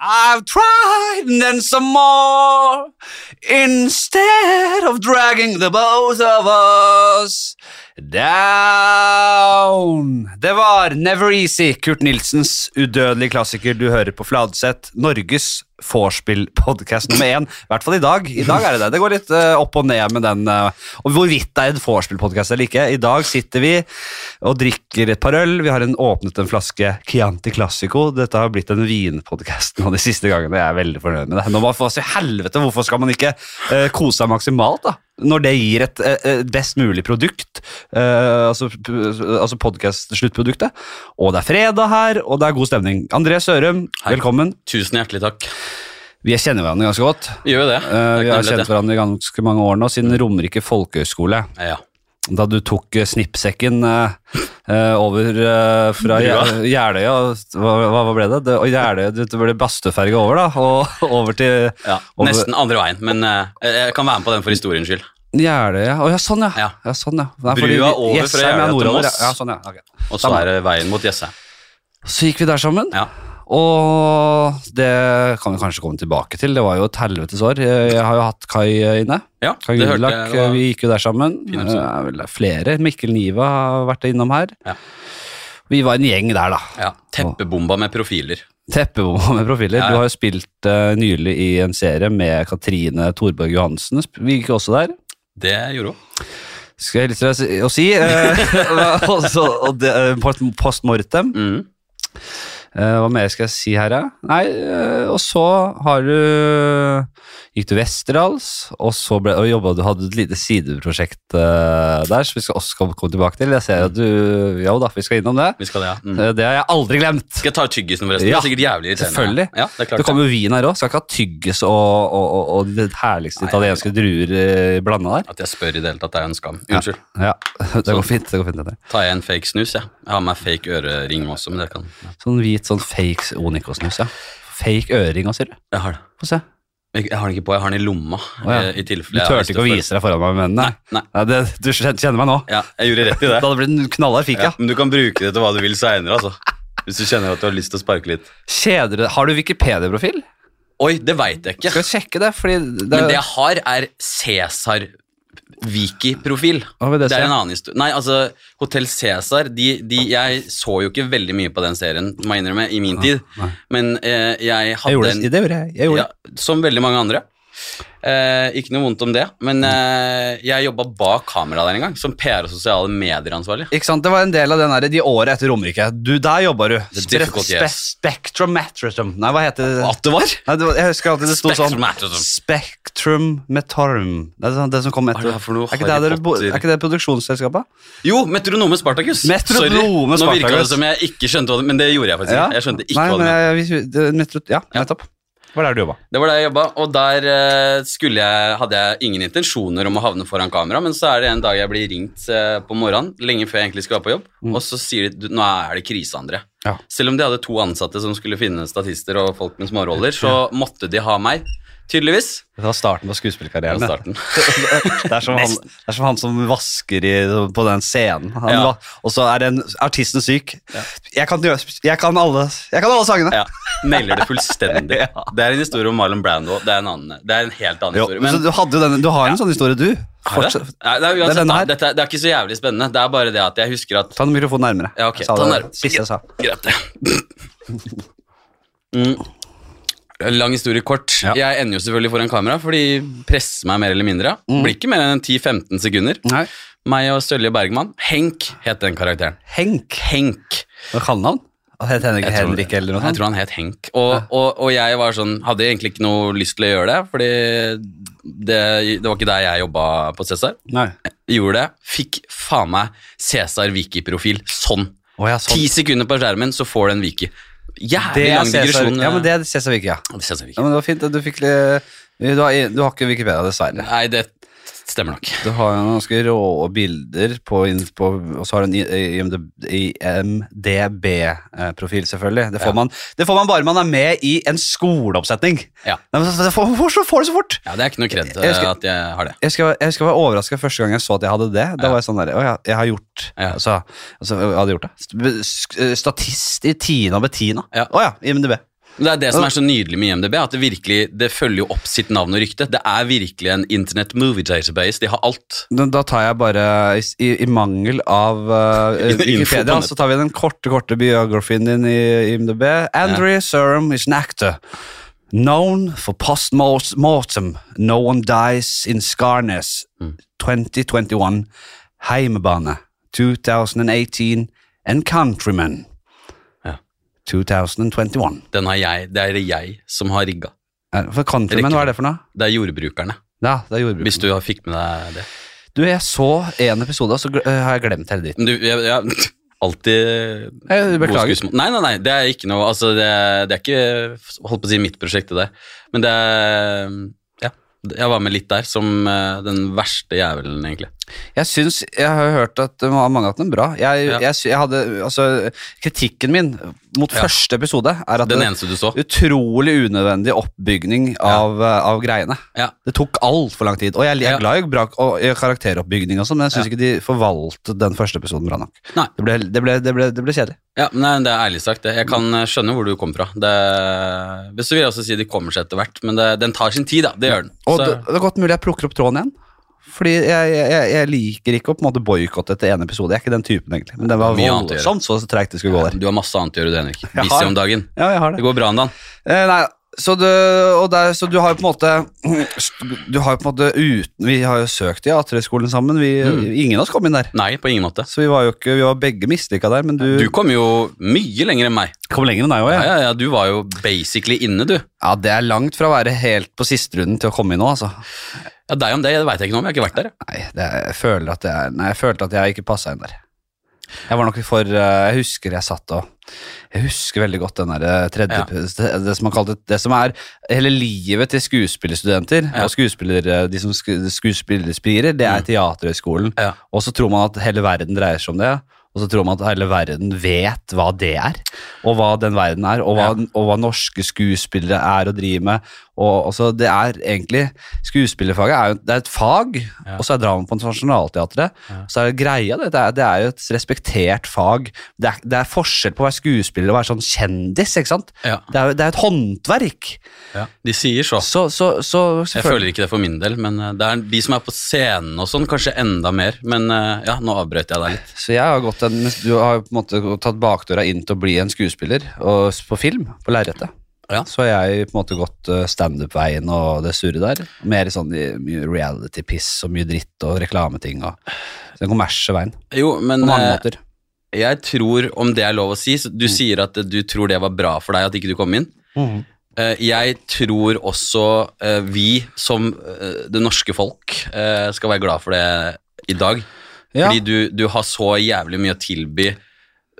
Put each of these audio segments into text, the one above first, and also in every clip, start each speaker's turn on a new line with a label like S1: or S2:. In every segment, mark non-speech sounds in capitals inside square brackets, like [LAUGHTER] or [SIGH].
S1: I've tried and then some more. Instead of dragging the both of us down. Det var Never Easy, Kurt Nilsens udødelige klassiker du hører på Fladseth. Norges vorspiel-podkast nummer én. I hvert fall i dag. I dag er det det. Det går litt eh, opp og ned med den. eh, og hvorvidt det er en vorspiel-podkast eller ikke. I dag sitter vi og drikker et par øl. Vi har en, åpnet en flaske Chianti Classico. Dette har blitt en vinpodkast nå de siste gangene. Jeg er veldig fornøyd med det. Nå må for helvete, Hvorfor skal man ikke eh, kose seg maksimalt, da? Når det gir et, eh, eh, best mulig produkt, eh, altså, p- altså podkast-sluttproduktet. Og det er fredag her, og det er god stemning. André Sørum,
S2: Hei.
S1: velkommen.
S2: Tusen hjertelig takk.
S1: Vi kjenner hverandre ganske godt.
S2: Vi gjør jo det.
S1: Eh,
S2: Det
S1: vi
S2: er ikke
S1: har
S2: noe lett,
S1: kjent
S2: det.
S1: hverandre i ganske mange år nå, siden Romerike folkehøgskole.
S2: Ja.
S1: Da du tok eh, snippsekken eh, eh, over eh, fra
S2: Brua.
S1: Gjer- Jeløya og- Hva, hva hva ble det? det og Jeløya, det ble Bastøferge over, da. Og [LAUGHS] over til
S2: Ja.
S1: Og-
S2: Nesten andre veien, men eh, jeg kan være med på den for historiens skyld.
S1: Jeløya. Å ja, sånn, ja.
S2: Ja.
S1: ja, sånn, ja. Nei,
S2: Brua
S1: fordi vi-
S2: over fra
S1: Jessheim er
S2: Jeløya til
S1: nordover, Ja,
S2: Moss.
S1: ja, sånn, ja. ok.
S2: Og så
S1: Samme.
S2: er det veien mot Jessheim.
S1: Så gikk vi der sammen,
S2: Ja.
S1: og det kan vi kanskje komme tilbake til. Det var jo et helvetes år. Jeg jeg har jo hatt Kai eh, inne.
S2: ja,
S1: Kai
S2: det hørte
S1: Gullak,
S2: jeg. det var-
S1: vi gikk jo der sammen.
S2: Fin
S1: Det
S2: episode.
S1: er vel flere. Mikkel Niva har vært innom her.
S2: Ja.
S1: Vi var en gjeng der, da.
S2: Ja. Teppebomba med profiler.
S1: Teppebomba med profiler.
S2: Ja, ja.
S1: Du har jo spilt eh, nylig i en serie med Katrine Thorborg Johansen. Sp- Vi gikk også der.
S2: Det gjorde hun.
S1: Skal jeg hilse deg å si- å si. eh, [LAUGHS] og så- og det, eh, post- Post mortem.
S2: Mm.
S1: Eh, hva mer skal jeg si her, da? Nei, eh, og så har du Gikk du Westerdals, og så ble, og jobba du hadde et lite sideprosjekt eh, der, som vi skal også komme komme tilbake til. Jeg ser at du Jo da, vi skal innom det.
S2: Vi skal det, ja. Mm.
S1: Eh, Det har jeg aldri glemt.
S2: Skal jeg ta ut tyggisen forresten?
S1: Ja,
S2: det er sikkert jævlig irriterende.
S1: selvfølgelig.
S2: Ja, det er klart.
S1: Det kommer jo vin her òg. Skal ikke ha tyggis og, og, og, og de herligste
S2: Nei,
S1: italienske druer blanda der.
S2: At jeg spør i det hele tatt, det er jo en skam. Unnskyld.
S1: Ja, [LAUGHS] det
S2: Sånn.
S1: går fint. det går fint det der.
S2: Tar jeg en fake snus, jeg. Jeg har med fake ørering også, men det kan
S1: Sånn hvit sånn fake Onico-snus, ja. Fake øring òg, sier du.
S2: Jeg har det.
S1: Få se.
S2: Jeg jeg har den ikke på, jeg har den i lomma.
S1: ja.
S2: eh, I
S1: Du
S2: tilfelle jeg har lyst
S1: turte ikke å
S2: til
S1: vise deg foran meg med mennene.
S2: Nei, nei.
S1: Nei, det, du kjen- kjenner meg nå.
S2: Ja, jeg gjorde rett i
S1: Da
S2: det.
S1: hadde det blitt en knallhard fik, ja.
S2: Ja, men du kan bruke det til hva du vil seinere, altså. Hvis du kjenner at du har lyst til å sparke litt.
S1: Kjeder du Har du Wikipedia-profil?
S2: Oi, det veit jeg
S1: Skal
S2: ikke.
S1: vi sjekke det, fordi det,
S2: Men det jeg har, er Cæsar Viki-profil.
S1: Hva vil
S2: Det
S1: det
S2: er
S1: si?
S2: en annen historie. Nei, altså, Hotell Cæsar de, de, Jeg så jo ikke veldig mye på den serien, må jeg innrømme, i min tid.
S1: nei.
S2: Men eh, jeg hadde
S1: Jeg gjorde
S2: en
S1: det. Det gjorde jeg. jeg gjorde
S2: ja, Som veldig mange andre. Eh, ikke noe vondt om det,
S1: Mm.
S2: men eh, jeg jobba bak kamera der en gang. Som PR- og sosiale medieransvarlig.
S1: det. Ikke sant? Det var en del av den der, de åra etter Romerike. Du, der jobba du.
S2: The difficult years.
S1: Spectrometrism. Nei, hva heter det?
S2: At det var?
S1: Nei, det var, jeg husker alltid det sto sånn
S2: Spectrometrism.
S1: Spektrum Metarum. Det er sånn, det som kom
S2: Hva er
S1: etter.
S2: det her for noe?
S1: er, ikke det
S2: Harry
S1: dere bo-
S2: Potter?
S1: er ikke det produksjonsselskapet?
S2: Jo, Metronome Spartacus.
S1: Metronome
S2: Nå virka det
S1: Spartacus.
S2: som jeg ikke skjønte hva det Men det gjorde jeg faktisk ikke. Jeg skjønte ikke
S1: Nei,
S2: hva det
S1: men
S2: mente.
S1: jeg, vi- det- metro, ja,
S2: Ja.
S1: nettopp. Hva er det du jobba?
S2: Det var der jeg jobba, og der eh, skulle jeg, hadde jeg ingen intensjoner om å havne foran kamera, men så er det en dag jeg blir ringt eh, på morgenen, lenge før jeg egentlig skal være på jobb,
S1: Mm.
S2: og så sier de du, nå er det krise, André.
S1: Ja.
S2: Selv om de hadde to ansatte som skulle finne statister og folk med småroller, så måtte de ha meg, tydeligvis.
S1: Det var starten på
S2: Det
S1: skuespillkarrieren.
S2: var [LAUGHS] starten.
S1: Det er, som han,
S2: Nesten.
S1: det er som han som vasker i, på den scenen. Han,
S2: Ja.
S1: va- Og så er den artisten syk. Jeg, kan, gjøre- jeg, kan alle, jeg kan alle sangene.
S2: Ja, Nailer det
S1: [LAUGHS]
S2: fullstendig. Det er en historie om Marlon Brando. Det er en, annen, det er en helt annen
S1: Jo,
S2: historie.
S1: så
S2: Men,
S1: du, hadde jo denne, du har en sånn historie, du.
S2: Har jeg det?
S1: Fortsett.
S2: Nei, det, er
S1: Det er
S2: uansett,
S1: denne
S2: da,
S1: her.
S2: dette, er- det er ikke så jævlig spennende. Det er bare det at jeg husker at
S1: Ta den mikrofonen nærmere.
S2: Ja, ok.
S1: Jeg sa
S2: Ta den
S1: det
S2: nærmere.
S1: siste jeg sa.
S2: Greit, det. Mm. Lang historie kort.
S1: Ja.
S2: Jeg ender jo selvfølgelig foran kamera, for de presser meg mer eller mindre. Blir ikke mer enn 10-15 sekunder.
S1: Nei.
S2: Meg og Sølje Bergman. Henk het den karakteren.
S1: Henk.
S2: Henk.
S1: Hva kaller han? Het Henrik,
S2: Jeg tror-
S1: Henrik eller noe
S2: Jeg
S1: sånt?
S2: tror han het Henk. Og, og, og jeg var sånn, hadde egentlig ikke noe lyst til å gjøre det, fordi det, det var ikke der jeg jobba på Cæsar.
S1: Nei.
S2: Gjorde det. Fikk faen meg Cæsar Viki-profil sånn.
S1: Å, ja, sånn.
S2: Ti sekunder på skjermen, så får du en Viki.
S1: Det
S2: Jævlig
S1: er
S2: lang
S1: Cæsar-
S2: digresjon.
S1: Ja, men det er Cæsar Vik, ja.
S2: Ja, det kjennes
S1: ja.
S2: ikke.
S1: Men det var fint. at Du, fikk, litt- du, har, du har ikke Wikipedia, dessverre.
S2: Nei, det stemmer nok.
S1: Du har jo noen ganske rå bilder, på, inn- på, og så har du en IMDb-profil, selvfølgelig. Det får,
S2: Ja.
S1: man, det får man bare man er med i en skoleoppsetning.
S2: Ja.
S1: Nei, men så- det får, hvorfor får du så fort?
S2: Ja, Det er ikke noe kred eh,
S1: Jeg husker-
S2: at jeg har det.
S1: Jeg husker, jeg husker jeg var overraska første gang jeg så at jeg hadde det. Da
S2: Ja.
S1: var jeg sånn der, Å ja, jeg har gjort
S2: Ja.
S1: altså, altså, jeg hadde gjort det. St- sk- Statist i Tina og Bettina.
S2: Ja.
S1: Å ja, IMDb.
S2: Men Det er det som er så nydelig med IMDb, at det virkelig, det følger jo opp sitt navn og rykte. Det er virkelig en internet movie database. De har alt.
S1: Da da tar jeg bare, i, i, i mangel av eh,
S2: [LAUGHS] Info på
S1: Wikipedia,
S2: nett.
S1: så tar vi den korte, korte biografien din i i IMDb. Andrew Serum is an actor. Known for post-mortem. No one dies in Skarnes.
S2: Mm.
S1: 2021. Heimebane. 2018. And Countryman.
S2: Ja.
S1: 2021.
S2: Den har jeg, det er det jeg som har rigga.
S1: Eh, For Countryman, hva er det for noe?
S2: Det er jordbrukerne,
S1: Ja, det er jordbruk.
S2: hvis du har fikk med deg det.
S1: Du, jeg så en episode, og så gl- eh, har jeg glemt hele dritten.
S2: Men du, jeg, jeg alltid
S1: Eh,
S2: god
S1: Beklager.
S2: skuesmål. Nei, nei, nei, det er ikke noe Altså, det, det er ikke Holdt på å si mitt prosjekt, det der. Men det er Ja. Jeg var med litt der, som eh, den verste jævelen, egentlig.
S1: Jeg syns, jeg har hørt at det var mange av dem bra. Jeg,
S2: Ja.
S1: jeg, sy- jeg hadde, altså, kritikken min mot
S2: Ja.
S1: første episode er at
S2: Den
S1: det
S2: eneste du så.
S1: utrolig unødvendig oppbygning av, eh, av greiene.
S2: Ja.
S1: Det tok altfor lang tid. Og jeg, jeg
S2: Ja.
S1: er glad i bra og, i karakteroppbygning, og sånn, men jeg syns
S2: Ja.
S1: ikke de forvaltet den første episoden bra nok.
S2: Nei.
S1: Det ble, det ble, det ble, det ble kjedelig.
S2: Ja, men nei, Det er ærlig sagt. det. Jeg kan eh, skjønne hvor du kom fra. Det, hvis du vil jeg også si De kommer seg etter hvert, men det, den tar sin tid. da, Det gjør den.
S1: Og
S2: Så,
S1: det, det er godt mulig jeg plukker opp tråden igjen. Fordi jeg, jeg, jeg- jeg liker ikke å på en måte boikotte etter én episode. Jeg er ikke den typen, egentlig. Men det var
S2: Mye annet å gjøre.
S1: voldsomt så treigt det skulle gå der.
S2: du har masse annet å gjøre, du, Henrik.
S1: har
S2: Busy
S1: det.
S2: om dagen.
S1: Ja, jeg har det.
S2: Det går bra om dagen.
S1: Eh, nei, så du, og der, så du har jo på en måte Du har jo på en måte uten Vi har jo søkt i A3-skolen sammen. Vi, Ingen av oss kom inn der.
S2: Nei, på ingen måte.
S1: Så vi var jo ikke Vi var begge mislykka der, men du,
S2: Du kom jo mye lenger enn meg.
S1: kom lenger enn deg òg,
S2: Ja, ja, ja, Du var jo basically inne, du.
S1: Ja, det er langt fra å være helt på sisterunden til å komme inn nå, altså.
S2: Ja, Deg om det, det veit jeg ikke noe om. Jeg har ikke vært der. jeg.
S1: Nei, det, jeg føler at jeg, nei, jeg følte at jeg ikke passa inn der. Jeg var nok for eh, Jeg husker jeg satt og Jeg husker veldig godt den der eh, tredje
S2: Ja.
S1: det, det som man kalte Det som er hele livet til skuespillerstudenter
S2: Ja. Mm.
S1: og skuespiller, eh, de som sku, skuespillerspirer, det er Teaterhøgskolen.
S2: Ja.
S1: Og så tror man at hele verden dreier seg om det. Og så tror man at hele verden vet hva det er, og hva den verden er, og hva, og hva norske skuespillere er å drive med. Og, og så det er egentlig, Skuespillerfaget er jo det er et fag,
S2: Ja.
S1: og så er drama på Nationaltheatret.
S2: Ja.
S1: Så er det greia, det, det, er, det er jo et respektert fag. Det er, det er forskjell på å være skuespiller og være sånn kjendis, ikke sant?
S2: Ja.
S1: Det er, jo- det er et håndverk.
S2: De sier så.
S1: Så, så, så
S2: Jeg
S1: selvfølgelig
S2: føler ikke det for min del, men eh, det er de som er på scenen og sånn, kanskje enda mer. Men eh, ja, nå avbrøt jeg deg litt.
S1: Så jeg har gått en, du har jo på en måte tatt bakdøra inn til å bli en skuespiller og, s- på film, på lerretet.
S2: Ja.
S1: Så har jeg på en måte gått eh, standup-veien og det surre der. Mer sånn i- mye reality-piss og mye dritt og reklameting og den kommersielle veien.
S2: Jo, men
S1: På mange
S2: eh,
S1: måter.
S2: jeg tror, om det er lov å si så Du sier at du tror det var bra for deg at ikke du kom inn. Eh, Jeg tror også eh, vi som eh, det norske folk eh, skal være glad for det i dag.
S1: Ja.
S2: Fordi du, du har så jævlig mye å tilby,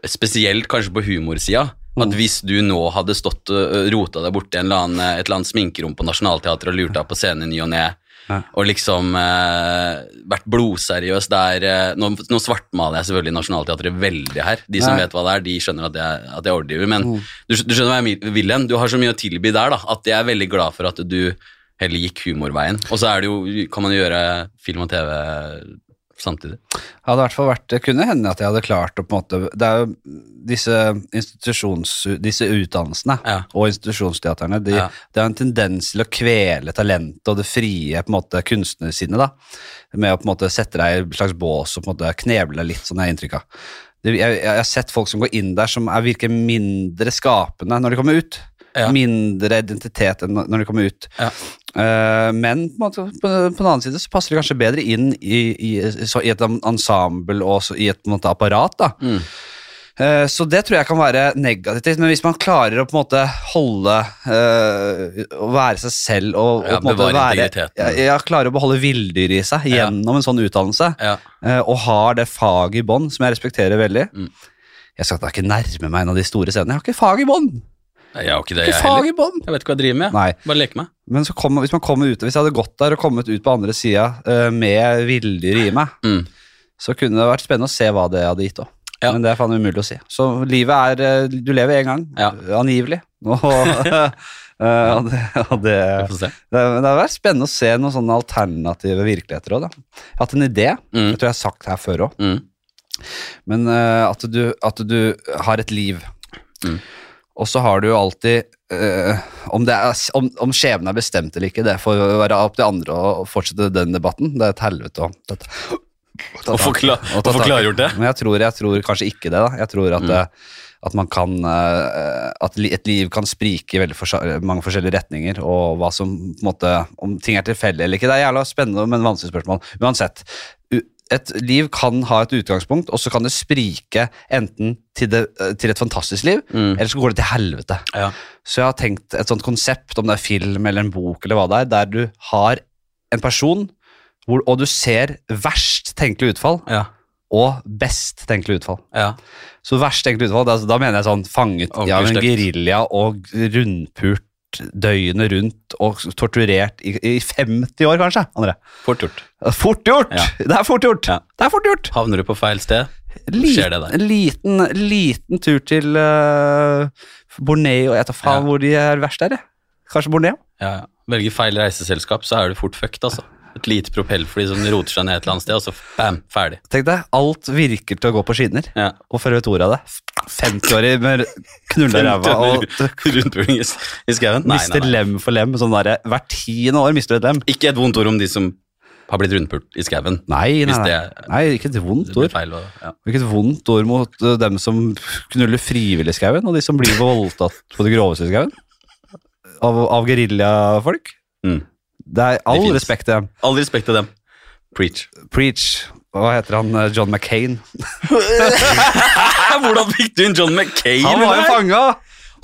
S2: spesielt kanskje på humorsida.
S1: Mm.
S2: At hvis du nå hadde stått og rota deg borti en eller annen, et eller annet sminkerom på Nationaltheatret og lurt deg på scenen i ny og ne,
S1: Ja.
S2: og liksom eh, vært blodseriøs der eh, nå, nå svartmaler jeg selvfølgelig Nationaltheatret veldig her. De som
S1: Nei.
S2: vet hva det er, de skjønner at jeg, at jeg overdriver. Men
S1: Mm.
S2: du, skj- du skjønner hva jeg mi- vil hen. Du har så mye å tilby der da, at jeg er veldig glad for at du heller gikk humorveien. Og så er det jo, kan man jo gjøre film og TV samtidig.
S1: hadde i hvert fall vært, det kunne hende at jeg hadde klart å på en måte, det er jo disse institusjons, disse utdannelsene
S2: Ja.
S1: og institusjonsteaterne, de,
S2: Ja.
S1: det er en tendens til å kvele talentet og det frie på en måte kunstnersinnet da, med å på en måte sette deg i en slags bås og på en måte kneble deg litt, sånn er inntrykk av. Det- Jeg, jeg har sett folk som går inn der som er, virker mindre skapende når de kommer ut.
S2: Ja.
S1: Mindre identitet enn når de kommer ut.
S2: Ja.
S1: Eh, men på, en måte, på, på den annen side så passer de kanskje bedre inn i, i, så, i et ensemble og så, i et på en måte, apparat. da.
S2: Mm.
S1: Eh, Så det tror jeg kan være negativt, men hvis man klarer å på en måte holde eh, Å være seg selv og,
S2: Ja,
S1: og på en måte
S2: bevare
S1: være,
S2: integriteten.
S1: ja, ja, klare å beholde villdyret i seg
S2: Ja.
S1: gjennom en sånn utdannelse,
S2: Ja.
S1: eh, og har det faget i bånn, som jeg respekterer veldig
S2: Mm.
S1: Jeg skal da ikke nærme meg en av de store scenene. Jeg har ikke fag i bånn!
S2: Nei, Jeg har ikke det,
S1: Ikke
S2: jeg
S1: fag
S2: heller.
S1: i bånn!
S2: Jeg vet ikke hva jeg driver med. jeg.
S1: Nei.
S2: Bare leke meg.
S1: Men så kom, hvis man kommer ut, hvis jeg hadde gått der og kommet ut på andre sida eh, med villdyret i meg,
S2: Mm.
S1: så kunne det vært spennende å se hva det hadde gitt òg.
S2: Ja.
S1: Men det er faen umulig å si. Så livet er eh, Du lever én gang,
S2: Ja.
S1: [LAUGHS] angivelig. Og, eh, og det, og det,
S2: Vi får se.
S1: det, men det har vært spennende å se noen sånne alternative virkeligheter òg, da. Jeg har hatt en idé,
S2: Mm.
S1: jeg tror jeg har sagt det her før òg,
S2: Mm.
S1: men eh, at, du, at du har et liv.
S2: Mm.
S1: Og så har du jo alltid eh, om, det er, om, om skjebnen er bestemt eller ikke, det får jo være opp til andre å å fortsette den debatten. Det er et helvete å ta ta-
S2: Og få kla-
S1: å ta
S2: og få
S1: tak i.
S2: klargjort det.
S1: Men jeg tror, jeg tror kanskje ikke det. da. Jeg tror at, eh, at man kan eh, At li- et liv kan sprike i veldig forsa- mange forskjellige retninger, og hva som på en måte Om ting er tilfeldig eller ikke. Det er jævla spennende, men vanskelig spørsmål. Uansett. u- Et liv kan ha et utgangspunkt, og så kan det sprike enten til, det, eh, til et fantastisk liv,
S2: Mm.
S1: eller så går det til helvete.
S2: Ja.
S1: Så jeg har tenkt et sånt konsept, om det er film eller en bok eller hva det er, der du har en person, hvor, og du ser verst tenkelig utfall
S2: Ja.
S1: og best tenkelig utfall.
S2: ja.
S1: Så verst tenkelig utfall, da, da mener jeg sånn fanget
S2: Ordentlig
S1: av en
S2: stygt.
S1: gerilja og rundpult døgnet rundt og torturert i, i 50 år, kanskje, André.
S2: Fort gjort.
S1: Fort gjort!
S2: Ja.
S1: Det er fort gjort!
S2: Ja.
S1: Det er fort gjort!
S2: Havner du på feil sted? skjer det der.
S1: En liten, liten tur til eh, Borneo. Jeg tar faen
S2: Ja.
S1: hvor de er verst der, jeg. Kanskje Borneo?
S2: Ja, ja. Velger feil reiseselskap, så er du fort fucked, altså. Et lite propellfly som roter seg ned et eller annet sted, og så bam, ferdig.
S1: Tenk deg, alt virker til å gå på skinner.
S2: Ja. [LAUGHS]
S1: Og før du vet ordet av det, 50-årig med knulla ræva og
S2: Rundpuling i s- i skauen? Nei, nei,
S1: mister
S2: nei.
S1: lem for lem. Sånn der, hvert tiende år mister du et lem.
S2: Ikke et vondt ord om de som har blitt rundpult i skauen.
S1: Nei, nei,
S2: Hvis
S1: nei.
S2: det er-
S1: nei ikke et vondt
S2: Det blir
S1: ord.
S2: feil å ja.
S1: Ikke et vondt ord mot eh, dem som knuller frivillig i skauen, og de som blir voldtatt på det groveste i skauen. Av, av geriljafolk.
S2: mm.
S1: Det er all
S2: finnes.
S1: respekt til dem.
S2: All respekt til dem. Preach.
S1: Preach. Hva heter han? eh, John McCain.
S2: Hvordan fikk du inn John McCain?
S1: Han var jo
S2: der?
S1: fanga!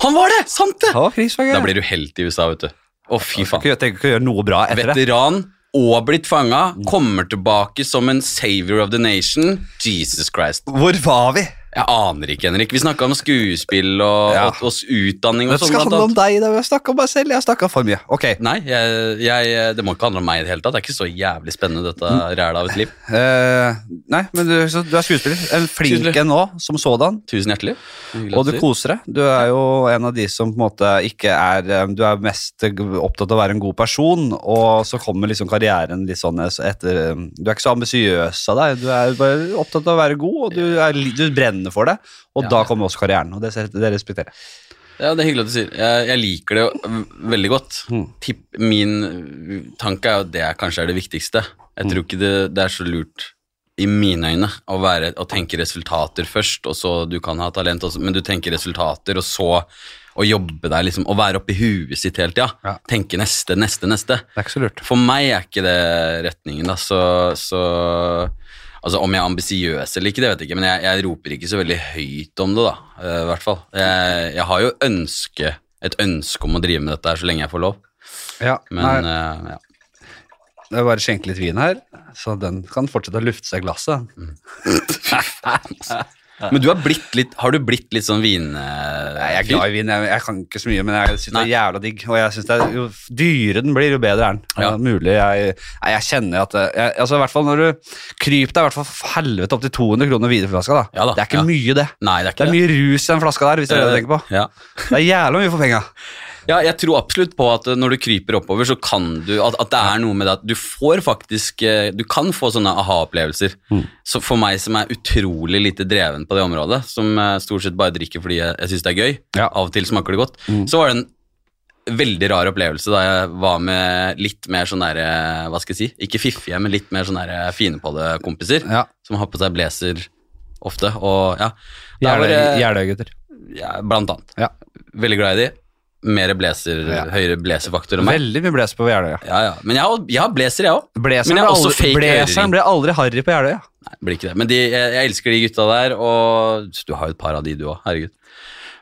S2: Han var det! Sant det!
S1: Han var krigsfange.
S2: Da blir du helt i USA, vet du. Å, fy faen.
S1: Jeg tenker ikke å gjøre noe bra etter det. Mm.
S2: Veteran og blitt fanga, kommer tilbake som en savior of the nation. Jesus Christ.
S1: Hvor var vi?
S2: Jeg aner ikke, Henrik. Vi snakka om skuespill og,
S1: Ja.
S2: og, og utdanning og
S1: Dette
S2: sånn.
S1: skal
S2: blant
S1: handle om
S2: annet.
S1: deg. da. Jeg har snakka om meg selv. Jeg har snakka for mye. Ok.
S2: Nei, jeg, jeg, det må ikke handle om meg i det hele tatt. Det er ikke så jævlig spennende, dette
S1: Mm.
S2: rælet av et liv.
S1: Eh, nei, men du, så du er skuespiller. En flink
S2: Skuespiller.
S1: en nå, som sådan.
S2: Tusen hjertelig. Hyggelig
S1: Og
S2: at
S1: du koser deg. Du er jo en av de som på en måte ikke er eh, Du er mest opptatt av å være en god person, og så kommer liksom karrieren litt sånn eh, så etter eh, Du er ikke så ambisiøs av deg. Du er bare opptatt av å være god, og du, er, li- du brenner for det. Og
S2: Ja.
S1: da kommer også karrieren, og det, ser- det respekterer jeg.
S2: Ja, det er hyggelig at du sier. Jeg, jeg liker det jo v- veldig godt.
S1: Mm.
S2: Tipp, min uh, tanke er jo at det er kanskje er det viktigste. Jeg tror ikke det, det er så lurt i mine øyne å, være, å tenke resultater først, og så du kan ha talent også, men du tenker resultater, og så å jobbe der, liksom, å være oppi huet sitt hele tida.
S1: Ja.
S2: Tenke neste, neste, neste.
S1: Det er ikke så lurt.
S2: For meg er ikke det retningen, da. Så, så Altså, om jeg er ambisiøs eller ikke, det vet jeg ikke, men jeg, jeg roper ikke så veldig høyt om det, da. eh, I hvert fall. Jeg, jeg har jo ønske, et ønske om å drive med dette her så lenge jeg får lov,
S1: Ja,
S2: men
S1: nei,
S2: eh, ja.
S1: det er bare å skjenke litt vin her, så den kan fortsette å lufte seg i glasset.
S2: Men du har blitt litt Har du blitt litt sånn vin... Nei,
S1: Nei, jeg er glad i vin. Jeg, jeg kan ikke så mye, men jeg syns det er
S2: Nei.
S1: jævla digg. Og jeg synes det er, jo f- dyrere den blir, jo bedre er den. Ja.
S2: Ja.
S1: Mulig jeg, nei, jeg kjenner at det- jeg, altså, i hvert fall Når du kryper deg i hvert fall for helvete opp til 200 kroner videoflaska, da.
S2: Ja da,
S1: det er ikke
S2: ja.
S1: mye, det.
S2: Nei, det er
S1: Det
S2: ikke
S1: er mye rus i den flaska der, hvis det er det du tenker på.
S2: Ja.
S1: Det er jævla mye for penga.
S2: Ja, jeg tror absolutt på at eh, når du kryper oppover, så kan du At, at det er noe med det at du får faktisk eh, Du kan få sånne aha-opplevelser.
S1: Mm.
S2: Så for meg som er utrolig lite dreven på det området, som eh, stort sett bare drikker fordi jeg, jeg syns det er gøy,
S1: Ja. Mm.
S2: av og til smaker det godt, så var det en veldig rar opplevelse da jeg var med litt mer sånn derre Hva skal jeg si? Ikke fiffige, men litt mer sånn derre fine på det-kompiser.
S1: Ja.
S2: Som har på seg blazer ofte, og ja. Da var det-
S1: Jeløya-gutter.
S2: ja, blant annet.
S1: Ja.
S2: Veldig glad i de. Mer blazer,
S1: Ja.
S2: høyere blazerfaktor enn meg.
S1: Veldig mye bles på Jeløya.
S2: Ja, ja. Men jeg har, jeg har blazer, jeg òg.
S1: Blazeren
S2: Men
S1: ble
S2: jeg har også
S1: aldri,
S2: fake
S1: blazeren
S2: øring.
S1: ble aldri harry på Jeløya.
S2: Nei, det blir ikke det. Men de, jeg, jeg elsker de gutta der, og du har jo et par av de, du òg. Herregud.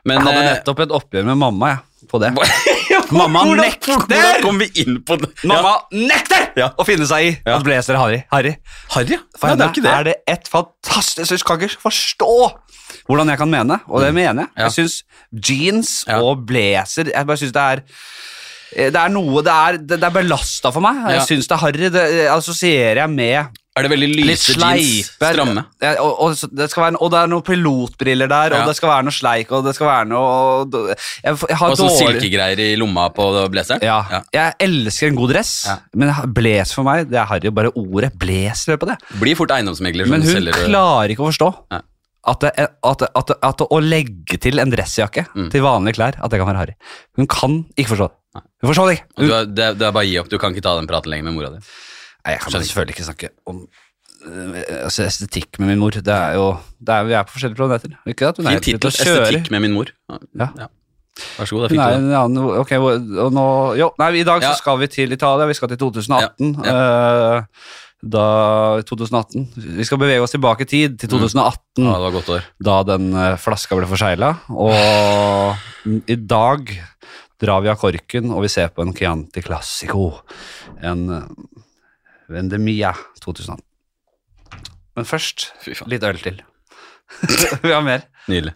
S2: Men
S1: Jeg hadde
S2: [LAUGHS] eh,
S1: nettopp et oppgjør med mamma jeg, på det. Mamma
S2: hvordan- Hvordan
S1: nekter!
S2: kom vi inn på det?
S1: Mamma nekter
S2: Ja.
S1: å finne seg i
S2: Ja.
S1: at blazer er harry. harry.
S2: Ja. Harry, ja.
S1: For
S2: Nei,
S1: henne
S2: det er ikke det.
S1: er det et fantastisk Jeg kan ikke forstå hvordan jeg kan mene, og det mener jeg.
S2: Mm. Ja.
S1: Jeg syns jeans
S2: Ja.
S1: og blazer Jeg bare syns det er eh, det er noe Det er, det det er belasta for meg.
S2: Ja.
S1: Jeg syns det er harry. Det eh, assosierer jeg med
S2: Er det veldig
S1: litt
S2: lyse jeans?
S1: sleipe
S2: Stramme?
S1: Ja, og, og, så- det skal være, en- og det er noen pilotbriller der,
S2: Ja.
S1: og det skal være noe sleik, og det skal være noe Jeg, jeg har
S2: Og sånn
S1: dårlig-
S2: silkegreier i lomma på blazeren?
S1: ja. Jeg elsker en god dress,
S2: Ja.
S1: men blazer for meg, det er harry. Bare ordet blazer på det.
S2: Blir fort eiendomsmegler som
S1: Men hun
S2: selger
S1: klarer ikke å forstå
S2: Nei.
S1: at, det, at, det- at, det- at det å legge til en dressjakke
S2: Mm.
S1: til vanlige klær, at det kan være harry. Hun kan ikke forstå det. Hun forstår det ikke.
S2: Og
S1: Hun,
S2: Du er, det, er- det er bare å gi opp. Du kan ikke ta den praten lenger med mora di.
S1: Nei, jeg kan
S2: Skjønner
S1: selvfølgelig ikke snakke om øh, altså, estetikk med min mor. Det er jo, det er, vi er på forskjellige planeter. Ikke at hun er
S2: Fin
S1: ute
S2: tittel.
S1: og kjører.
S2: Estetikk med min mor.
S1: Ja.
S2: Vær så god, da
S1: Hun
S2: fikk
S1: er
S2: du det.
S1: en annen, ok, hvor- og nå, jo, nei, I dag
S2: Ja.
S1: så skal vi til Italia. Vi skal til 2018.
S2: Ja,
S1: eh, da, 2018. Vi skal bevege oss tilbake i tid, til 2018,
S2: Ja, det var godt år.
S1: da den eh, flaska ble forsegla. Og i dag drar vi av korken, og vi ser på en Chianti Classico. En eh, Vendemia 2018. Men først
S2: Fy faen.
S1: litt øl til. [LAUGHS] vi har mer.
S2: Nydelig.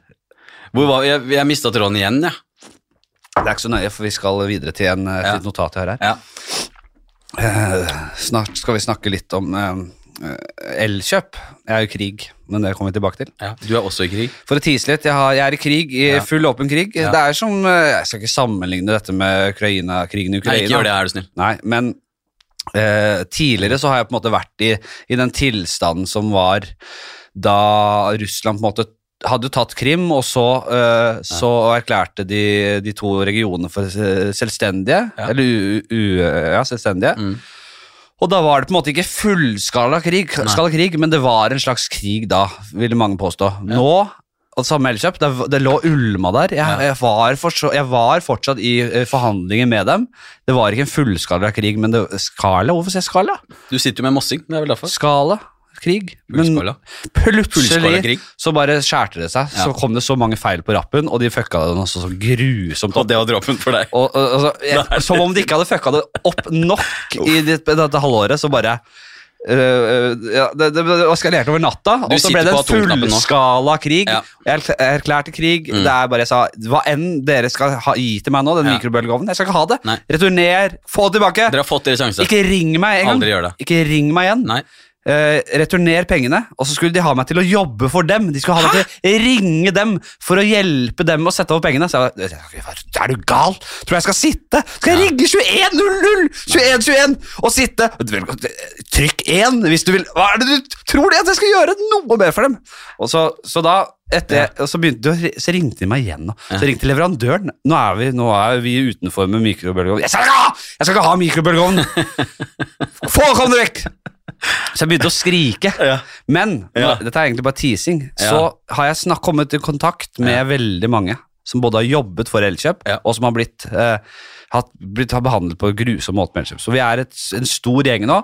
S2: Hvor var, jeg jeg mista tråden igjen, jeg.
S1: Det er ikke så nøye, for vi skal videre til en, eh,
S2: Ja.
S1: til et notat jeg har her.
S2: Ja.
S1: Eh, snart skal vi snakke litt om eh, eh, elkjøp. Jeg er jo i krig, men det kommer vi tilbake til.
S2: Ja. Du er også i krig.
S1: For å tease litt, jeg, har, jeg er i krig, i
S2: Ja.
S1: full åpen krig.
S2: Ja.
S1: Det er som, eh, Jeg skal ikke sammenligne dette med Ukraina, krigen i Ukraina.
S2: Nei, ikke gjør det, er du snill.
S1: Nei, men eh, tidligere så har jeg på en måte vært i, i den tilstanden som var da Russland på en måte hadde tatt Krim, og så, eh, så erklærte de de to regionene for eh, selvstendige.
S2: Ja.
S1: Eller u, u, ja, selvstendige.
S2: Mm.
S1: Og da var det på en måte ikke fullskala krig, skala krig, men det var en slags krig da, ville mange påstå. Nå, og samme Elkjøp, det, det lå ulma der. Jeg,
S2: Ja.
S1: jeg, var fortsatt, jeg var fortsatt i eh, forhandlinger med dem. Det var ikke en fullskala krig, men det, skala, hvorfor sier jeg skala?
S2: Du sitter jo med mossing, det er vel derfor.
S1: Skala krig. Men
S2: Fullskala. Fullskala
S1: plutselig
S2: krig.
S1: så bare skjærte det seg,
S2: Ja.
S1: så kom det så mange feil på rappen, og de fucka det noe så, så grusomt
S2: Og det var dråpen for deg.
S1: og, og, altså, jeg, som om de ikke hadde fucka det opp nok i det, dette halvåret, så bare øh, øh, ja, det, det, det eskalerte over natta, og så ble
S2: sitter
S1: det en
S2: på atomknappen nå.
S1: fullskala krig.
S2: Ja. Mm.
S1: Jeg erkl- jeg erklærte krig. Det er bare jeg sa Hva enn dere skal ha, gi til meg nå, den
S2: Ja.
S1: mikrobølgeovnen, jeg skal ikke ha det.
S2: Nei.
S1: Returner. Få det tilbake.
S2: Dere har fått deres sjanse.
S1: Ikke ring meg engang.
S2: Aldri gjør det.
S1: Ikke ring meg igjen.
S2: Nei.
S1: Eh, returner pengene, og så skulle de ha meg til å jobbe for dem. De skulle ha meg til å ringe dem for å hjelpe dem å sette over pengene. Så jeg var, Er du gal? Tror du jeg skal sitte? Skal jeg ringe 21.00? 21.21 og sitte? eh, Trykk 1 hvis du vil. Hva er det du tror de at jeg skal gjøre noe mer for dem? Og så, så da etter, og så, begynte, de å ri- så ringte de meg igjen. nå. Så ringte leverandøren. Nå er vi, nå er vi utenfor med mikrobølgeovn. Jeg skal ikke ha, jeg skal ikke ha mikrobølgeovn! Få kom deg vekk! Så jeg begynte å skrike.
S2: Ja.
S1: Men nå,
S2: Ja.
S1: dette er egentlig bare teasing. Så har jeg snakk, kommet i kontakt med veldig mange som både har jobbet for Elkjøp,
S2: Ja.
S1: og som har blitt, eh, hatt, blitt har behandlet på en grusom måte med Elkjøp. Så vi er et, en stor gjeng nå.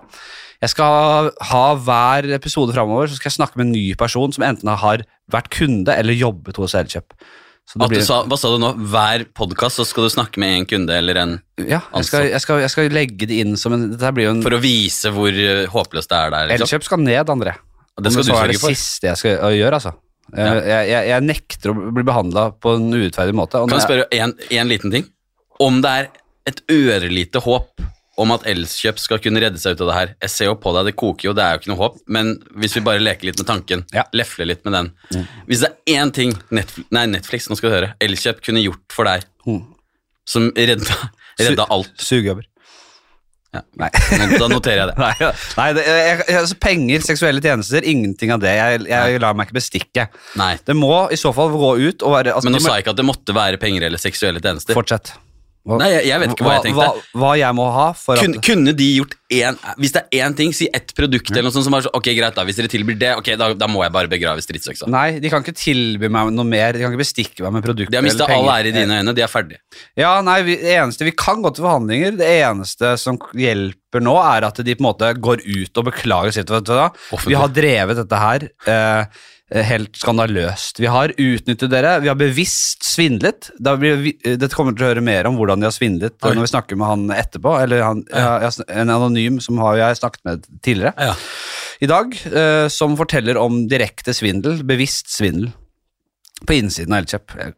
S1: Jeg skal ha hver episode framover så skal jeg snakke med en ny person som enten har vært kunde eller jobbet hos Elkjøp. Så det
S2: At du sa, hva sa du nå? Hver podkast skal du snakke med en kunde eller en
S1: ja, jeg, skal, jeg, skal, jeg skal legge det inn som en Dette her blir jo en
S2: Altså. For å vise hvor eh, håpløst det er der. Liksom.
S1: Elkjøp skal ned, André.
S2: Og det
S1: Men
S2: skal du
S1: så er det
S2: sørge for.
S1: siste jeg skal gjøre, altså. Jeg, jeg, jeg, jeg nekter å bli behandla på en urettferdig måte. og når
S2: Kan jeg
S1: jeg-
S2: spørre en, en liten ting? Om det er et ørlite håp om at Elkjøp skal kunne redde seg ut av det her. Jeg ser jo på deg, det koker jo, det er jo ikke noe håp. Men hvis vi bare leker litt med tanken,
S1: Ja. Mm.
S2: lefler litt med den. Hvis det er én ting Netflix, nei, Netflix, nå skal du høre, Elkjøp kunne gjort for deg,
S1: Mm.
S2: som redda, redda alt.
S1: Sugeøver.
S2: Ja.
S1: Nei.
S2: Nå- Da
S1: [LAUGHS]
S2: noterer jeg det.
S1: Nei, nei det, jeg, jeg, altså penger, seksuelle tjenester, ingenting av det. Jeg, jeg lar meg ikke bestikke.
S2: Nei.
S1: Det må i så fall gå ut og være altså,
S2: Men nå
S1: de må-
S2: sa jeg ikke at det måtte være penger eller seksuelle tjenester.
S1: Fortsett. Hva,
S2: Nei, jeg, jeg vet ikke hva jeg tenkte.
S1: Hva, hva jeg må ha for
S2: Kun,
S1: at
S2: kunne de gjort én Hvis det er én ting, si ett produkt eller noe sånt som er så, Ok, greit, da. Hvis dere tilbyr det, ok, da, da må jeg bare begrave stridsøksa.
S1: Nei, de kan ikke tilby meg noe mer. De kan ikke bestikke meg med produkter.
S2: De har mista
S1: eller penger.
S2: all ære i dine øyne. De er ferdige.
S1: Ja, nei, vi, det eneste, vi kan gå til forhandlinger. Det eneste som hjelper nå, er at de på en måte går ut og beklager sitt. Vet du, hva?
S2: Offentlig.
S1: vi har drevet dette her eh, helt skandaløst. Vi har utnyttet dere. Vi har bevisst svindlet. Da blir vi, dette kommer til å høre mer om hvordan de har svindlet
S2: Oi.
S1: når vi snakker med han etterpå. Eller han, ja, jeg har sn- en anonym som har jeg snakket med tidligere
S2: Ja.
S1: i dag, eh, som forteller om direkte svindel, bevisst svindel, på innsiden av Elkjøp. Eh,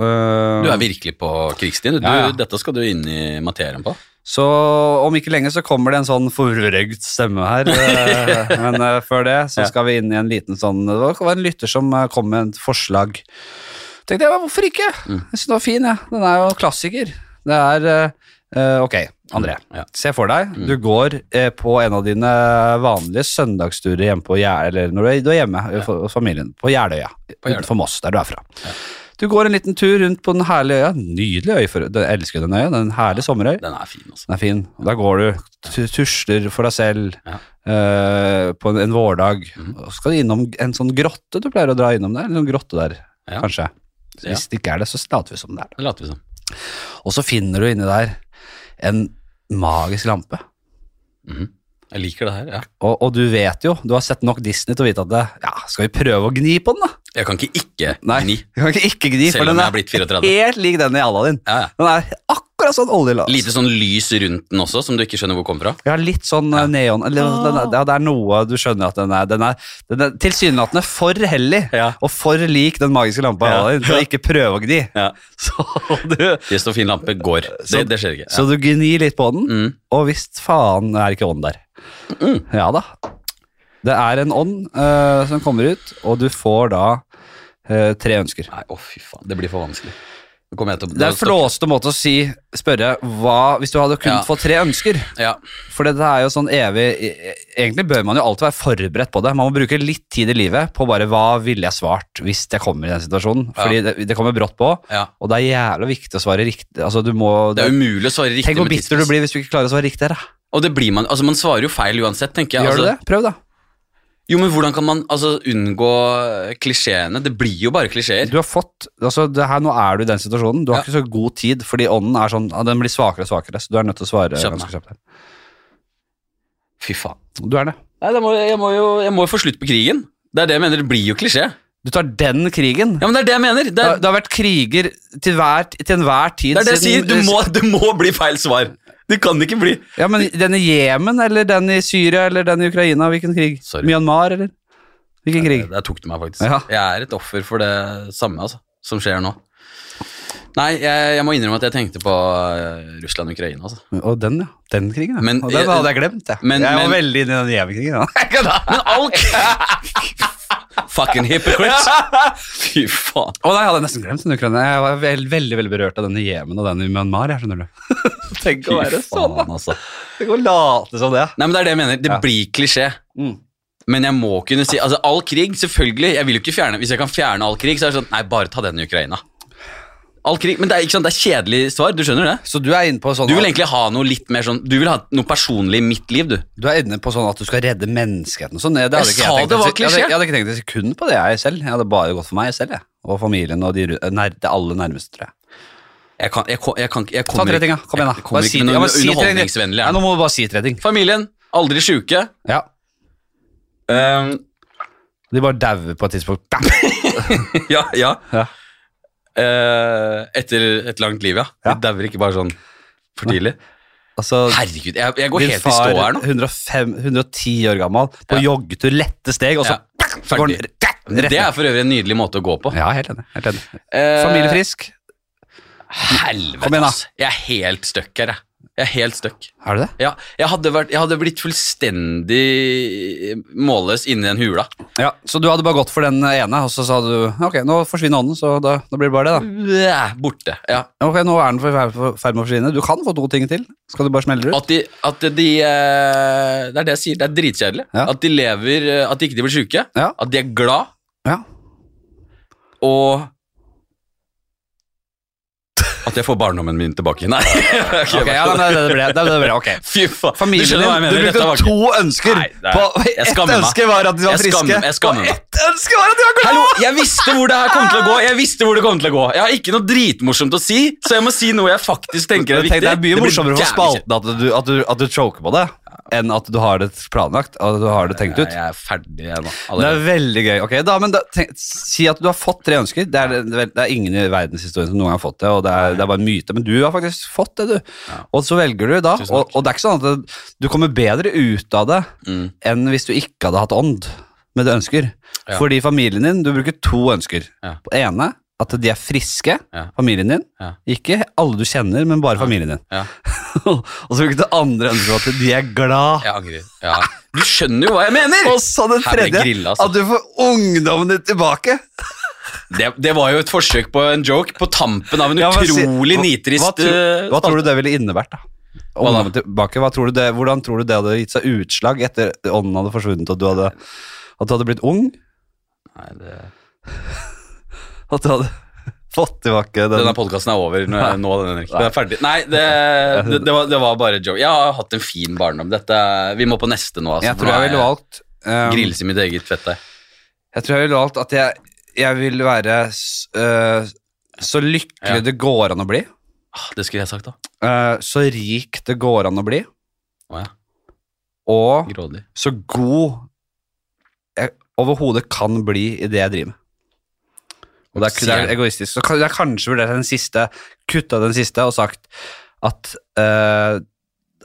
S1: Uh,
S2: Du er virkelig på krigsstien. Du,
S1: Ja, ja.
S2: Dette skal du inn i materien på.
S1: Så om ikke lenge så kommer det en sånn forvrøgd stemme her.
S2: [LAUGHS]
S1: eh, Men eh, før det så
S2: Ja.
S1: skal vi inn i en liten sånn Det var- var en lytter som eh, kom med et forslag.
S2: Mm.
S1: tenkte jeg, hvorfor ikke? Jeg synes den var fin, jeg. Den er jo en klassiker. Det er eh, eh, Ok, André,
S2: Mm, Ja.
S1: se for deg, du går eh, på en av dine vanlige søndagsturer hjemme på Gjær, eller når du er, du er hjemme eh, for- hos familien, på Jeløya,
S2: Jeløya.
S1: utenfor Moss, der du er fra. Du går en liten tur rundt på den herlige øya, nydelig øy, for, jeg elsker den øya, den herlige sommerøy.
S2: Den er fin, altså.
S1: Den er fin. Og Da går du, tu- tusler for deg selv
S2: Ja. Mhm.
S1: eh, på en, en vårdag. Og Skal du innom en sånn grotte du pleier å dra innom der? En sånn grotte der,
S2: Ja.
S1: kanskje.
S2: Ja.
S1: Hvis det ikke er det, så later vi som det er det.
S2: Det later vi som.
S1: Og så finner du inni der en magisk lampe.
S2: Mhm. Jeg liker det her, ja.
S1: Og, og du vet jo, du har sett nok Disney til å vite at det, ja, skal vi prøve å gni på den, da?
S2: Jeg kan ikke ikke
S1: Nei,
S2: gni,
S1: du kan ikke, ikke gni,
S2: selv
S1: for den
S2: om jeg er
S1: er
S2: blitt 34.
S1: helt lik den i alla din.
S2: Ja, ja.
S1: Den er akkurat sånn oljelass.
S2: Lite sånn lys rundt den også, som du ikke skjønner hvor kommer fra.
S1: Ja, litt sånn eh, neon. Eller, den er, ja, det er noe du skjønner at den er Den er, den er tilsynelatende for hellig
S2: Ja.
S1: og for lik den magiske lampa
S2: Ja.
S1: ja. din, [LAUGHS] så ikke prøve å gni.
S2: Ja.
S1: Så du,
S2: Det står fin lampe, går.
S1: Så-
S2: Det, det skjer ikke.
S1: [LAUGHS]
S2: Ja.
S1: så du gnir litt på den,
S2: Mm.
S1: og visst faen er ikke ånd der. Ja da. Det er en ånd eh, som kommer ut, og du får da eh, tre ønsker.
S2: Nei, å fy faen, det blir for vanskelig. Nå kommer jeg til å-
S1: Det er en flåsete måte å si, spørre hva Hvis du hadde kunnet
S2: Ja.
S1: få tre ønsker,
S2: Ja,
S1: For dette er jo sånn evig e- Egentlig bør man jo alltid være forberedt på det. Man må bruke litt tid i livet på bare hva ville jeg svart hvis jeg kommer i den situasjonen. Fordi det, det kommer brått på,
S2: ja.
S1: og det er jævlig viktig å svare riktig. Altså, du må,
S2: Det er umulig å svare riktig
S1: Tenk hvor
S2: med
S1: bitter du
S2: tidspress.
S1: blir hvis du ikke klarer å svare riktig her. da.
S2: Og det blir man, altså man svarer jo feil uansett, tenker jeg.
S1: Gjør
S2: altså,
S1: du det? Prøv, da.
S2: Jo, men hvordan kan man altså, unngå eh, klisjeene? Det blir jo bare klisjeer.
S1: Du har fått, altså det her, Nå er du i den situasjonen. Du har
S2: Ja.
S1: ikke så god tid, fordi ånden er sånn, ja, den blir svakere og svakere. Så du er nødt til å svare
S2: Skjønner.
S1: ganske kjapt. her.
S2: Fy faen.
S1: Du er det.
S2: Nei, da må, jeg, må jo, jeg må jo få slutt på krigen. Det er det jeg mener, det blir jo klisjé.
S1: Du tar den krigen.
S2: Ja, men det er det jeg mener. Det
S1: Det,
S2: er
S1: det har vært kriger til, hver, til enhver tid
S2: det, er det jeg sier.
S1: siden-
S2: Du må, det må bli feil svar. Det kan ikke bli
S1: Ja, men den i Jemen, eller den i Syria, eller den i Ukraina, hvilken krig?
S2: Sorry.
S1: Myanmar, eller? Hvilken krig?
S2: Der tok du meg, faktisk.
S1: Ja.
S2: Jeg er et offer for det samme altså, som skjer nå. Nei, jeg, jeg må innrømme at jeg tenkte på eh, Russland-Ukraina. Altså.
S1: Og den, ja. Den krigen, ja.
S2: Men-
S1: og den hadde jeg glemt, jeg.
S2: Men-
S1: jeg var
S2: men-
S1: veldig inne i den Jemen-krigen, da.
S2: Men all Fucking hypocrite. Fy faen.
S1: [LAUGHS] Å nei, jeg hadde nesten glemt den Ukraina. Jeg var veldig, veldig, veldig berørt av den i Jemen og den i Myanmar, jeg skjønner du. Tenk
S2: Fy
S1: å være sånn, da.
S2: faen, altså.
S1: Tenk å late som det.
S2: Nei, men det er det jeg mener. Det
S1: Ja.
S2: blir klisjé.
S1: Mm.
S2: Men jeg må kunne si Altså, all krig, selvfølgelig. Jeg vil jo ikke fjerne Hvis jeg kan fjerne all krig, så er det sånn Nei, bare ta den i Ukraina. All krig Men det er ikke sant, det er kjedelig svar. Du skjønner det?
S1: Så du er inne på sånn,
S2: Du vil egentlig ha noe litt mer sånn Du vil ha noe personlig i mitt liv, du.
S1: du er inne på sånn at du skal redde menneskeheten og sånn. Det hadde
S2: Jeg
S1: ikke jeg
S2: sa
S1: tenkt.
S2: det
S1: en
S2: var
S1: sek- jeg hadde-
S2: klisjé.
S1: Jeg hadde ikke tenkt et sekund på det, jeg selv. Jeg hadde bare gått for meg selv, jeg. Og familien og de, ru- nær, det aller nærmeste, tror jeg.
S2: Jeg kan, jeg, ko- jeg kan, jeg
S1: Ta
S2: kommer
S1: tre ting, da.
S2: ikke-
S1: Kom igjen, da.
S2: Jeg kommer
S1: Bare si-
S2: ikke med
S1: ja,
S2: noe
S1: bare si tre ting.
S2: underholdningsvennlig.
S1: Nei,
S2: her.
S1: nå må du bare si tre ting.
S2: Familien. Aldri sjuke.
S1: Ja.
S2: Ehm,
S1: De bare dauer på et tidspunkt. Bam!
S2: ja, ja.
S1: Ja.
S2: Eh, etter et langt liv, ja.
S1: Ja.
S2: De dauer ikke bare sånn for tidlig.
S1: Altså,
S2: Herregud, jeg, jeg går
S1: din
S2: helt i stå her nå.
S1: 105, 110 år gammel, på
S2: Ja.
S1: joggetur, lette steg, og så,
S2: Ja.
S1: så går den rett, rett
S2: Det
S1: ned.
S2: er for øvrig en nydelig måte å gå på.
S1: Ja, helt enig. Helt enig.
S2: Eh,
S1: Familiefrisk. Kom
S2: Helvete,
S1: igjen, da.
S2: ass. Jeg er helt stuck her, jeg. Jeg er helt stuck.
S1: Er du det?
S2: Ja, jeg hadde, vært, jeg hadde blitt fullstendig målløs inni den hula.
S1: Ja, Så du hadde bare gått for den ene, og så sa du ok, nå forsvinner ånden, så da, da blir det bare det, da.
S2: Blæh, Borte. Ja.
S1: Ok, nå er den for- for- i ferd med å forsvinne. Du kan få to ting til. Skal du bare smelle det ut?
S2: At de, at de eh, Det er det jeg sier, det er dritkjedelig.
S1: Ja.
S2: At de lever eh, At de ikke blir sjuke.
S1: Ja.
S2: At de er glad
S1: Ja.
S2: og At jeg får barndommen min tilbake. Nei. [LAUGHS]
S1: Ok, ja, men det, det ble det. det ble, ok.
S2: Fy faen.
S1: Familien
S2: du skjønner hva jeg
S1: din,
S2: mener.
S1: du
S2: Dette var
S1: brukte
S2: ikke-
S1: to ønsker.
S2: Nei, det er-
S1: på,
S2: jeg
S1: ett
S2: skammer meg.
S1: ønske var at de var
S2: Jeg skammer-
S1: friske,
S2: jeg skammer meg.
S1: og ett ønske var at de var glade!
S2: Hallo, jeg visste hvor det her kom til å gå! Jeg visste hvor det kom til å gå. Jeg har ikke noe dritmorsomt å si, så jeg må si noe jeg faktisk tenker er
S1: Men tenk,
S2: viktig.
S1: Det er mye
S2: blir
S1: morsommere for
S2: jævlig kjedelig.
S1: spalten at du, at, du, at du choker på det, enn at du har det planlagt at du har det tenkt ut.
S2: Jeg er ferdig jeg nå.
S1: Det er
S2: allerede.
S1: veldig gøy. Ok, da, men da, tenk, Si at du har fått tre ønsker. Det er, det er- det er ingen i verdenshistorien som noen gang har fått det, og det er, det er bare en myte, men du har faktisk fått det, du. Og så velger du da,
S2: Tusen
S1: og, og det er ikke sånn at det, du kommer bedre ut av det
S2: Mm.
S1: enn hvis du ikke hadde hatt ånd med det ønsker.
S2: Ja.
S1: Fordi familien din, du bruker to ønsker.
S2: Ja.
S1: På ene, at de er friske,
S2: Ja.
S1: familien din.
S2: Ja.
S1: Ikke alle du kjenner, men bare familien din.
S2: Ja.
S1: [LAUGHS] og så bruker du det andre ønsket at de er glad.
S2: Jeg angrer. Ja. Du skjønner jo hva jeg mener!
S1: Og så det
S2: Her ble jeg
S1: tredje,
S2: grillet, altså.
S1: at du får ungdommen din tilbake.
S2: Det, det var jo et forsøk på en joke på tampen av en
S1: Ja, men si-
S2: utrolig
S1: hva-
S2: nitrist
S1: hva, tror-
S2: eh,
S1: hva tror du det ville innebært, da? ungdommen tilbake, hva tror du det, hvordan tror du det hadde gitt seg utslag etter ånden hadde forsvunnet, og du hadde, at du hadde blitt ung?
S2: Nei, det...
S1: At du hadde [LAUGHS] fått tilbake den
S2: Denne podkasten er over nå, nå den, Henrik. Den er ferdig. Nei, det, det, det, var, det var bare joke. Jeg har hatt en fin barndom. Dette, vi må på neste nå. Altså.
S1: Jeg tror jeg ville valgt um,
S2: Grilles i mitt eget fett der.
S1: Jeg tror jeg ville valgt at jeg, jeg vil være s- øh, så lykkelig
S2: Ja.
S1: det går an å bli.
S2: Ah, Det skulle jeg sagt, da.
S1: øh, så rik det går an å bli.
S2: Å, ja.
S1: Og
S2: Grådig.
S1: så god jeg overhodet kan bli i det jeg driver med. Og det er, det er egoistisk. Så kan- jeg har kanskje vurdert den siste, kutta den siste og sagt at, øh,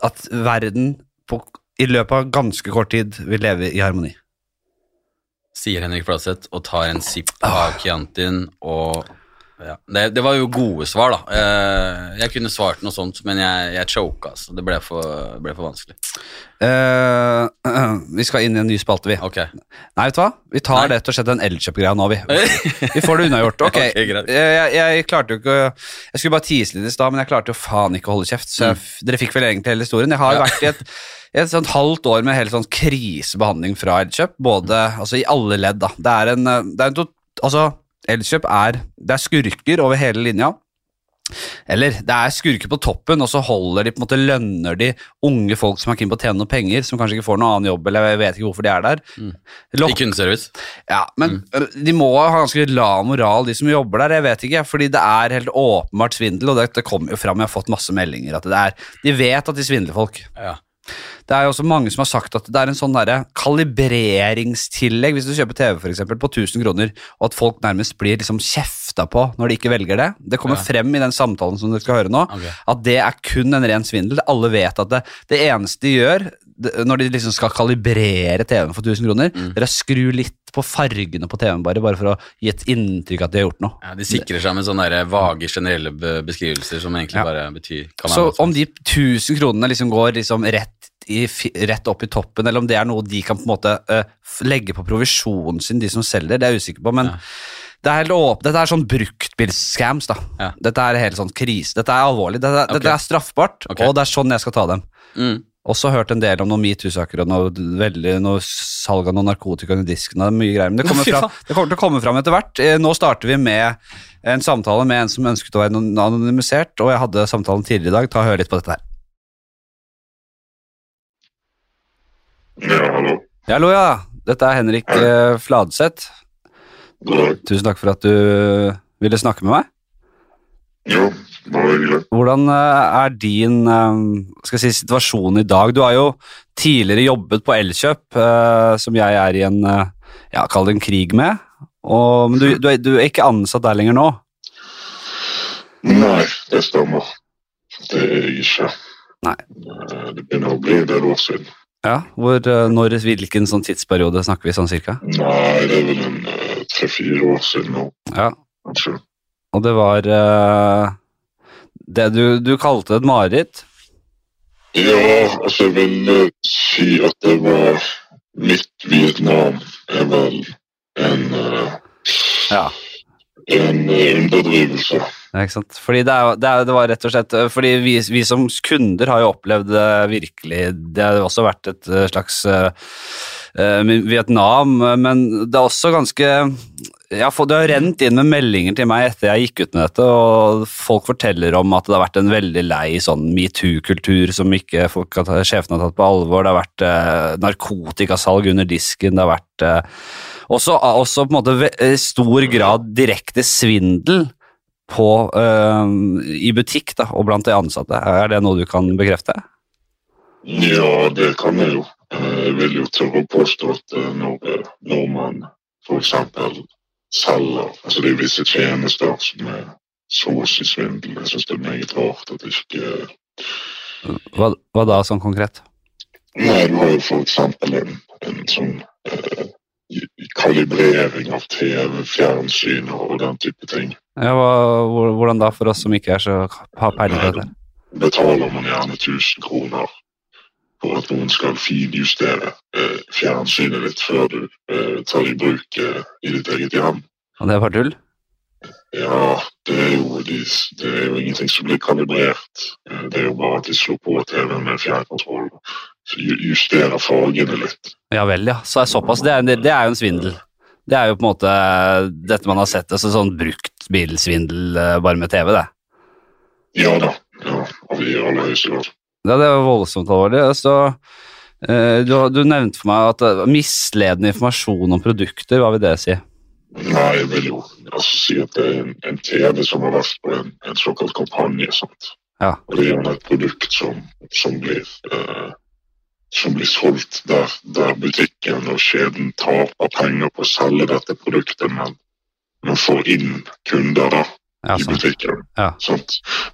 S1: at verden på, i løpet av ganske kort tid vil leve i harmoni.
S2: Sier Henrik Fladseth og tar en sipp
S1: Ah.
S2: av Chiantin og ja. det, det var jo gode svar, da. Eh, Jeg kunne svart noe sånt, men jeg, jeg choka, altså. Det ble for, ble for vanskelig.
S1: Eh, [CLEARS THROAT] vi skal inn i en ny spalte, vi.
S2: Ok.
S1: Nei, vet du hva? Vi tar
S2: Nei.
S1: rett og slett den Elkjøp-greia nå, vi.
S2: [LAUGHS]
S1: Vi får det unnagjort. Ok,
S2: Ok, greit.
S1: jeg, jeg klarte jo ikke å- Jeg skulle bare tise litt i stad, men jeg klarte jo faen ikke å holde kjeft. Så jeg, dere fikk vel egentlig hele historien. Jeg har
S2: Mm. Ja.
S1: vært i et, i et sånt halvt år med helt sånn krisebehandling fra Elkjøp. Både
S2: Mm.
S1: altså i alle ledd, da. Det er en, eh, det er en tot, Altså, Elkjøp er Det er skurker over hele linja. Eller det er skurker på toppen, og så holder de på en måte lønner de unge folk som er keen på å tjene noen penger, som kanskje ikke får noen annen jobb, eller jeg vet ikke hvorfor de er der.
S2: Mm. I kundeservice.
S1: Ja, men de må ha ganske lav moral, de som jobber der. Jeg vet ikke, fordi det er helt åpenbart svindel, og dette kommer jo fram. Jeg har fått masse meldinger at det er De vet at de svindler folk.
S2: Ja.
S1: Det er jo også mange som har sagt at det er en sånn derre kalibreringstillegg hvis du kjøper TV for eksempel, på 1000 kroner, og at folk nærmest blir liksom kjefta på når de ikke velger det. Det kommer
S2: Ja.
S1: frem i den samtalen som dere skal høre nå,
S2: Ok.
S1: at det er kun en ren svindel. Alle vet at det, det eneste de gjør det- når de liksom skal kalibrere TV-en for 1000 kroner,
S2: Mm.
S1: dere skru litt på fargene på TV-en bare, bare for å gi et inntrykk at de har gjort noe.
S2: Ja, de sikrer seg med sånne der eh, vage generelle be- beskrivelser som egentlig
S1: Ja.
S2: bare betyr kan være sånn.
S1: Så
S2: noe som-
S1: om de 1000 kronene liksom går liksom rett, i, fi- rett opp i toppen, eller om det er noe de kan på en måte eh, f- legge på provisjonen sin, de som selger, det er jeg usikker på, men
S2: Ja.
S1: det er helt åp dette er sånn bruktbilscams, da.
S2: Ja.
S1: Dette er helt sånn krise. Dette er alvorlig. Dette,
S2: Ok.
S1: dette er straffbart,
S2: Ok.
S1: og det er sånn jeg skal ta dem.
S2: mm.
S1: Også hørt en del om noen metoo-saker og noe, veldig, noe salg av noe narkotika under disken. og Det er mye greier, men det kommer,
S2: Fy
S1: fram, det kommer til å komme fram etter hvert. Eh, Nå starter vi med en samtale med en som ønsket å være anon- anonymisert, og jeg hadde samtalen tidligere i dag. Ta og Hør litt på dette her.
S3: Ja, hallo.
S1: Ja, Hallo, ja. Dette er Henrik eh, Fladseth.
S3: God dag.
S1: Tusen takk for at du ville snakke med meg.
S3: Jo, bare hyggelig.
S1: Hvordan eh, er din eh, skal jeg si, situasjon i dag? Du har jo tidligere jobbet på Elkjøp, eh, som jeg er i en eh, ja, kall det en krig med. Og, men du, du, er, du er ikke ansatt der lenger nå.
S3: Nei, det stemmer. Det er jeg ikke.
S1: Nei.
S3: Eh, Det begynner å bli en del år siden.
S1: Ja, hvor, eh, når, Hvilken sånn tidsperiode snakker vi sånn cirka?
S3: Nei, det er vel en eh, tre-fire år siden nå,
S1: Ja,
S3: kanskje.
S1: Og det var eh, det du, du kalte et mareritt.
S3: Ja, altså jeg vil eh, si at det var mitt Vietnam er vel en, eh,
S1: Ja.
S3: en eh, underdrivelse.
S1: Ja, ikke sant? Fordi det, er, jo- det, er, det var rett og slett eh, Fordi vi, vi som kunder har jo opplevd det virkelig Det har jo også vært et eh, slags eh, eh, men- Vietnam, eh, men det er også ganske jeg har fått, Det har rent inn med meldinger til meg etter jeg gikk ut med dette, og folk forteller om at det har vært en veldig lei sånn metoo-kultur som ikke folk har, tatt- sjefene har tatt på alvor. Det har vært eh, narkotikasalg under disken, det har vært eh, også, også på en måte ve- eh, stor grad direkte svindel på, eh, i butikk da, og blant de ansatte. Er det noe du kan bekrefte?
S3: Ja, det kan jeg jo. Eh, Jeg vil jo tørre å påstå at eh, når eh, nordmenn f.eks. selger altså det er visse tjenester som er så å si svindel. Jeg syns det er meget rart at det ikke
S1: Hva, hva da sånn konkret?
S3: Nei, du har jo f.eks. en, en sånn eh, i- i kalibrering av TV, fjernsyn og den type ting.
S1: Ja, hva, hvor- hvordan da, for oss som ikke er så har peiling på dette?
S3: Betaler man gjerne 1000 kroner for at noen skal finjustere eh, fjernsynet ditt før du eh, tar i bruk eh, i ditt eget hjem.
S1: Og det er bare tull?
S3: Ja, det er jo, de, det er jo ingenting som blir kalibrert. Eh, Det er jo bare at de slår på TV-en med fjernkontroll. Så ju- Justerer fargene litt.
S1: Ja vel, ja. Så er såpass. Det er, det er jo en svindel. Det er jo på en måte dette man har sett, altså sånn brukt bilsvindel eh, bare med TV, det.
S3: Ja da. Ja, og vi i aller høyeste grad.
S1: Ja, det var voldsomt alvorlig. Så, eh, du, du nevnte for meg at eh, misledende informasjon om produkter, hva vil det si?
S3: Nei, jeg vil jo altså, si at det er en, en TV som har vært på en, en såkalt kampanje. Sant?
S1: Ja.
S3: Og det er gjerne et produkt som, som, blir, eh, som blir solgt der, der butikken og kjeden taper penger på å selge dette produktet, men, men får inn kunder da,
S1: Ja,
S3: i
S1: sånn.
S3: butikken.
S1: Ja.
S3: Sant?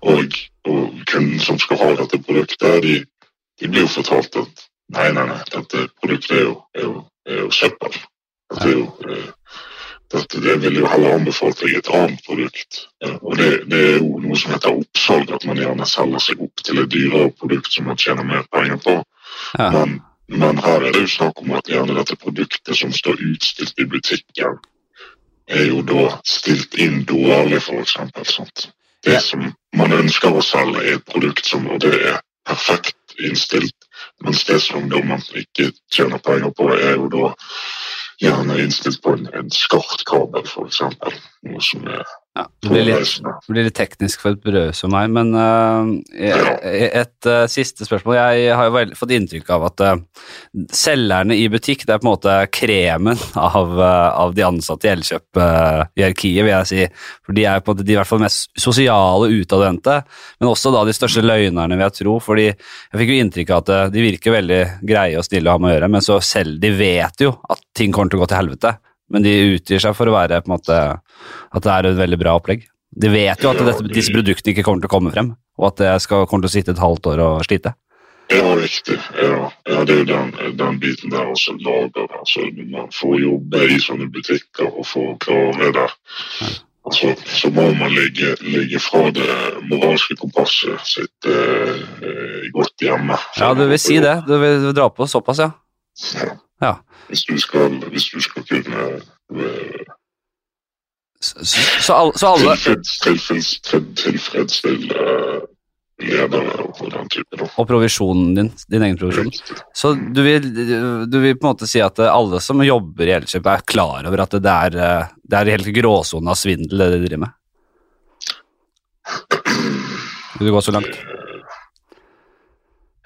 S3: Og, og kunden som skal ha dette produktet, de, de blir jo fortalt at nei, nei, nei, dette produktet er jo, er jo, er jo søppel. Dette, er jo, eh, dette det vil jo heller anbefalt deg et annet produkt. Eh, og det, det er jo noe som heter oppsalg, at man gjerne selger seg opp til et dyrere produkt som man tjener mer penger på.
S1: Ja.
S3: Men, men her er det jo snakk om at gjerne dette produktet som står utstilt i butikken, er jo da stilt inn dårlig, for eksempel. Sant? Det
S1: Ja.
S3: som man ønsker å selge, er et produkt som og det er perfekt innstilt, mens det som da man ikke tjener penger på, er jo da gjerne innstilt på en, en skarpt kabel, for eksempel. Noe som er
S1: Ja, det blir litt,
S3: påreisende.
S1: det blir litt teknisk for et brød som meg, men eh, et, et eh, siste spørsmål. Jeg har jo vel, fått inntrykk av at eh, selgerne i butikk, det er på en måte kremen av, eh, av de ansatte i Elkjøp-hierarkiet, vil jeg si. For de er på en måte de i hvert fall mest sosiale utadvendte, men også da de største løgnerne, vil jeg tro. fordi jeg fikk jo inntrykk av at eh, de virker veldig greie og snille å ha med å gjøre, men så selv de vet jo at ting kommer til å gå til helvete. Men de utgir seg for å være på en måte at det er et veldig bra opplegg. De vet jo at dette, disse produktene ikke kommer til å komme frem, og at det skal, kommer til å sitte et halvt år og slite.
S3: Ja, riktig. Ja, ja det er jo den, den biten der også lager. Altså, man får jobbe i sånne butikker og få klare det. Altså, så må man legge, legge fra det moralske kompasset sitt eh, eh, godt hjemme.
S1: Ja, du vil si det. Du vil dra på såpass, ja.
S3: Ja.
S1: Ja.
S3: Hvis, du skal, hvis du skal kunne eh,
S1: Så, så- så, alle, så alle
S3: tilfreds, tilfreds, til- tilfredsstille eh, ledere og den type. Da.
S1: Og provisjonen din. Din egen provisjon.
S3: Riktig.
S1: Så du vil, du vil på en måte si at alle som jobber i Elkjøp, er klar over at det er, eh, det er helt gråsone av svindel, det de driver med? Vil du gå så langt?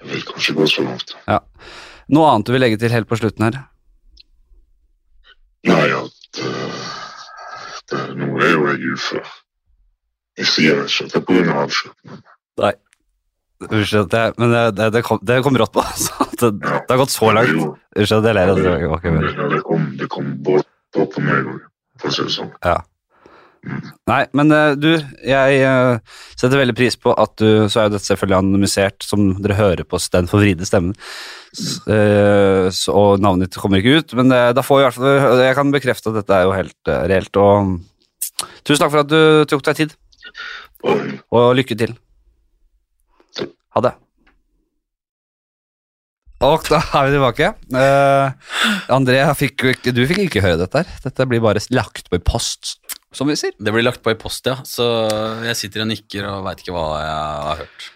S3: Jeg vil kanskje gå så langt.
S1: Noe annet du vil legge til helt på slutten her?
S3: Nei, at eh, det, nå er jo jeg ufør. Jeg sier ikke at det er på grunn av avskjed, men
S1: Unnskyld, at jeg- men det, det, det, kom, det kom rått på. [LAUGHS] Så at det, det har gått så
S3: det,
S1: langt.
S3: jo,
S1: Unnskyld at jeg ler. altså. Det var ikke meningen.
S3: det, det kom, det kom båt på på meg òg, for å si det sånn.
S1: Nei, men eh, du, jeg eh, setter veldig pris på at du Så er jo dette selvfølgelig anonymisert, som dere hører på s- den forvridde stemmen. S- eh, så, og navnet ditt kommer ikke ut, men eh, da får jeg i hvert fall Jeg kan bekrefte at dette er jo helt eh, reelt, og mm, tusen takk for at du tok deg tid,
S3: Og
S1: og lykke til. Ha det. Og da er vi tilbake. Uh, André, fikk, jo ikke- du fikk ikke høre dette her. Dette blir bare lagt på i post, som vi sier.
S2: Det blir lagt på i post, ja. Så jeg sitter og nikker og veit ikke hva jeg har hørt.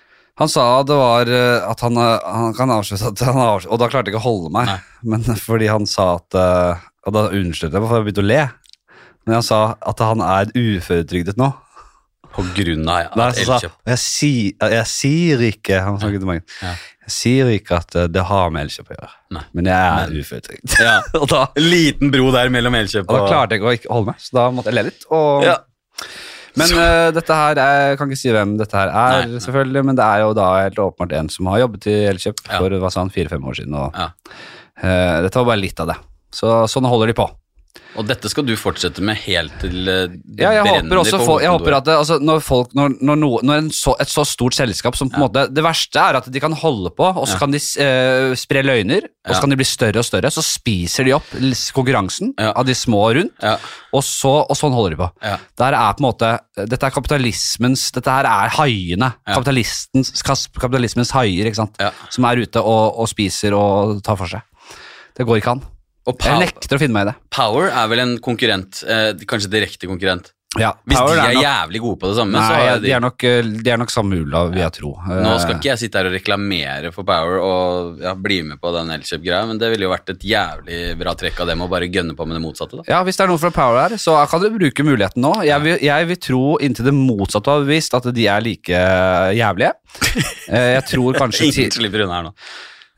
S1: Han sa det var eh, at han, eh, han kan avslutte at han avslutte, Og da klarte jeg ikke å holde meg. Men [LAUGHS] fordi han sa at eh, Og da unnskyldt jeg meg, for jeg begynte å le. Men han sa at han er uføretrygdet nå.
S2: På grunn av
S1: Nei,
S2: at
S1: så sa,
S2: Elkjøp
S1: og jeg, si, eh, jeg sier ikke Han snakket til meg.
S2: Ja.
S1: Jeg sier ikke at eh, det har med Elkjøp å gjøre,
S2: Nei.
S1: men jeg er uføretrygd.
S2: [LAUGHS] ja.
S1: og, da,
S2: En liten bro der mellom Elkjøp
S1: og da klarte jeg ikke å ikke holde meg, så da måtte jeg le litt. Og,
S2: Ja.
S1: Men eh, dette her er, jeg kan ikke si hvem dette her er,
S2: Nei, nei.
S1: selvfølgelig, men det er jo da helt åpenbart en som har jobbet i Elkjøp
S2: Ja.
S1: for hva sa han, fire-fem år siden. Og,
S2: Ja.
S1: eh, dette var bare litt av det. Så sånn holder de på.
S2: Og dette skal du fortsette med helt til eh, det
S1: Ja, jeg håper
S2: brenner
S1: også
S2: på
S1: folk, jeg håper
S2: hovedkontoret.
S1: at det, altså, når, folk, når, når, noe- når en så, et så stort selskap som på en måte Det verste er at de kan holde på, og så
S2: Ja.
S1: kan de eh, spre løgner, og
S2: Ja.
S1: så kan de bli større og større, så spiser de opp l- konkurransen
S2: Ja.
S1: av de små rundt,
S2: Ja.
S1: og, så, og sånn holder de på.
S2: Ja.
S1: Der er på en måte, dette er kapitalismens Dette her er haiene.
S2: Ja.
S1: Kapitalistens, kas- kapitalismens haier, ikke sant.
S2: Ja.
S1: Som er ute og, og spiser og tar for seg. Det går ikke an.
S2: Og
S1: Jeg
S2: pow,
S1: nekter å finne meg i det.
S2: Power er vel en konkurrent, eh, kanskje direkte konkurrent.
S1: Ja,
S2: Hvis
S1: Powell
S2: de er
S1: nok-
S2: jævlig gode på det samme, så
S1: Nei,
S2: har
S1: de
S2: de
S1: er nok, eh, de er nok samme ula, vil jeg tro.
S2: Nå
S1: Eh,
S2: skal ikke jeg sitte her og reklamere for Power og ja, bli med på den Elkjøp-greia, men det ville jo vært et jævlig bra trekk av dem å bare gønne på med det motsatte. da.
S1: Eh, Ja, Hvis det er noen fra Power her, så kan dere bruke muligheten nå. Jeg vil, jeg vil tro inntil det motsatte har bevist at de er like
S2: [LAUGHS]
S1: jævlige. Eh, Jeg tror kanskje
S2: Ingen
S1: til,
S2: slipper unna her nå.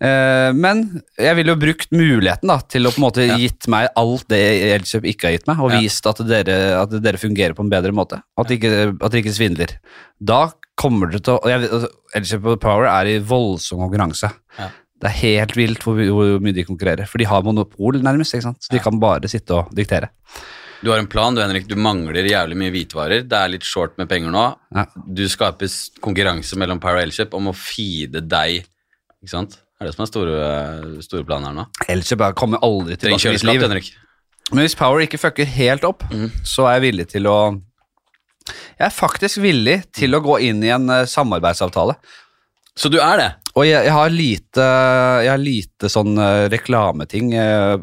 S1: eh, Men jeg ville jo brukt muligheten da, til å på en måte
S2: Ja.
S1: gitt meg alt det Elkjøp ikke har gitt meg, og
S2: Ja.
S1: vist at dere, at dere fungerer på en bedre måte. At dere ikke, at dere ikke svindler. Da kommer dere til å og jeg vet- altså, Elkjøp og Power er i voldsom konkurranse.
S2: Ja.
S1: Det er helt vilt hvor, hvor mye de konkurrerer. For de har monopol, nærmest. ikke sant? Så de
S2: Ja.
S1: kan bare sitte og diktere.
S2: Du har en plan, du Henrik. Du mangler jævlig mye hvitvarer. Det er litt short med penger nå.
S1: Ja.
S2: Du skaper s- konkurranse mellom Power og Elkjøp om å feede deg. Ikke sant? Det er det som er store, store planen her nå.
S1: Elkjøp er- kommer aldri
S2: Trenger
S1: tilbake til mitt
S2: kjøleskap,
S1: liv.
S2: Henrik.
S1: Men hvis Power ikke fucker helt opp,
S2: Mhm.
S1: så er jeg villig til å Jeg er faktisk villig til å gå inn i en eh, samarbeidsavtale.
S2: Så du er det?
S1: Og jeg, jeg har lite Jeg har lite sånn eh, reklameting eh,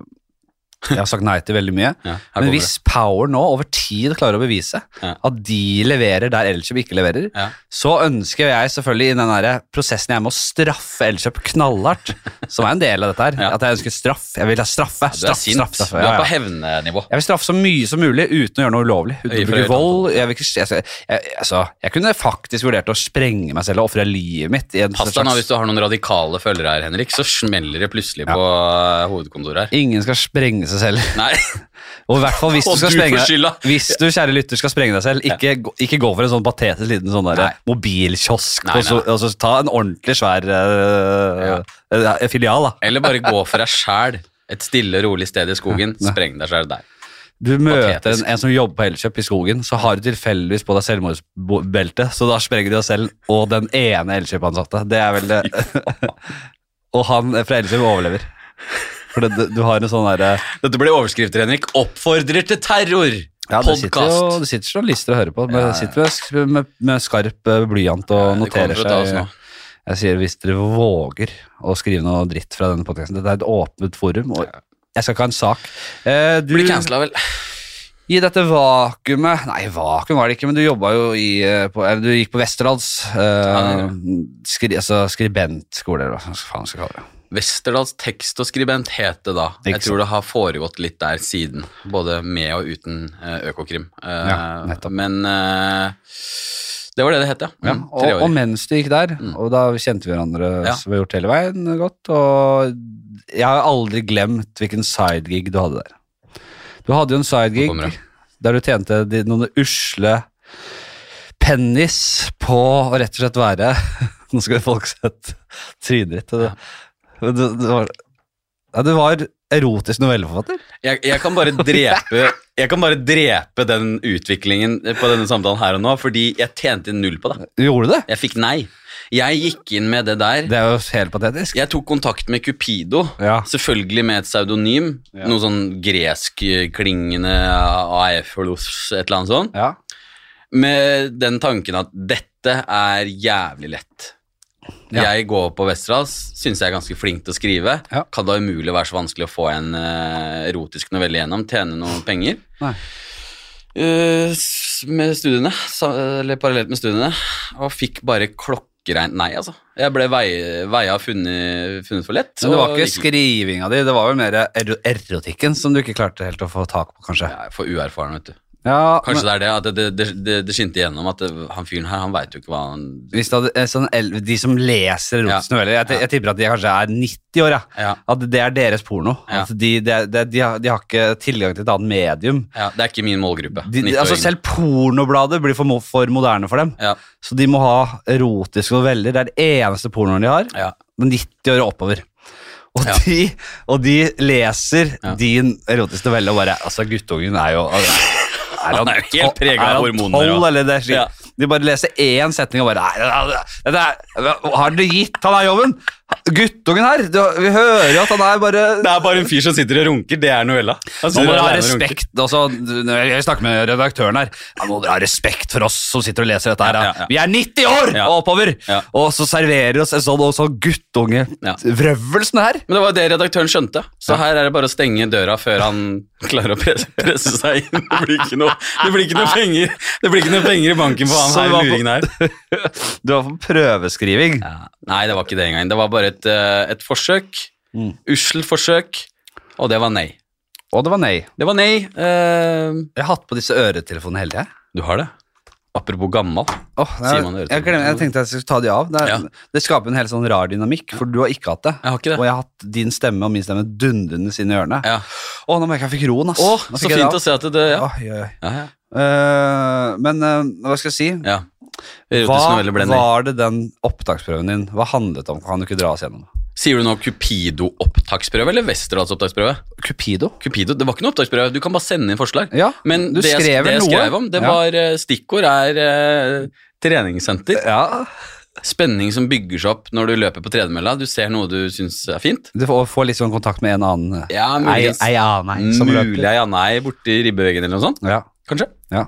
S1: Jeg har sagt nei til veldig mye.
S2: Ja, her
S1: Men
S2: kommer
S1: hvis Power nå over tid klarer å bevise
S2: Ja.
S1: at de leverer der Elkjøp ikke leverer,
S2: Ja.
S1: så ønsker jeg selvfølgelig i den der prosessen jeg må straffe Elkjøp knallhardt, som er en del av dette her,
S2: Ja.
S1: at jeg ønsker straff. Jeg vil ha straffe.
S2: Du er
S1: Straff,
S2: sint.
S1: straff, straff.
S2: Du
S1: Ja,
S2: er
S1: ja.
S2: på hevnenivå.
S1: Jeg vil straffe så mye som mulig uten å gjøre noe ulovlig. Uten å
S2: Øye for øye,
S1: bruke vold. Jeg, vil ikke, jeg, jeg, jeg, altså, jeg kunne faktisk vurdert å sprenge meg selv og ofre livet mitt. I en
S2: Pass deg nå hvis du har noen radikale følgere her, Henrik, så smeller det plutselig på eh, hovedkontoret her.
S1: Ingen skal sprenge seg selv. [LAUGHS]
S2: Nei, [LAUGHS]
S1: Og i hvert fall hvis du
S2: og
S1: skal
S2: du
S1: sprenge
S2: får
S1: deg
S2: skylda!
S1: hvis du, kjære lytter, skal sprenge deg selv, ikke, gå- ikke gå for en sånn patetisk liten sånn der,
S2: Nei.
S1: mobilkiosk.
S2: Nei, nei,
S1: Og, så, og så ta en ordentlig svær eh, eh, filial, da.
S2: Eller bare gå for deg sjæl. Et stille, rolig sted i skogen. Spreng deg sjæl der.
S1: Du møter en,
S2: Patetisk.
S1: en som jobber på Elkjøp i skogen, så har du tilfeldigvis på deg selvmordsbelte, så da sprenger du deg selv og den ene Elkjøp-ansatte. Det er
S2: [LAUGHS]
S1: vel det. og han fra Elkjøp overlever. For det, du- du har en sånn derre
S2: Dette ble overskrifter, Henrik. 'Oppfordrer til terror'!
S1: ja, det, sitter jo-
S2: Podcast.
S1: det sitter journalister og hører på. Men
S2: Ja, ja.
S1: sitter med, sk- med, med skarp eh, blyant og
S2: Det kommer
S1: noterer
S2: for å ta oss
S1: seg.
S2: nå.
S1: Jeg sier hvis dere våger å skrive noe dritt fra denne podkasten Dette er et åpent forum, og jeg skal ikke ha en sak. Eh, du,
S2: Blir cancela, vel.
S1: I dette vakuumet Nei, vakuum var det ikke, men du jobba jo i eh, på, eller Du gikk på Westerdals. Eh,
S2: Ja,
S1: skri, altså skribentskole, eller hva faen skal jeg kalle det.
S2: Westerdals tekst og skribent het det da.
S1: Ikke
S2: Jeg tror det har foregått litt der siden. Både med og uten eh, Økokrim. Eh,
S1: Ja, nettopp.
S2: men eh, det var det det het, ja.
S1: Ja,
S2: Mm,
S1: og,
S2: tre år.
S1: og mens du gikk der,
S2: Mm.
S1: og da kjente vi hverandre
S2: Ja.
S1: som vi har gjort hele veien godt, og jeg har aldri glemt hvilken sidegig du hadde der. Du hadde jo en
S2: Nå kommer
S1: sidegig
S2: det.
S1: der du tjente de, noen usle pennis på å rett og slett være [LAUGHS] Nå skal folk sette trynet ditt. og Det, men det, det, var, ja, det var erotisk novelleforfatter.
S2: Jeg, jeg, kan bare drepe, jeg kan bare drepe den utviklingen på denne samtalen her og nå, fordi jeg tjente null på det.
S1: Du gjorde det?
S2: Jeg fikk nei. Jeg gikk inn med det der.
S1: Det er jo helt patetisk.
S2: Jeg tok kontakt med Cupido,
S1: Ja.
S2: selvfølgelig med et pseudonym.
S1: Ja.
S2: Noe sånn greskklingende AF-olos, et eller annet sånt.
S1: Ja.
S2: med den tanken at dette er jævlig lett.
S1: Ja.
S2: Jeg går på Westerdals, syns jeg er ganske flink til å skrive.
S1: Ja.
S2: Kan da umulig være så vanskelig å få en eh, erotisk novelle gjennom, tjene noen penger.
S1: Nei.
S2: Eh, s- med studiene, sa, eller parallelt med studiene, og fikk bare klokkereint nei, altså. Jeg ble vei, veia funnet, funnet for lett.
S1: Men det var
S2: og
S1: ikke
S2: gikk-
S1: skrivinga di, det var vel mer ero erotikken som du ikke klarte helt å få tak på, kanskje.
S2: Jeg er for uerfaren, vet du.
S1: Ja,
S2: Kanskje
S1: men
S2: det er det at det, det, det, det skinte igjennom at det, han fyren her, han veit jo ikke hva han
S1: hvis det hadde, eh, sånn, el- De som leser erotiske noveller, jeg, jeg tipper at de kanskje er 90 år, ja.
S2: ja.
S1: At det er deres porno.
S2: Ja.
S1: At de, de, de, de, har, de har ikke tilgang til et annet medium.
S2: Ja, det er ikke min målgruppe.
S1: De, de, altså
S2: 90-åringen.
S1: selv pornobladet blir for, mo- for moderne for dem.
S2: ja,
S1: Så de må ha erotiske noveller. Det er den eneste pornoen de har.
S2: ja.
S1: 90 år og oppover. Og,
S2: Ja.
S1: de, og de leser
S2: Ja.
S1: din erotiske novelle og bare Altså, guttungen er jo altså,
S2: [LAUGHS]
S1: Er
S2: Han er jo helt
S1: to-
S2: preget av
S1: er han
S2: hormoner,
S1: tolv,
S2: og-
S1: eller det? er slik?
S2: Ja.
S1: De bare leser én setning og bare nei, nei, nei, dette er- Har dere gitt han her jobben? guttungen her, du, vi hører jo at han er bare
S2: Det er bare en fyr som sitter og runker. altså, Det er Noella. Han
S1: Nå
S2: sitter
S1: må dere ha
S2: alene og runker.
S1: respekt altså, du- Jeg snakker med redaktøren her. Ja, nå må dere ha respekt for oss som sitter og leser dette. her.
S2: Ja, ja,
S1: da.
S2: ja.
S1: Vi er 90 år
S2: Ja.
S1: og oppover,
S2: Ja.
S1: og så serverer oss en sånn, og sånn
S2: Ja.
S1: guttungevrøvelsene her.
S2: Men det var jo det redaktøren skjønte, så her er det bare å stenge døra før han klarer å presse, presse seg inn. Det blir ikke noe, det blir ikke noe, penger, det blir ikke noe penger i banken for han
S1: Så det var
S2: her
S1: på-
S2: luringen her.
S1: Du har fått prøveskriving.
S2: Nei, det var ikke det engang. Det var bare et, eh, et forsøk.
S1: Mm.
S2: Usselt forsøk, og det var nei.
S1: Og det var nei.
S2: Det var nei. eh,
S1: Jeg har hatt på disse øretelefonene hele tida.
S2: du har det. Apropos gammal.
S1: Åh,
S2: Sier man
S1: jeg, jeg, glemmer- jeg tenkte jeg skulle ta de av. Det, er,
S2: Ja.
S1: det skaper en helt sånn rar dynamikk, for du har ikke hatt det.
S2: Jeg har ikke
S1: Og
S2: det.
S1: jeg har hatt din stemme og min stemme dundrende inn i ørene. Å,
S2: Ja.
S1: nå merker jeg jeg fikk roen, ass.
S2: Å,
S1: Nå
S2: så
S1: fikk jeg det
S2: fint å
S1: av.
S2: se at det ja.
S1: Oi, oi, oi.
S2: Ja, ja.
S1: Eh, men eh, hva skal jeg si?
S2: ja. Erotisk novelle ble
S1: Hva
S2: nei.
S1: var det den opptaksprøven din Hva handlet om? Kan du ikke dra oss gjennom?
S2: Sier du nå Cupido-opptaksprøve eller Westerdals opptaksprøve?
S1: Cupido?
S2: Cupido, Det var ikke noe opptaksprøve. Du kan bare sende inn forslag.
S1: Ja,
S2: Men
S1: du
S2: det, jeg-
S1: skrev
S2: det
S1: vel
S2: jeg
S1: noe?
S2: skrev om, det
S1: Ja.
S2: var eh, stikkord er eh, treningssenter.
S1: Ja.
S2: Spenning som bygger seg opp når du løper på tredemølla. Du ser noe du syns er fint.
S1: Du får, får litt sånn kontakt med en annen eh,
S2: Ja,
S1: Ei,
S2: muligens.
S1: ei annen som
S2: Mulig
S1: løper.
S2: ja, nei borti ribbeveggen eller noe sånt.
S1: Ja,
S2: Kanskje.
S1: ja.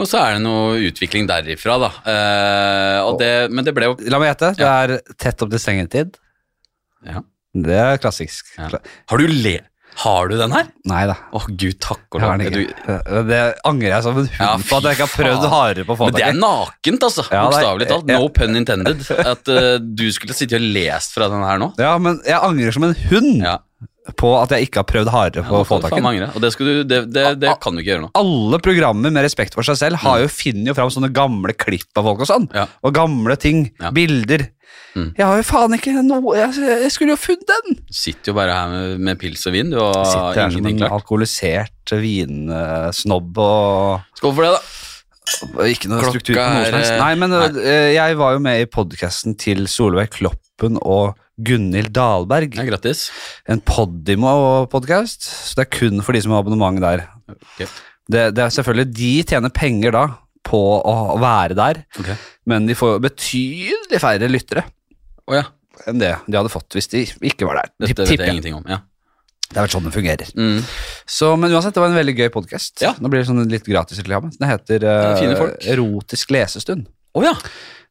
S2: Og så er det noe utvikling derifra, da. Eh, og det, men det ble jo
S1: La meg gjette. Det er tett opp til stengetid.
S2: ja.
S1: Det er klassisk.
S2: Ja. Har du le... Har du den her?
S1: Nei da.
S2: Å, gud, takk og
S1: Jeg har
S2: lov.
S1: den
S2: Du,
S1: ikke. Det- Det angrer jeg som en hund
S2: Ja,
S1: på at jeg ikke har
S2: fy
S1: prøvd
S2: faen.
S1: hardere på å få
S2: Men det er nakent, altså.
S1: Ja, det er-
S2: Bokstavelig talt. No pun intended. At eh, du skulle sitte og lest fra den her nå.
S1: Ja, men jeg angrer som en hund
S2: Ja,
S1: Mm. på at jeg ikke har prøvd hardere på
S2: nå
S1: å få
S2: får du
S1: tak i den.
S2: faen meg angre. Og det, skulle du, det, det,
S1: Ah,
S2: det kan du ikke gjøre nå.
S1: Alle programmer med respekt for seg selv
S2: Mm.
S1: har jo finner jo fram sånne gamle klipp av folk og sånn.
S2: Ja.
S1: Og gamle ting.
S2: Ja.
S1: Bilder.
S2: Mm.
S1: Jeg har jo faen ikke noe Jeg, jeg skulle jo funnet den!
S2: Du sitter jo bare her med, med pils og vin. Du
S1: Jeg sitter
S2: har
S1: her som en
S2: Ah, ingenting klart.
S1: alkoholisert vinsnobb og
S2: Skål for det, da.
S1: Ikke noe
S2: Klokka
S1: struktur på noe som
S2: er,
S1: helst.
S2: eh,
S1: Nei, men eh, jeg var jo med i podkasten til Solveig Kloppen og Gunhild Dahlberg.
S2: Ja, grattis.
S1: En Podimo-podkast, så det er kun for de som har abonnement der.
S2: Ok.
S1: Det, det er selvfølgelig De tjener penger da på å være der,
S2: Ok.
S1: men de får jo betydelig færre lyttere
S2: Å ja.
S1: enn det de hadde fått hvis de ikke var der.
S2: Dette
S1: Tipp-
S2: vet jeg
S1: tipper jeg.
S2: ingenting om. Ja.
S1: Det er vel sånn det fungerer.
S2: Mm.
S1: Så, men uansett, det var en veldig gøy podkast.
S2: Ja.
S1: Nå blir det sånn litt gratis reklame. Den heter eh,
S2: Ja, fine folk.
S1: Erotisk lesestund.
S2: Å ja.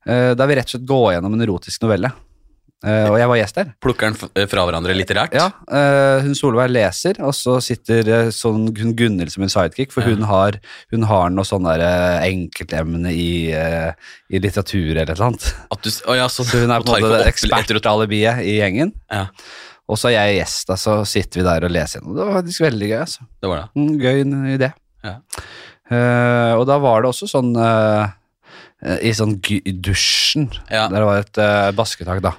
S1: Eh, der vi rett og slett går gjennom en erotisk novelle. Eh, og jeg var gjest der.
S2: Plukker den f- eh, fra hverandre litterært?
S1: Ja, eh, hun Solveig leser, og så sitter eh, sånn, hun Gunhild som en sidekick, for
S2: Ja.
S1: hun, har, hun har noe sånn der eh, enkeltemne i, eh, i litteratur eller et eller annet.
S2: At du, s- å, ja så,
S1: Så hun er på en måte ekspertalibiet i gjengen.
S2: Ja.
S1: Og så er jeg gjest, da, så sitter vi der og leser gjennom. Det var faktisk veldig gøy. altså.
S2: Det var det.
S1: Mm, Gøy n- idé.
S2: Ja.
S1: Eh, og da var det også sånn eh, eh, I sånn gy- i dusjen,
S2: Ja.
S1: der det var et eh, basketak, da.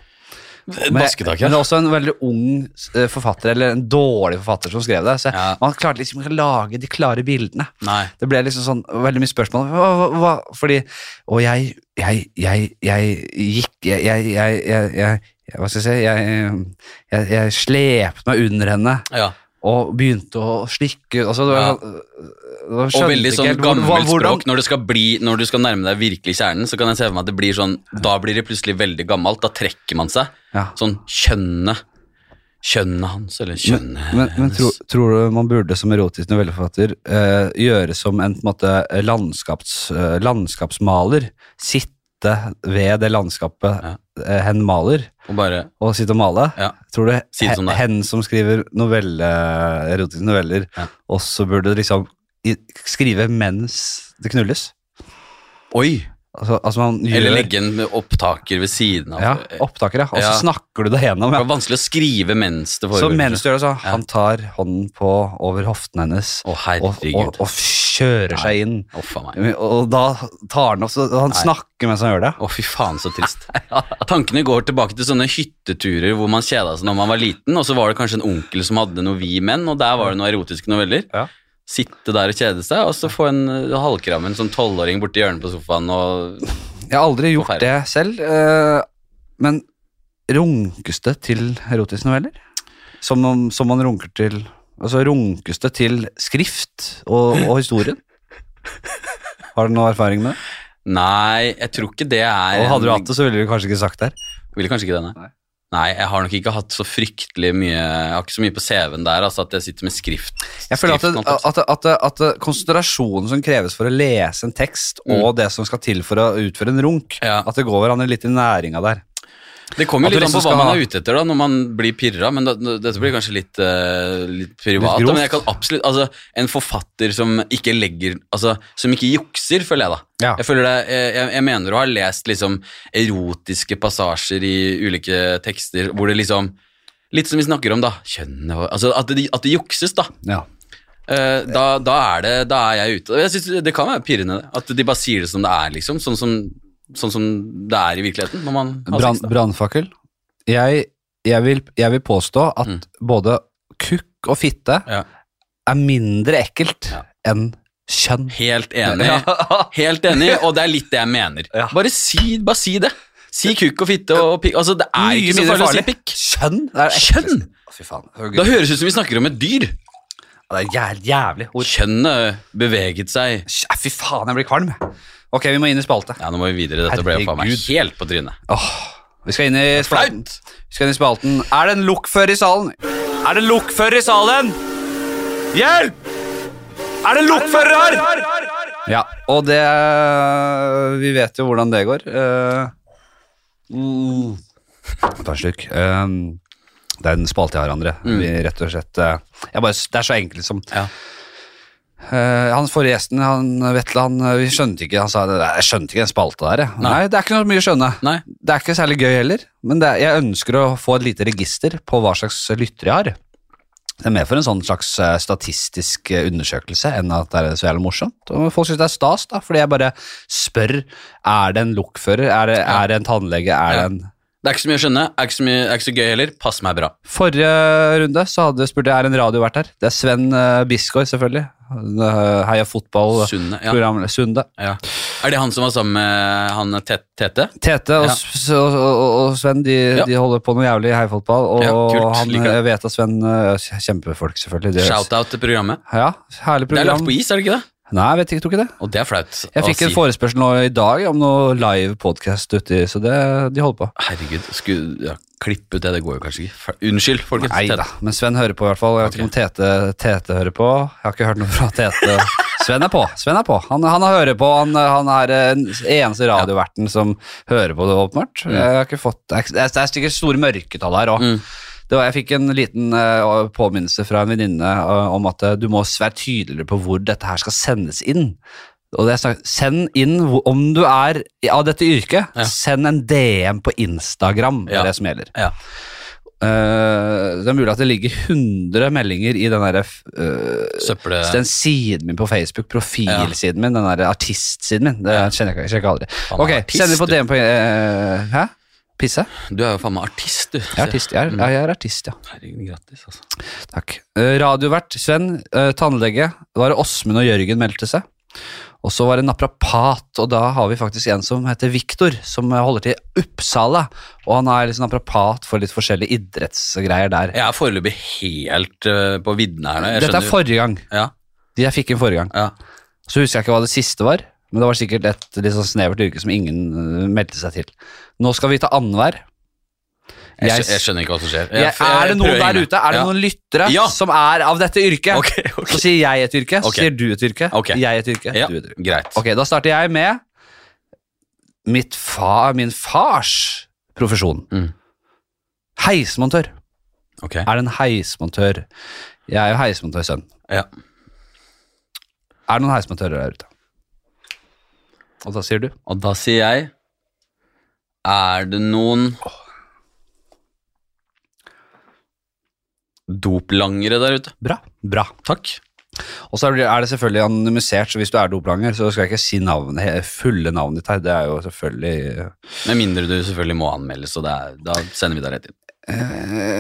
S1: Men-
S2: Basketak,
S1: Men det er
S2: ja.
S1: også en veldig ung eh, forfatter, eller en dårlig forfatter, som skrev det. Så
S2: Ja.
S1: man klarte liksom ikke å lage de klare bildene.
S2: Nei.
S1: Det ble liksom sånn veldig mye spørsmål. Hva, hva, hva? Fordi Og jeg, jeg, jeg, jeg gikk Jeg, jeg, jeg, jeg, jeg hva skal jeg si Jeg, jeg, jeg slepte meg under henne
S2: Ja.
S1: og begynte å slikke altså, det var,
S2: Ja.
S1: sånn, øh, jeg
S2: Og
S1: skjønte
S2: veldig
S1: ikke
S2: sånn
S1: helt hvor- hva-
S2: gammelt
S1: hvordan-
S2: språk. Når du, skal bli, når du skal nærme deg virkelig kjernen, så kan jeg se for meg at det blir sånn Da blir det plutselig veldig gammelt. Da trekker man seg.
S1: Ja.
S2: Sånn kjønnet Kjønnet hans, eller
S1: Men,
S2: kjønnet
S1: men, men tro, tror du man burde som erotisk novelleforfatter eh, gjøre som en på en måte, landskaps, eh, landskapsmaler? Sitte ved det landskapet
S2: Ja.
S1: eh, hen maler,
S2: Og bare
S1: og sitte og male?
S2: Ja.
S1: Tror du
S2: Si det som
S1: he-
S2: det er.
S1: hen som skriver novelle, erotiske noveller,
S2: Ja.
S1: også burde liksom i, skrive mens det knulles?
S2: Oi!
S1: Altså, altså man gjør
S2: Eller legge en opptaker ved siden av.
S1: ja, opptaker, ja. Og så
S2: Ja.
S1: snakker du det gjennom.
S2: Det
S1: Ja.
S2: var vanskelig å skrive mens det
S1: Så
S2: foregår.
S1: mens du gjør det, så
S2: Ja.
S1: han tar hånden på over hoften hennes
S2: Å,
S1: og, og,
S2: herregud.
S1: og kjører seg inn.
S2: Å, faen meg.
S1: Og da tar han opp så Han snakker mens han gjør det.
S2: Å, fy faen, så trist. Tankene går tilbake til sånne hytteturer hvor man kjeda seg når man var liten, og så var det kanskje en onkel som hadde noe vi menn, og der var det noen erotiske noveller.
S1: Ja.
S2: Sitte der og kjede seg, og så få en eh, halvkram en sånn tolvåring borti hjørnet på sofaen og
S1: Jeg har aldri gjort det selv, eh, men runkes det til erotiske noveller? Som, om- som man runker til Altså runkes det til skrift og, og historien? Har du noe erfaring med det?
S2: Nei, jeg tror ikke det er
S1: Og hadde du hatt det, så ville du kanskje ikke sagt det her.
S2: Ville kanskje ikke det, nei. Nei, jeg har nok ikke hatt så fryktelig mye Jeg har ikke så mye på CV-en der altså at jeg sitter med skrift.
S1: Jeg føler at, det, at,
S2: skriftknapp.
S1: at, at konsentrasjonen som kreves for å lese en tekst, og det som skal til for å utføre en runk,
S2: Mm. Ja.
S1: at det går hverandre litt i næringa der.
S2: det kommer
S1: at
S2: jo
S1: du
S2: litt an på
S1: liksom
S2: hva
S1: skal
S2: man
S1: ha-
S2: er ute etter da, når man blir pirra, men da, da- dette blir kanskje litt, eh, litt
S1: Litt
S2: privat. da,
S1: grovt.
S2: men jeg kan absolutt Altså, en forfatter som ikke legger Altså, som ikke jukser, føler jeg, da.
S1: Ja.
S2: Jeg, føler det, jeg, jeg- jeg mener å ha lest liksom erotiske passasjer i ulike tekster hvor det liksom Litt som vi snakker om, da. Kjønn og Altså, at det, at det jukses, da.
S1: Ja.
S2: Eh, da, da, er det, da er jeg ute. Og Jeg synes Det kan være pirrende det. at de bare sier det som det er, liksom. Sånn som, sånn som det er i virkeligheten. Når man har
S1: Brann-
S2: sex, da.
S1: Brannfakkel. Jeg, jeg, vil, jeg vil påstå at
S2: Mm.
S1: både kukk og fitte
S2: Ja.
S1: er mindre ekkelt
S2: Ja.
S1: enn kjønn. [LAUGHS]
S2: Helt enig. Helt enig, og det er litt det jeg mener.
S1: Ja.
S2: Bare, si, bare si det. Si kukk og fitte og pikk. Altså, det er
S1: Mye
S2: ikke så
S1: mindre
S2: farlig å si
S1: farlig.
S2: pikk.
S1: Kjønn? Det er det
S2: Kjønn?
S1: ekleste. Fy faen.
S2: Da
S1: Herregud.
S2: høres det ut som vi snakker om et dyr.
S1: Det er jævlig, jævlig ord.
S2: Kjønnet beveget seg
S1: Kjø- Fy faen, jeg blir kvalm. Ok, vi må inn i spalte.
S2: Ja, nå må vi videre. Dette ble jo faen meg
S1: Herregud.
S2: helt på trynet.
S1: Åh, vi skal inn i spalten.
S2: Flaut!
S1: Vi skal inn i spalten. Er det en lokfører i salen? Er det en lokfører i salen? Hjelp! Er det en lokfører her? Ja, og det Vi vet jo hvordan det går. Eh, mm. Ta en slurk. Eh, det er en spalte jeg har, André. Vi rett og slett eh, jeg bare, Det er så enkelt som
S2: Ja.
S1: Eh, han forrige gjesten, han, Vetle, han, eh, vi skjønte ikke Han sa "Nei, jeg skjønte ikke den spalta der. jeg." Nei. det er ikke noe mye å skjønne.
S2: Nei.
S1: Det er ikke særlig gøy heller, men det er, jeg ønsker å få et lite register på hva slags lytter jeg har. Det er mer for en sånn slags eh, statistisk eh, undersøkelse enn at det er så jævlig morsomt. Og folk syns det er stas, da, fordi jeg bare spør er det en lokfører, er det,
S2: Ja.
S1: er det en tannlege, er
S2: Ja.
S1: det en
S2: Det er ikke så mye å skjønne. Er ikke så, mye, er ikke så gøy heller. Pass meg bra.
S1: Forrige runde så hadde spurte jeg er en radio vært her. Det er Sven eh, Bisgaard, selvfølgelig. Eh, Heia fotball.
S2: Sunne. Ja.
S1: Program, Sunde.
S2: Ja. Er det han som var sammen med han Te- Tete?
S1: Tete og,
S2: Ja.
S1: S- og, og, og Sven de,
S2: Ja.
S1: de holder på noe jævlig heifotball, og
S2: Ja, kult.
S1: han,
S2: Liker
S1: jeg
S2: det.
S1: vet at Sven eh, kjemper folk, selvfølgelig. Det-
S2: Shout-out til programmet.
S1: Ja, herlig
S2: Det er
S1: program.
S2: lagt på is, er det ikke det?
S1: Nei, jeg vet ikke, jeg tror ikke det.
S2: Og det er flaut.
S1: Jeg
S2: å
S1: fikk en
S2: si.
S1: forespørsel nå i dag om noe live podcast uti, så det, de holder på.
S2: Herregud, skulle ja, klippe ut det? Det går jo kanskje ikke. Fa- Unnskyld, folkens.
S1: Nei da,
S2: Tete.
S1: men Sven hører på i hvert fall. Jeg vet ikke om Tete, Tete hører på. Jeg har ikke hørt noe fra Tete. Sven er på. Sven er på. Han, han hører på. Han, han er den eneste radioverten som hører på det, åpenbart. Jeg har ikke fått, det er- det er sikkert store mørketall her òg.
S2: Mm.
S1: Jeg fikk en liten eh, påminnelse fra en venninne eh, om at eh, du må være tydeligere på hvor dette her skal sendes inn. Og det er snakk- Send inn, hvor- om du er av dette yrket,
S2: Ja.
S1: send en DM på Instagram. Det
S2: Ja.
S1: er det som gjelder.
S2: Ja.
S1: Eh, det er mulig at det ligger 100 meldinger i den, der, eh,
S2: Søppel
S1: den siden min på Facebook, profilsiden min, den der artistsiden min. Det kjenner jeg ikke, sjekker aldri.
S2: Faen,
S1: Ok,
S2: artist,
S1: sender på
S2: du.
S1: DM på eh, Hæ? Pisse?
S2: Du er jo faen meg artist, du.
S1: Jeg er artist,
S2: Mm.
S1: jeg er, ja, jeg er artist, ja.
S2: Herregud, grattis, altså.
S1: Takk. Eh, radiovert Sven, eh, tannlege. Da var det Åsmund og Jørgen meldte seg. Og så var det naprapat, og da har vi faktisk en som heter Viktor, som holder til i Uppsala. Og han er liksom naprapat for litt forskjellige idrettsgreier der.
S2: Jeg er foreløpig helt eh, på viddene her nå. Jeg
S1: Dette er
S2: skjønner jo-
S1: forrige gang.
S2: ja,
S1: De jeg fikk inn forrige gang.
S2: ja.
S1: Så husker jeg ikke hva det siste var, men det var sikkert et litt sånn snevert yrke som ingen øh, meldte seg til. Nå skal vi ta annenhver.
S2: Jeg,
S1: Jeg-
S2: skjø- jeg skjønner ikke hva som skjer.
S1: Jeg- Er det noen der ute, er det noen lyttere
S2: Ja.
S1: som er av dette yrket?
S2: Ok, ok.
S1: Så sier jeg et yrke, så
S2: Ok.
S1: sier du et yrke,
S2: Ok.
S1: jeg et yrke,
S2: Ja.
S1: du et yrke.
S2: Greit.
S1: Ok, da starter jeg med mitt fa, min fars profesjon.
S2: Mm.
S1: Heismontør.
S2: Ok.
S1: Er det en heismontør? Jeg er jo heismontørsønn.
S2: Ja.
S1: Er det noen heismontører der ute? Og da sier du?
S2: Og da sier jeg Er det noen doplangere der ute?
S1: Bra. Bra.
S2: Takk.
S1: Og så er det- er det selvfølgelig anonymisert, så hvis du er doplanger, så skal jeg ikke si navnet, he- fulle navnet ditt her. Det er jo selvfølgelig
S2: Med mindre du selvfølgelig må anmeldes, og det er, da sender vi deg rett inn.
S1: Eh,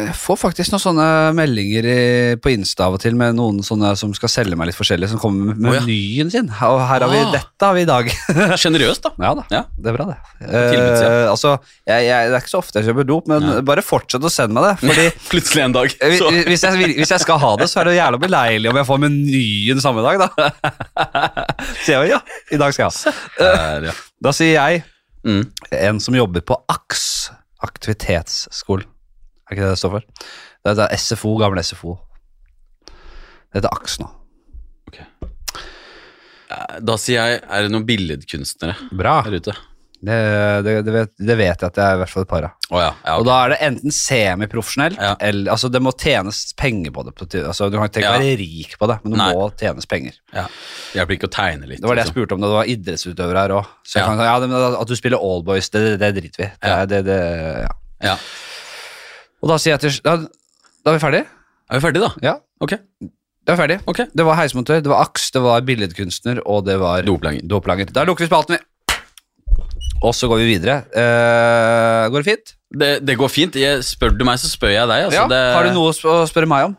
S1: Jeg får faktisk noen sånne meldinger i, på Insta av og til med noen sånne som skal selge meg litt forskjellig, som kommer med
S2: Å, ja.
S1: menyen sin. Og her har vi,
S2: Ah.
S1: dette har vi i dag.
S2: Sjenerøst, da.
S1: Ja da,
S2: [LAUGHS] Ja.
S1: det er bra det.
S2: tilbudssida.
S1: Eh, altså, jeg, jeg, det er ikke så ofte jeg kjøper dop, men
S2: Nei.
S1: bare fortsett å sende meg det. [LAUGHS] Fordi
S2: Plutselig en dag.
S1: eh,
S2: Så.
S1: hvis- hvis jeg, vil- hvis jeg skal ha det, så er det jo jævla beleilig om jeg får menyen samme dag, da. [LAUGHS] Så jeg jo, ja, i dag skal jeg ha.
S2: Der, ja.
S1: Da sier jeg
S2: Mm.
S1: en som jobber på AKS, aktivitetsskolen. Er ikke det det står for? Det heter SFO, gamle SFO. Det heter AKS nå.
S2: Eh, Da sier jeg, er det noen billedkunstnere
S1: Bra.
S2: her ute?
S1: Det, det, det, vet, det vet jeg at det er i hvert fall et par av.
S2: Å ja, ja,
S1: Og
S2: ok.
S1: da er det enten semiprofesjonelt,
S2: Ja.
S1: eller altså det må tjenes penger på det. på ty- Altså, du kan ikke
S2: Ja.
S1: være rik på det, men det
S2: Nei.
S1: må tjenes penger.
S2: ja. Hjelper ikke å tegne litt.
S1: Det var det jeg
S2: liksom.
S1: spurte om da det var idrettsutøvere her òg. Så jeg
S2: Ja.
S1: kan, ja, det- men at du spiller allboys, det, det, det driter vi i. Det,
S2: Ja.
S1: er- det, det, ja.
S2: Ja.
S1: Og da sier jeg til s- Da, da er vi ferdige?
S2: Er vi ferdige, da?
S1: Ja,
S2: Ok.
S1: da er vi ferdige.
S2: ok.
S1: Det var heismontør, det var aks, det var billedkunstner, og det var
S2: Doplanger.
S1: doplanger. Da lukker vi spalten, vi. Og så går vi videre. Eh, går det fint?
S2: Det, det går fint. Jeg, spør du meg, så spør jeg deg. Altså,
S1: ja.
S2: det,
S1: Har du noe å sp- å spørre meg om?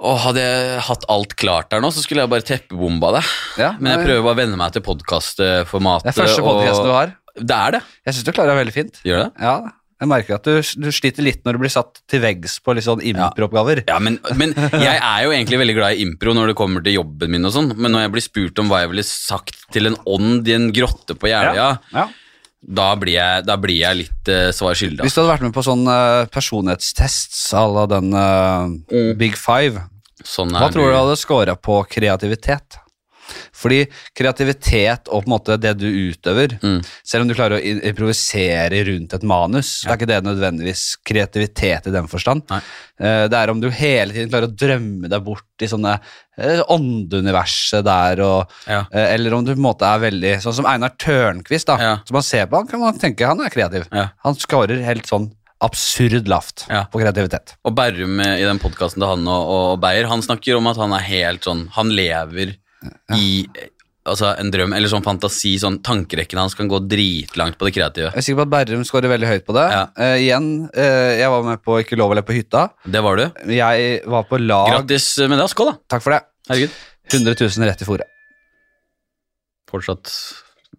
S2: Å, hadde jeg hatt alt klart der nå, så skulle jeg bare teppebomba deg.
S1: Ja,
S2: Men jeg
S1: det-
S2: prøver bare å venne meg til podkastformatet.
S1: Det er første podkasten du har.
S2: Det er det.
S1: Jeg syns du klarer deg veldig fint.
S2: Gjør det?
S1: Ja, jeg merker at du, du sliter litt når du blir satt til veggs på litt sånn impro-oppgaver.
S2: Ja, men, men jeg er jo egentlig veldig glad i impro når det kommer til jobben min og sånn, men når jeg blir spurt om hva jeg ville sagt til en ånd i en grotte på Jeløya,
S1: Ja.
S2: da, blir jeg- da blir jeg litt eh, svar skyldig.
S1: Hvis du hadde vært med på sånn eh, personlighetstests à la den eh, Big Five,
S2: Sånn
S1: hva
S2: er
S1: tror du hadde scora på kreativitet? Fordi kreativitet og på en måte det du utøver,
S2: Mm.
S1: selv om du klarer å i- improvisere rundt et manus, det er ikke det nødvendigvis kreativitet i den forstand.
S2: Nei.
S1: Eh, Det er om du hele tiden klarer å drømme deg bort i sånne eh, åndeuniverset der og
S2: Ja.
S1: Eh, Eller om du på en måte er veldig Sånn som Einar Tørnquist, da.
S2: Ja.
S1: Som man ser på, han kan man tenke han er kreativ.
S2: Ja.
S1: Han scorer helt sånn absurd lavt
S2: Ja.
S1: på kreativitet.
S2: Og Berrum eh, i den podkasten til han og, og Beyer, han snakker om at han er helt sånn Han lever i eh, altså, en drøm, eller sånn fantasi, sånn tankerekken hans kan gå dritlangt på det kreative.
S1: Jeg er sikker på at Berrum scorer veldig høyt på det.
S2: Ja.
S1: Eh, igjen, eh, jeg var med på Ikke lov å le på hytta.
S2: Det var du.
S1: Jeg var på lag
S2: Grattis med det. Skål, da.
S1: Takk for det.
S2: Herregud.
S1: 100 000 rett i fòret.
S2: Fortsatt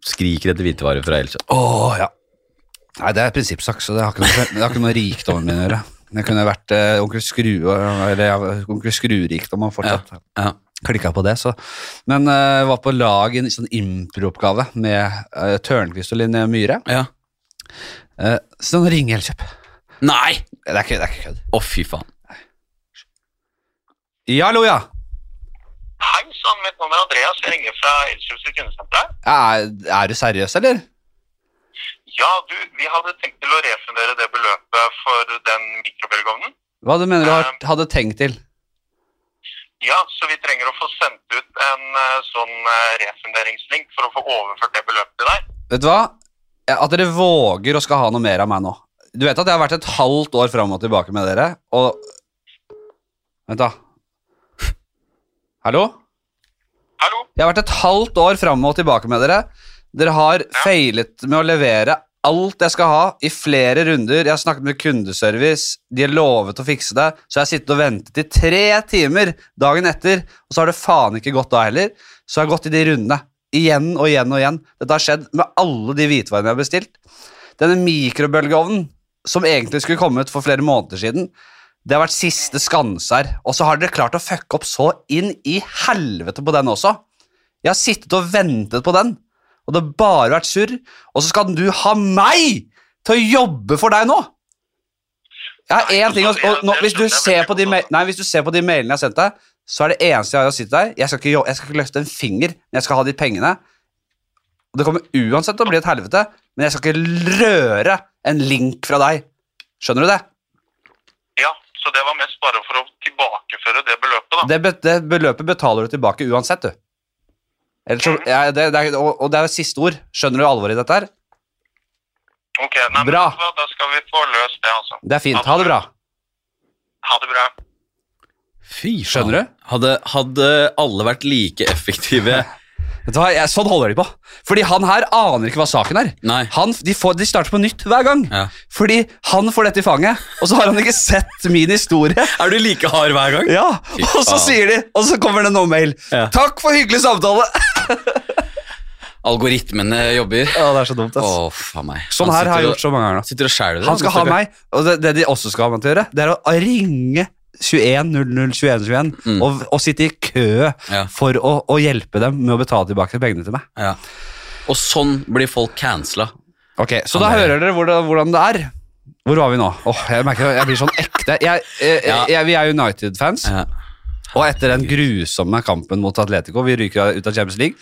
S2: skriker etter hvitevarer fra Elkjøp.
S1: Åh, ja. Nei, det er prinsippsak, så det har ikke noe, det har ikke noe med rikdommen min å gjøre. Det kunne vært eh, onkel Skrue, eller ja, onkel Skru-rikdom han fortsatt.
S2: Ja.
S1: klikka på det. Så. Men jeg var på lag i en sånn impro-oppgave med uh, Tørnquist og Linné Myhre.
S2: Ja.
S1: Eh, så den ringer Elkjøp.
S2: Nei!
S1: Det er ikke, det er ikke kødd.
S2: Å, fy faen.
S1: Ja, hallo, ja.
S4: Hei sann, mitt navn er Andreas. Jeg ringer fra Elkjøpsrud kundesenter.
S1: Er, er du seriøs, eller?
S4: Ja, du, vi hadde tenkt til å refundere det beløpet for den mikrobølgeovnen.
S1: Hva du mener du har, hadde tenkt til?
S4: Ja, så vi trenger å få sendt ut en eh, sånn eh, refunderingslink for å få overført det beløpet til deg.
S1: Vet du hva? Eh, At dere våger å skal ha noe mer av meg nå. Du vet at jeg har vært et halvt år fram og tilbake med dere, og Vent, da. Hallo?
S4: Hallo?
S1: Jeg har vært et halvt år fram og tilbake med dere. Dere har feilet med å levere alt jeg skal ha, i flere runder. Jeg har snakket med kundeservice, de har lovet å fikse det, så jeg har sittet og ventet i tre timer dagen etter, og så har det faen ikke gått da heller. Så jeg har gått i de rundene igjen og igjen og igjen. Dette har skjedd med alle de hvitvarene jeg har bestilt. Denne mikrobølgeovnen, som egentlig skulle kommet for flere måneder siden, det har vært siste skanse her, og så har dere klart å fucke opp så inn i helvete på den også. Jeg har sittet og ventet på den, og det har bare vært surr. Og så skal du ha meg til å jobbe for deg nå! Jeg har én ting å og nå, hvis, du ser på de, ma- nei, hvis du ser på de mailene jeg har sendt deg, så er det eneste jeg har å si til deg Jeg skal ikke, jo- jeg skal ikke løfte en finger, men jeg skal ha de pengene. Og det kommer uansett til å bli et helvete, men jeg skal ikke røre en link fra deg. Skjønner du det?
S4: Ja, så det var mest bare for å tilbakeføre det beløpet, da.
S1: Det, be det beløpet betaler du tilbake uansett, du. Ellers så, ja, det, det er, og, og det er jo siste ord. Skjønner du alvoret i dette her?
S4: Ok, nei, men
S1: Bra.
S4: vet du hva, Da skal vi få løst det, altså.
S1: Det er fint. Ha det bra.
S4: Ha det bra.
S2: Fy faen.
S1: Skjønner du?
S2: Hadde, hadde alle vært like
S1: [LAUGHS]
S2: effektive
S1: Vet du hva, jeg, Sånn holder de på. Fordi han her aner ikke hva saken er.
S2: Nei.
S1: Han, de, får, de starter på nytt hver gang.
S2: Ja.
S1: Fordi han får dette i fanget, og så har han ikke sett min historie.
S2: Er du like hard hver gang?
S1: Ja,
S2: Fy
S1: Og så
S2: faen.
S1: sier de, og så kommer det noe mail.
S2: Ja.
S1: Takk for hyggelig samtale!
S2: Algoritmene jobber.
S1: Ja, det er så dumt,
S2: Å,
S1: ass.
S2: faen meg.
S1: Sånn
S2: Han
S1: her har jeg
S2: sitter
S1: gjort så mange ganger.
S2: og- Sitter og skjærer
S1: nå.
S2: det.
S1: Han skal ha meg, og det, det de også skal ha meg til å gjøre, det er å ringe 21002121
S2: Mm.
S1: og, og sitte i kø
S2: Ja.
S1: for å, å hjelpe dem med å betale tilbake pengene til meg.
S2: Ja. Og sånn blir folk cancela.
S1: Ok, Så da
S2: Han er-
S1: hører dere hvordan, hvordan det er. Hvor var vi nå? Åh, jeg merker jeg blir sånn ekte. Jeg, jeg, jeg,
S2: Ja.
S1: jeg, vi er United-fans,
S2: Ja.
S1: og etter den grusomme kampen mot Atletico Vi ryker ut av Champions League,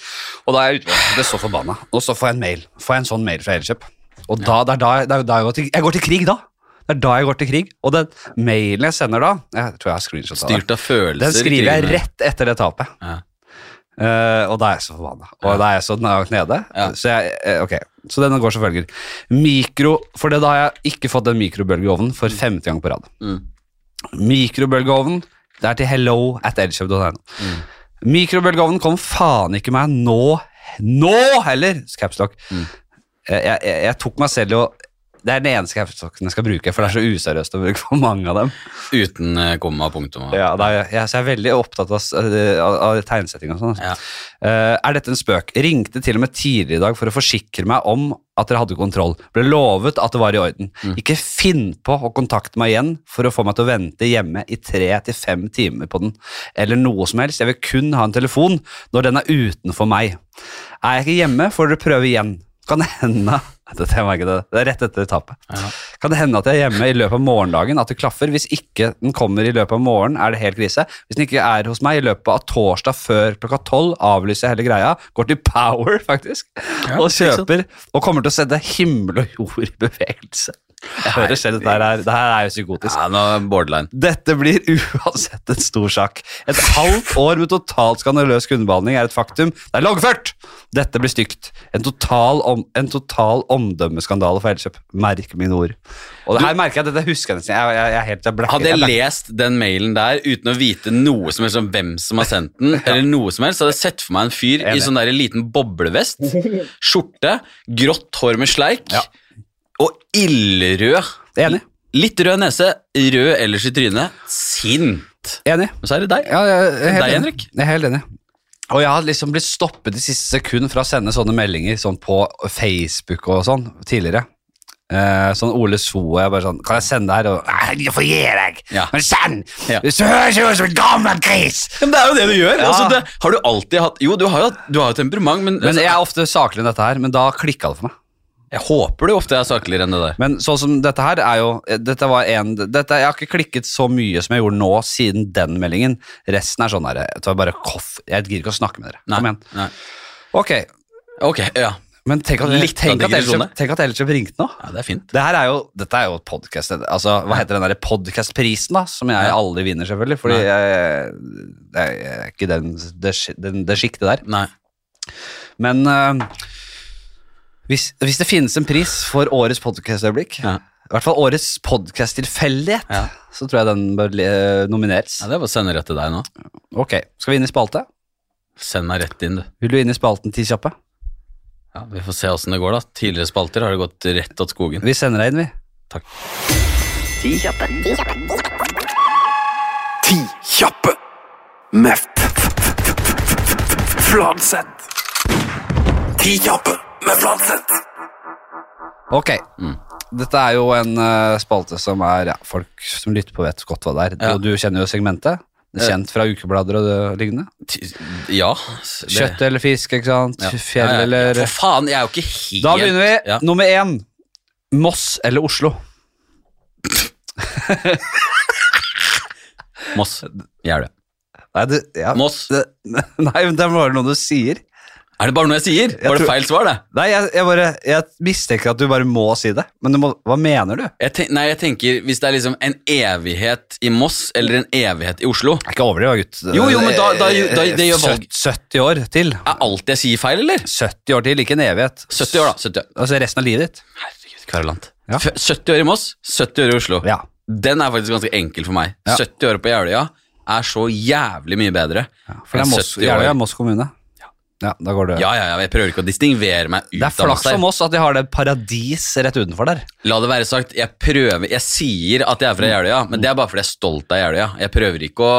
S1: og da er jeg ute. Jeg ble så forbanna. Og så får jeg en mail Får jeg en sånn mail fra Elkjøp. Og da, det er da, det er da jeg, går til, jeg går til krig, da. Det er da jeg går til krig. Og den mailen jeg sender da Jeg tror jeg har screenshot av det.
S2: Styrt av følelser.
S1: Den skriver jeg
S2: krigen her.
S1: rett etter det tapet.
S2: Ja.
S1: Eh, og da er jeg så forbanna. Og da er jeg så langt nede.
S2: Ja.
S1: Så, jeg, eh, ok. så denne går som følger. Mikro, for det, da har jeg ikke fått en mikrobølgeovn for femte gang på rad.
S2: Mm.
S1: Mikrobølgeovnen, det er til hello at edgehub.no.
S2: Mm.
S1: Mikrobølgeovnen kom faen ikke meg nå, nå heller, capstock.
S2: Mm.
S1: Jeg, jeg, jeg tok meg selv i å Det er den eneste capstocken jeg skal bruke, for det er så useriøst å bruke for mange av dem.
S2: Uten eh, komma og punktum. og-
S1: Ja, det er, jeg, så jeg er veldig opptatt av, s- av, av tegnsetting og sånn. altså.
S2: Ja.
S1: Eh, er dette en spøk? Ringte til og med tidligere i dag for å forsikre meg om at dere hadde kontroll. Ble lovet at det var i orden. Ikke finn på å kontakte meg igjen for å få meg til å vente hjemme i tre til fem timer på den. Eller noe som helst. Jeg vil kun ha en telefon når den er utenfor meg. Er jeg ikke hjemme, får dere prøve igjen. Kan det hende Dette er ikke det. Det er rett etter tapet. Kan det hende at jeg er hjemme i løpet av morgendagen, at det klaffer? Hvis ikke den kommer i løpet av morgenen, er det helt krise. Hvis den ikke er hos meg i løpet av torsdag før klokka tolv, avlyser jeg hele greia, går til Power, [LAUGHS] faktisk, og
S2: ikke sant.
S1: kjøper, og kommer til å sette himmel og jord i bevegelse. Jeg hører selv at det her er, det her er jo psykotisk.
S2: Ja, nå er det borderline.
S1: Dette blir [LAUGHS] uansett en stor sak. Et halvt år med totalt skandaløs kundebehandling er et faktum. Det er loggført! Dette blir stygt. En total, om, en total omdømmeskandale for Elkjøp. Merk mine ord. Og det her merker jeg at dette husker jeg nesten. Jeg, jeg, jeg, er helt, jeg blakker-
S2: Hadde jeg
S1: jeg blakker.
S2: lest den mailen der uten å vite noe som helst om hvem som har sendt
S1: [LAUGHS]
S2: den, eller noe som helst, så hadde jeg sett for meg en fyr i
S1: Enig.
S2: sånn der liten
S1: [LAUGHS]
S2: boblevest, skjorte, grått hår med sleik
S1: Ja.
S2: og ildrød.
S1: Enig.
S2: Litt rød nese, rød ellers i trynet. Sint.
S1: Enig.
S2: Men så er det deg.
S1: Ja, jeg, jeg, er helt
S2: Deg,
S1: enig.
S2: Henrik?
S1: jeg er helt enig. Og jeg har liksom blitt stoppet i siste sekund fra å sende sånne meldinger sånn på Facebook og sånn tidligere. Eh, sånn Ole So og jeg bare sånn Kan jeg sende det her? Og, Nei, jeg får gi deg!
S2: Ja.
S1: Men send!
S2: Ja.
S1: Du høres jo ut som en gammel gris!
S2: Men det er jo det du gjør.
S1: Ja.
S2: Altså, det, har du alltid hatt Jo, du har jo, hatt- du har jo temperament, men, altså,
S1: Men jeg er ofte saklig i dette her, men da klikka det for meg.
S2: jeg håper du ofte er sakligere enn det der.
S1: Men sånn som dette her er jo eh, Dette var en dette, Jeg har ikke klikket så mye som jeg gjorde nå siden den meldingen. Resten er sånn her Jeg tar bare koff. Jeg gidder ikke å snakke med dere.
S2: Nei,
S1: Kom igjen.
S2: nei.
S1: Ok,
S2: Ok, ja.
S1: men tenk at,
S2: Litt av
S1: tenk at,
S2: digresjon der.
S1: Elkjøp- tenk at Elkjøp ringte nå.
S2: ja, det er fint.
S1: Det her er jo, dette er jo podcast, altså, hva heter den der podcastprisen da, som jeg aldri vinner selvfølgelig, fordi
S2: Nei.
S1: jeg, jeg, jeg er ikke den, det, sk- den, det skiktet der.
S2: Nei.
S1: Men eh, hvis, hvis det finnes en pris for årets podcastøyeblikk,
S2: Ja.
S1: i hvert fall årets podcasttilfeldighet,
S2: Ja.
S1: så tror jeg den bør eh, nomineres.
S2: Ja, det var å sende rett til deg nå.
S1: Ok, skal vi inn i spalte?
S2: Send deg rett inn, du.
S1: Vil du inn i spalten til kjappe?
S2: Ja, Vi får se åssen det går, da. Tidligere spalter har det gått rett åt skogen.
S1: Vi sender deg inn, vi.
S5: Ti kjappe. Ti kjappe.
S6: Ti kjappe med f- f- f- f- f- Fladseth. Ti kjappe med Fladseth.
S1: Ok. Dette er jo en eh, spalte som er ja, folk som lytter på, vet godt hva det er.
S2: Ja.
S1: Og du kjenner jo segmentet. Det er Kjent fra ukeblader og det lignende.
S2: Ti- Ja. det-
S1: Kjøtt eller fisk, ikke sant?
S2: Ja.
S1: Fjell
S2: Ja, ja, ja.
S1: eller
S2: For faen, jeg er jo ikke helt
S1: Da begynner vi.
S2: Ja.
S1: Nummer én. Moss eller Oslo?
S2: Moss. Jeg er det.
S1: Nei, det, ja.
S2: Moss.
S1: det, [LAUGHS] nei men det er bare noe du sier.
S2: Er det bare noe jeg sier? Var det
S1: tror-
S2: feil svar, det?
S1: Nei, jeg, jeg bare Jeg mistenker at du bare må si det. Men du må, hva mener du? Det
S2: Jeg ten- nei, jeg tenker hvis det er liksom en evighet i Moss eller en evighet i Oslo
S1: er ikke overdrivet, gutt.
S2: Jo, jo, men da- da- da- det gjør valg.
S1: 70 år til.
S2: Er alt jeg sier feil, eller?
S1: 70 år til, ikke en evighet.
S2: 70 år, da. 70 år.
S1: Altså resten av livet ditt.
S2: Herregud, Karolant.
S1: Ja.
S2: F- 70 år i Moss, 70 år i Oslo.
S1: Ja.
S2: Den er faktisk ganske enkel for meg.
S1: Ja.
S2: 70 år på Jeløya er så jævlig mye bedre.
S1: For det er
S2: enn
S1: Moss,
S2: 70 år-
S1: Jeløya er Moss kommune. Ja, da går det.
S2: Ja, ja, ja, jeg prøver ikke å distingvere meg ut
S1: det er
S2: av Moss
S1: flaks
S2: her.
S1: om oss at de har det paradis rett utenfor der.
S2: La det være sagt, jeg prøver Jeg sier at jeg er fra Jeløya, men det er bare fordi jeg er stolt av Jeløya. Jeg prøver ikke å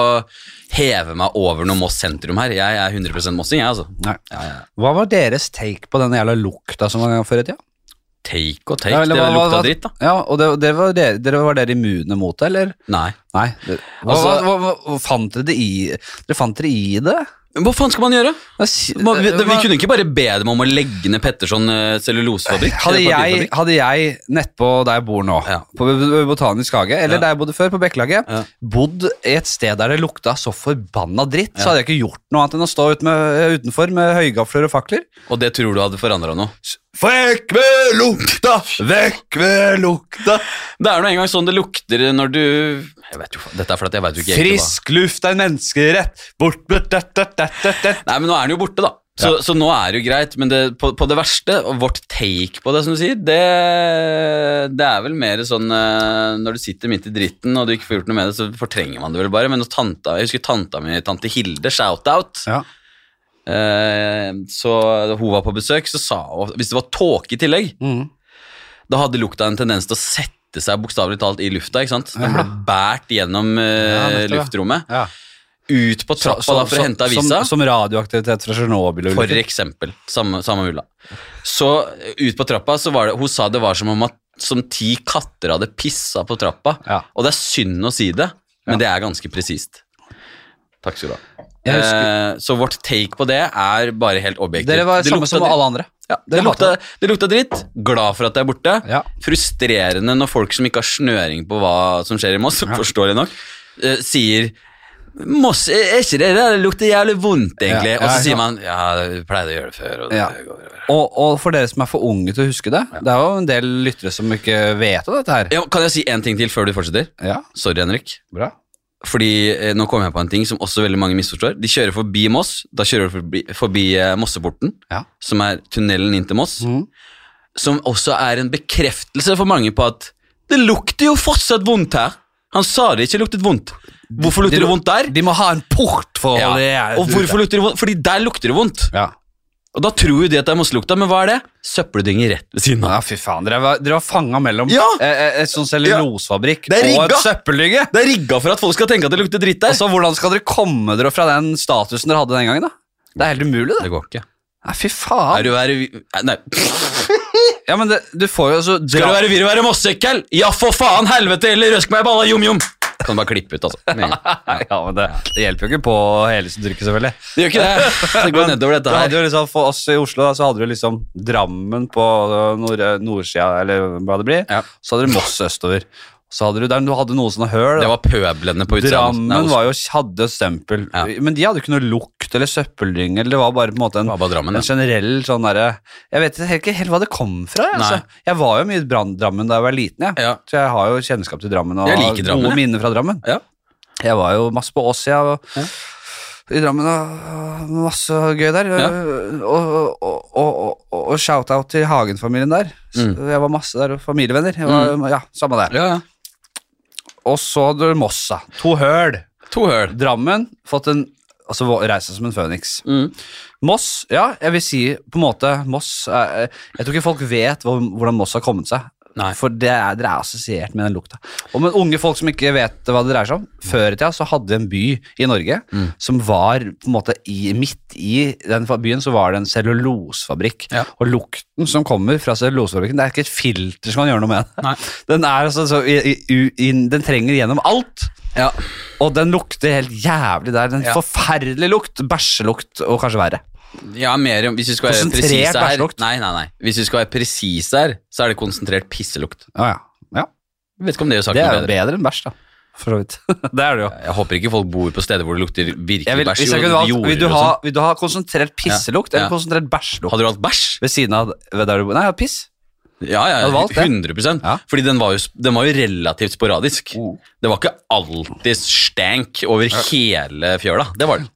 S2: heve meg over noe Moss sentrum her. Jeg er 100 mossing, jeg, altså.
S1: Nei.
S2: Ja, ja.
S1: Hva var deres take på den jævla lukta som var før i tida?
S2: Take og take,
S1: Ja,
S2: det
S1: eller hva-
S2: lukta
S1: hva-
S2: dritt, da.
S1: Ja, og det, det var, dere, dere, var dere immune mot det, eller?
S2: Nei.
S1: Nei. Det, hva,
S2: Altså-
S1: hva, hva, hva, fant dere det i Dere fant dere i det?
S2: Men Hva faen skal man gjøre? Man, vi, vi
S1: Eh, Hva-
S2: kunne ikke bare be dem om å legge ned Petterson eh, cellulosefabrikk?
S1: Hadde
S2: eller
S1: jeg,
S2: papirfabrikk?
S1: hadde jeg nettpå der jeg bor nå,
S2: Ja.
S1: på B- Botanisk hage, eller
S2: Ja.
S1: der jeg bodde før, på Bekkelaget,
S2: Ja.
S1: bodd i et sted der det lukta så forbanna dritt, så hadde jeg ikke gjort noe annet enn å stå ut med, utenfor med høygafler og fakler.
S2: Og det tror du hadde forandra noe?
S1: Vekk med lukta! Vekk med lukta!
S2: Det er nå engang sånn det lukter når du jeg vet jo, faen- Dette er fordi jeg veit jo ikke egentlig hva-
S1: Frisk luft er en menneskerett! Bort med det, det, det, det, det.
S2: Nei, men nå er den jo borte, da. Så, så nå er det jo greit, men det, på, på det verste, og vårt take på det, som du sier, det, det er vel mer sånn eh, Når du sitter midt i dritten og du ikke får gjort noe med det, så fortrenger man det vel bare. Men når tanta, jeg husker tanta mi, tante Hilde, shout-out
S1: Ja.
S2: eh, Så da hun var på besøk, så sa hun Hvis det var tåke i tillegg,
S1: Mm.
S2: da hadde lukta en tendens til å sette seg bokstavelig talt i lufta, ikke sant? Den ble båret gjennom eh,
S1: Ja, nettopp, ja.
S2: luftrommet.
S1: Ja.
S2: Ut på trappa da for å hente avisa.
S1: Som, som radioaktivitet fra Tsjernobyl.
S2: For eksempel. Samme, samme mulla. Så eh, ut på trappa så var det Hun sa det var som om at som ti katter hadde pissa på trappa.
S1: Ja.
S2: Og det er synd å si det, men det er ganske presist. Takk skal du ha.
S1: Jeg husker-
S2: Eh, så vårt take på det er bare helt objektivt.
S1: Dere var
S2: Det
S1: samme
S2: lukta
S1: som
S2: dritt.
S1: alle andre.
S2: Ja, det,
S1: Dere
S2: lukta,
S1: hatet
S2: det lukta dritt. Glad for at det er borte.
S1: Ja.
S2: Frustrerende når folk som ikke har snøring på hva som skjer i Moss, forståelig nok, eh, sier Moss, er er ikke det der? Det lukter jævlig vondt, egentlig.
S1: Ja, ja,
S2: og så
S1: ikke
S2: sier man ja, vi pleide å gjøre det før. Og det
S1: Ja.
S2: går over.
S1: Og, og for dere som er for unge til å huske det, det er jo en del lyttere som ikke vet om dette her.
S2: Ja, kan jeg si én ting til før du fortsetter?
S1: Ja,
S2: Sorry, Henrik.
S1: bra.
S2: Fordi eh, nå kom jeg på en ting som også veldig mange misforstår. De kjører forbi Moss. Da kjører du forbi, forbi eh, Mosseporten,
S1: Ja.
S2: som er tunnelen inn til Moss.
S1: Mhm.
S2: Som også er en bekreftelse for mange på at det lukter jo fortsatt vondt her. Han sa det ikke luktet vondt. Hvorfor
S1: De
S2: lukter det,
S1: må-
S2: vondt der?
S1: De må ha en port for
S2: Ja.
S1: det. er-
S2: Og hvorfor lukter det vondt? Fordi der lukter det vondt.
S1: Ja.
S2: Og da tror jo de at det er Mosselukta, men hva er det? Søppeldynger rett ved siden av.
S1: ja, fy faen. Dere var, dere var fanga mellom
S2: Ja.
S1: eh, eh, et sånn cellulosefabrikk
S2: Det er
S1: og et
S2: rigga.
S1: søppeldynge.
S2: Det er rigga for at folk skal tenke at det lukter dritt der.
S1: Altså, hvordan skal dere komme dere fra den statusen dere hadde den gangen? da? Det er helt umulig, det.
S2: det går ikke.
S1: Nei, fy
S2: Er
S1: faen.
S2: du være, nei,
S1: Ja, men det, du får jo altså
S2: Skal
S1: dra-
S2: du være vir og være mossekkel? Ja, for faen, helvete, eller røsk meg i balla, jom-jom! Kan du bare klippe [LAUGHS] ut, altså. Med en gang.
S1: Ja, men det, det hjelper jo ikke på helsetrykket, selvfølgelig.
S2: Det gjør ikke det. Det [LAUGHS] går nedover
S1: Du
S2: dette
S1: hadde
S2: her.
S1: jo liksom, For oss i Oslo da, så hadde du liksom Drammen på øh, nord, nordsida, eller hva det blir.
S2: Ja.
S1: Så hadde du Moss østover. Så hadde du, der, du hadde noen sånne høl. da.
S2: Det var pøblene på utsida.
S1: Drammen var jo, hadde stempel,
S2: Ja.
S1: men de hadde ikke noe lukt eller søppeldynge. eller Det var bare på en måte en,
S2: Det var bare Drammen,
S1: en
S2: ja.
S1: generell sånn derre Jeg vet helt ikke helt hva det kom fra. jeg,
S2: Nei.
S1: Altså. Jeg var jo mye i Brann- Drammen da jeg var liten, jeg.
S2: Ja.
S1: så jeg har jo kjennskap til Drammen og
S2: Jeg
S1: har
S2: liker Drammen,
S1: gode
S2: jeg.
S1: minner fra Drammen.
S2: Ja.
S1: Jeg var jo masse på Ås, jeg. Og, I Drammen og masse gøy der.
S2: Ja.
S1: Og, og, og, og, og shout-out til Hagen-familien der. Så Jeg var masse der, og familievenner. Jeg var, Ja, samme der.
S2: ja, ja.
S1: Og så hadde du Moss, da. To høl.
S2: To høl.
S1: Drammen fått en Altså reist seg som en føniks.
S2: Mm.
S1: Moss, ja, jeg vil si på en måte Moss er, Jeg tror ikke folk vet hvor, hvordan Moss har kommet seg.
S2: Nei.
S1: For det er, dere er assosiert med den lukta. Og med unge folk som ikke vet hva det dreier seg om Før i tida så hadde vi en by i Norge
S2: Mm.
S1: som var på en måte i, midt i den fa- byen så var det en cellulosefabrikk.
S2: Ja.
S1: Og lukten som kommer fra cellulosefabrikken, det er ikke et filter som kan gjøre noe med det.
S2: Nei.
S1: Den, er altså, så, i, i, u- inn- den trenger gjennom alt.
S2: Ja.
S1: Og den lukter helt jævlig der. Den
S2: Ja.
S1: forferdelige lukt. Bæsjelukt og kanskje verre.
S2: ja, mer om Hvis vi skal være
S1: Konsentrert
S2: presise her
S1: bæsjelukt.
S2: Nei, nei, nei. Hvis vi skal være presise her, så er det konsentrert pisselukt.
S1: Ja, ja.
S2: Jeg vet ikke om det gjør
S1: Det
S2: saken
S1: er jo
S2: bedre.
S1: bedre enn bæsj, da. For
S2: [LAUGHS]
S1: så vidt. det er det jo.
S2: Jeg håper ikke folk bor på steder hvor det lukter virkelig
S1: Jeg vil,
S2: bæsj.
S1: hvis jeg
S2: og
S1: kunne valgt,
S2: jorder
S1: vil, du
S2: og
S1: ha,
S2: sånn.
S1: vil du ha konsentrert pisselukt
S2: Ja.
S1: eller
S2: Ja.
S1: konsentrert bæsjlukt?
S2: Hadde du hatt bæsj?
S1: Ved siden av ved der du bor? Nei, ja, piss.
S2: Ja, ja,
S1: Hadde valgt det.
S2: 100
S1: Ja.
S2: Fordi den var, jo, den var jo relativt sporadisk. Det var ikke alltid stank over hele fjøla. Det var det.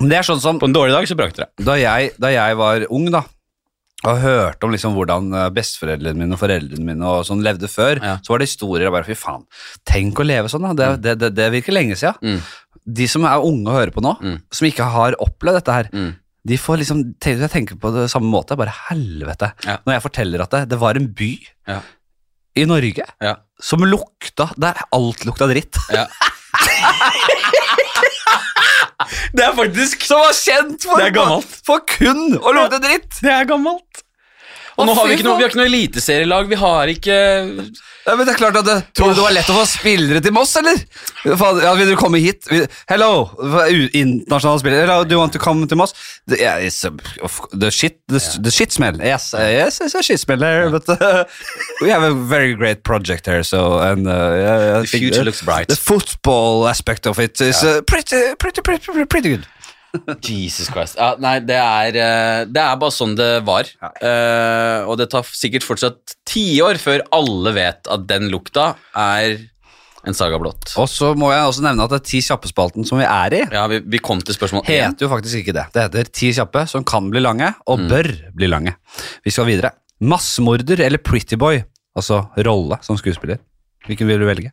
S1: Men Det er sånn som
S2: På en dårlig dag så brakte det.
S1: da jeg, da jeg var ung, da. Og hørte om liksom hvordan eh, besteforeldrene mine og foreldrene mine og sånn levde før.
S2: Ja.
S1: Så var det historier. Jeg bare, fy faen, Tenk å leve sånn, da. Det, det, det, det virker lenge siden.
S2: Mm.
S1: De som er unge og hører på nå,
S2: Mm.
S1: som ikke har opplevd dette her,
S2: Mm.
S1: de får liksom te- jeg tenker på det samme måte. Bare helvete.
S2: Ja.
S1: Når jeg forteller at det, det var en by
S2: Ja.
S1: i Norge
S2: Ja.
S1: som lukta Der alt lukta dritt.
S2: Det er faktisk
S1: Som var kjent for,
S2: Det er gammelt.
S1: for kun å lukte dritt!
S2: Det er gammelt. Og nå
S1: Å,
S2: har vi
S1: fy
S2: ikke noe, vi
S1: faen.
S2: har ikke noe eliteserielag. Vi har ikke
S1: Ja, men det er klart at det, Tror du det var lett å få spillere til Moss, eller? Faen, Ja, vil du komme hit? Vil- Hello, u- internasjonale spillere. Hello, do you want to come to Moss? The, yeah, it's a, of, the, shit, the, the shit smell. Yes, uh, yes, it's a shit smell there, but uh, we have a very great project here, so and uh, yeah, I
S2: The
S1: think
S2: future
S1: the-
S2: looks bright.
S1: The football aspect of it is uh, pretty, pretty, pretty, pretty, pretty good.
S2: Jesus Christ. Ja, nei, det er, eh, det er bare sånn det var. Eh, og det tar sikkert fortsatt tiår før alle vet at den lukta er en saga blått.
S1: Og så må jeg også nevne at det er ti kjappespalten som vi er i.
S2: Ja, vi, vi kom til spørsmål én.
S1: heter jo faktisk ikke det. Det heter Ti kjappe som kan bli lange, og bør bli lange. Vi skal videre. Massemorder eller Prettyboy, altså rolle som skuespiller. Hvilken vil du velge?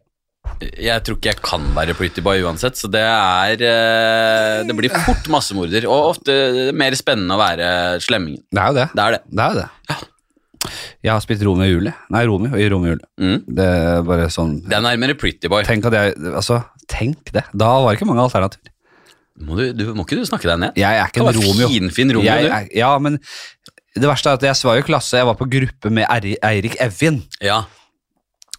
S2: Jeg tror ikke jeg kan være pretty boy uansett, så det er eh, Det blir fort massemorder, og ofte mer spennende å være slemmingen.
S1: Det er jo det.
S2: Det er det.
S1: Det er jo det. Jeg har spilt Romeo og Julie. Nei, Romeo i Romeo og Julie.
S2: Mm.
S1: Det er bare sånn
S2: Det er nærmere pretty boy.
S1: Tenk at jeg Altså, tenk det. Da var det ikke mange alternativer.
S2: Må du, du, må ikke du snakke deg ned?
S1: Jeg er ikke
S2: Du
S1: en
S2: var
S1: Romeo.
S2: finfin Romeo,
S1: jeg,
S2: du.
S1: er- ja, men det verste er at jeg var jo i klasse, jeg var på gruppe med Eri- Eirik Evjen.
S2: Ja.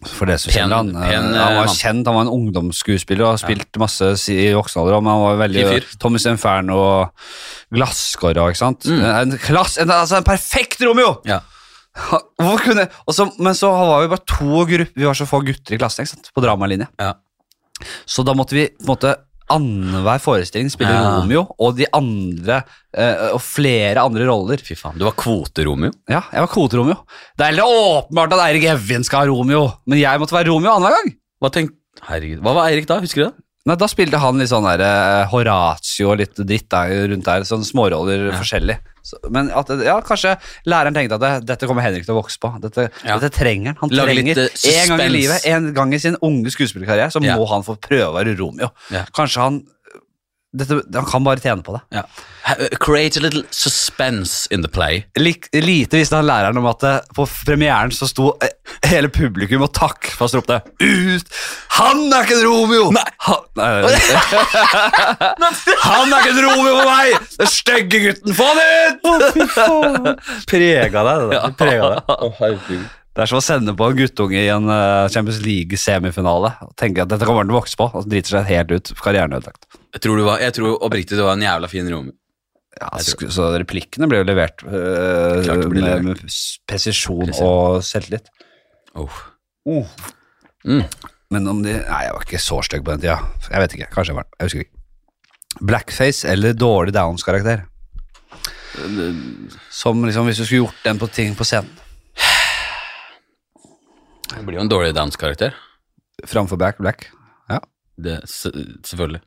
S1: For det som
S2: Pen-
S1: kjenner han. eh,
S2: pen, eh,
S1: han var
S2: mann.
S1: kjent, han var en ungdomsskuespiller og har spilt masse si- i voksen alder. Men han var veldig
S2: Fin fyr.
S1: Tommy Stenfern og glasskåra, ikke sant. En, klass, en, altså en perfekt Romeo!
S2: Mm.
S1: [LAUGHS]
S2: ja.
S1: Ha- Hvorfor kunne og så, Men så var vi bare to grupper, vi var så få gutter i klassen ikke sant? på dramalinje.
S2: Ja.
S1: Så da måtte vi på en måte annenhver forestilling spille
S2: Ja.
S1: Romeo og de andre eh, og flere andre roller.
S2: Fy faen. Du var kvote-Romeo.
S1: Ja, jeg var kvote-Romeo. Det er helt åpenbart at Eirik Evjen skal ha Romeo, men jeg måtte være Romeo annenhver gang.
S2: Hva tenk... Herregud. Hva var Eirik da? Husker du det?
S1: Nei, Da spilte han litt sånn der eh, Horatio og litt dritt der, rundt der. Sånn småroller forskjellig. Så, men at, ja, kanskje læreren tenkte at det, dette kommer Henrik til å vokse på. Dette,
S2: Ja.
S1: dette trenger han. Han
S2: Lage litt,
S1: trenger
S2: eh,
S1: en gang i
S2: suspens.
S1: livet, en gang i sin unge skuespillerkarriere, så
S2: Ja.
S1: må han få prøve å være Romeo.
S2: Ja.
S1: Kanskje han dette, Han kan bare tjene på det.
S2: Ja. uh, Create a little suspense in the play.
S1: Lik, lite visste han læreren om at eh, på premieren så sto eh, hele publikum og takk fast ropte ut. Han er ikke en Romeo! Nei. Han, nei, nei, nei. [LAUGHS] han er ikke en Romeo for meg! Den stygge gutten, få han ut! Prega deg, det der. Prega deg. Det er som å sende på en guttunge i en eh, Champions League-semifinale og tenke at dette kommer han til å vokse på, og så driter seg helt ut. Karrieren er ødelagt.
S2: Jeg tror, du var, jeg tror oppriktig du var en jævla fin Romeo.
S1: Ja, sk- så replikkene ble jo levert eh,
S2: Klart det ble levert.
S1: med, med s- presisjon og selvtillit.
S2: Oh. Mm.
S1: Mm. Men om de Nei, jeg var ikke så stygg på den tida. Jeg vet ikke. Kanskje jeg var det. Jeg husker ikke. Blackface eller dårlig Downs-karakter?
S2: Eh,
S1: Som liksom hvis du skulle gjort den på ting på scenen.
S2: Det blir jo en dårlig Downs-karakter.
S1: Framfor black, black.
S2: Det, s- selvfølgelig.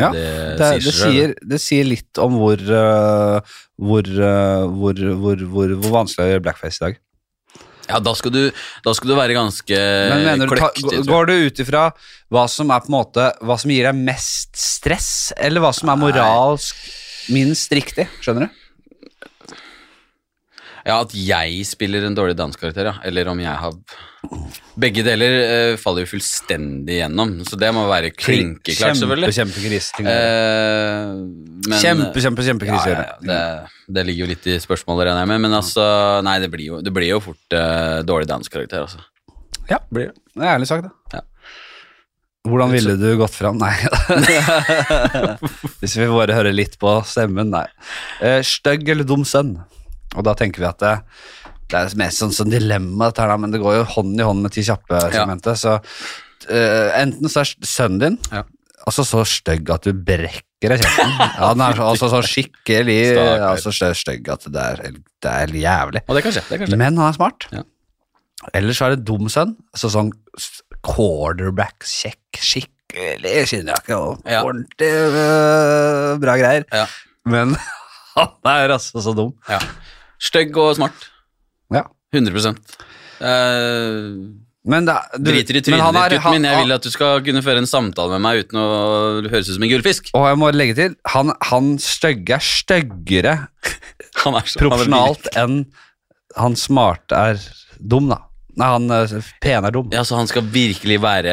S1: Ja,
S2: det,
S1: Det, det,
S2: sier seg selv.
S1: sier, det sier litt om hvor, øh, hvor, øh, hvor, hvor, hvor, hvor vanskelig det er å gjøre blackface i dag.
S2: Ja, da skal, du, da skal du være ganske
S1: Men mener du, ta,
S2: kløktig, Eh, tror jeg.
S1: Går du ut ifra hva som er på en måte Hva som gir deg mest stress, eller hva som er moralsk minst riktig? Skjønner du?
S2: Ja, at jeg spiller en dårlig danskarakter, ja. Eller om jeg har Begge deler eh, faller jo fullstendig gjennom, så det må være klinkeklart,
S1: Kjempe,
S2: selvfølgelig.
S1: kjempegris. ting å gjøre.
S2: Eh, men-
S1: kjempe, kjempe, kjempekrise.
S2: Ja, ja, ja. Det, det ligger jo litt i spørsmålet, regner jeg med. Men altså, nei, det blir jo, det blir jo fort eh, dårlig danskarakter, altså.
S1: Ja, blir det. Det er ærlig sagt, da.
S2: Ja.
S1: Hvordan ville du gått fram? [LAUGHS] Nei. Hvis vi bare hører litt på stemmen, nei. Eh, Stygg eller dum sønn? Og da tenker vi at det, det er mest sånn, sånn dilemma, dette her, da, men det går jo hånd i hånd med ti kjappe-segmentet. Så eh, enten så er sønnen din
S2: Ja.
S1: altså så stygg at du brekker deg i kjeften.
S2: [LAUGHS]
S1: Ja, den er så, altså så skikkelig
S2: Stakkar.
S1: altså, så stygg at det er, det er jævlig.
S2: Og det kan skje. Det kan skje.
S1: Men han er smart.
S2: Ja.
S1: Ellers er det dum sønn. Så sånn s- quarterback, kjekk, skikkelig skinnjakke og
S2: Ja.
S1: ordentlig øh, bra greier.
S2: Ja.
S1: Men [LAUGHS] han er altså så dum.
S2: Ja. Stygg og smart.
S1: Ja.
S2: 100 Eh,
S1: Men, det, er- du-
S2: Driter i
S1: men
S2: trynet
S1: han
S2: ditt,
S1: er-
S2: gutten min. Jeg
S1: han-
S2: vil at du skal kunne føre en samtale med meg uten å høres ut som en gullfisk. [LAUGHS]
S1: Og jeg må legge til, han, han stygge er styggere
S2: Han er så- han er
S1: proporsjonalt enn han smarte er dum, da. Nei, han eh, pene er dum.
S2: Ja, så han skal virkelig være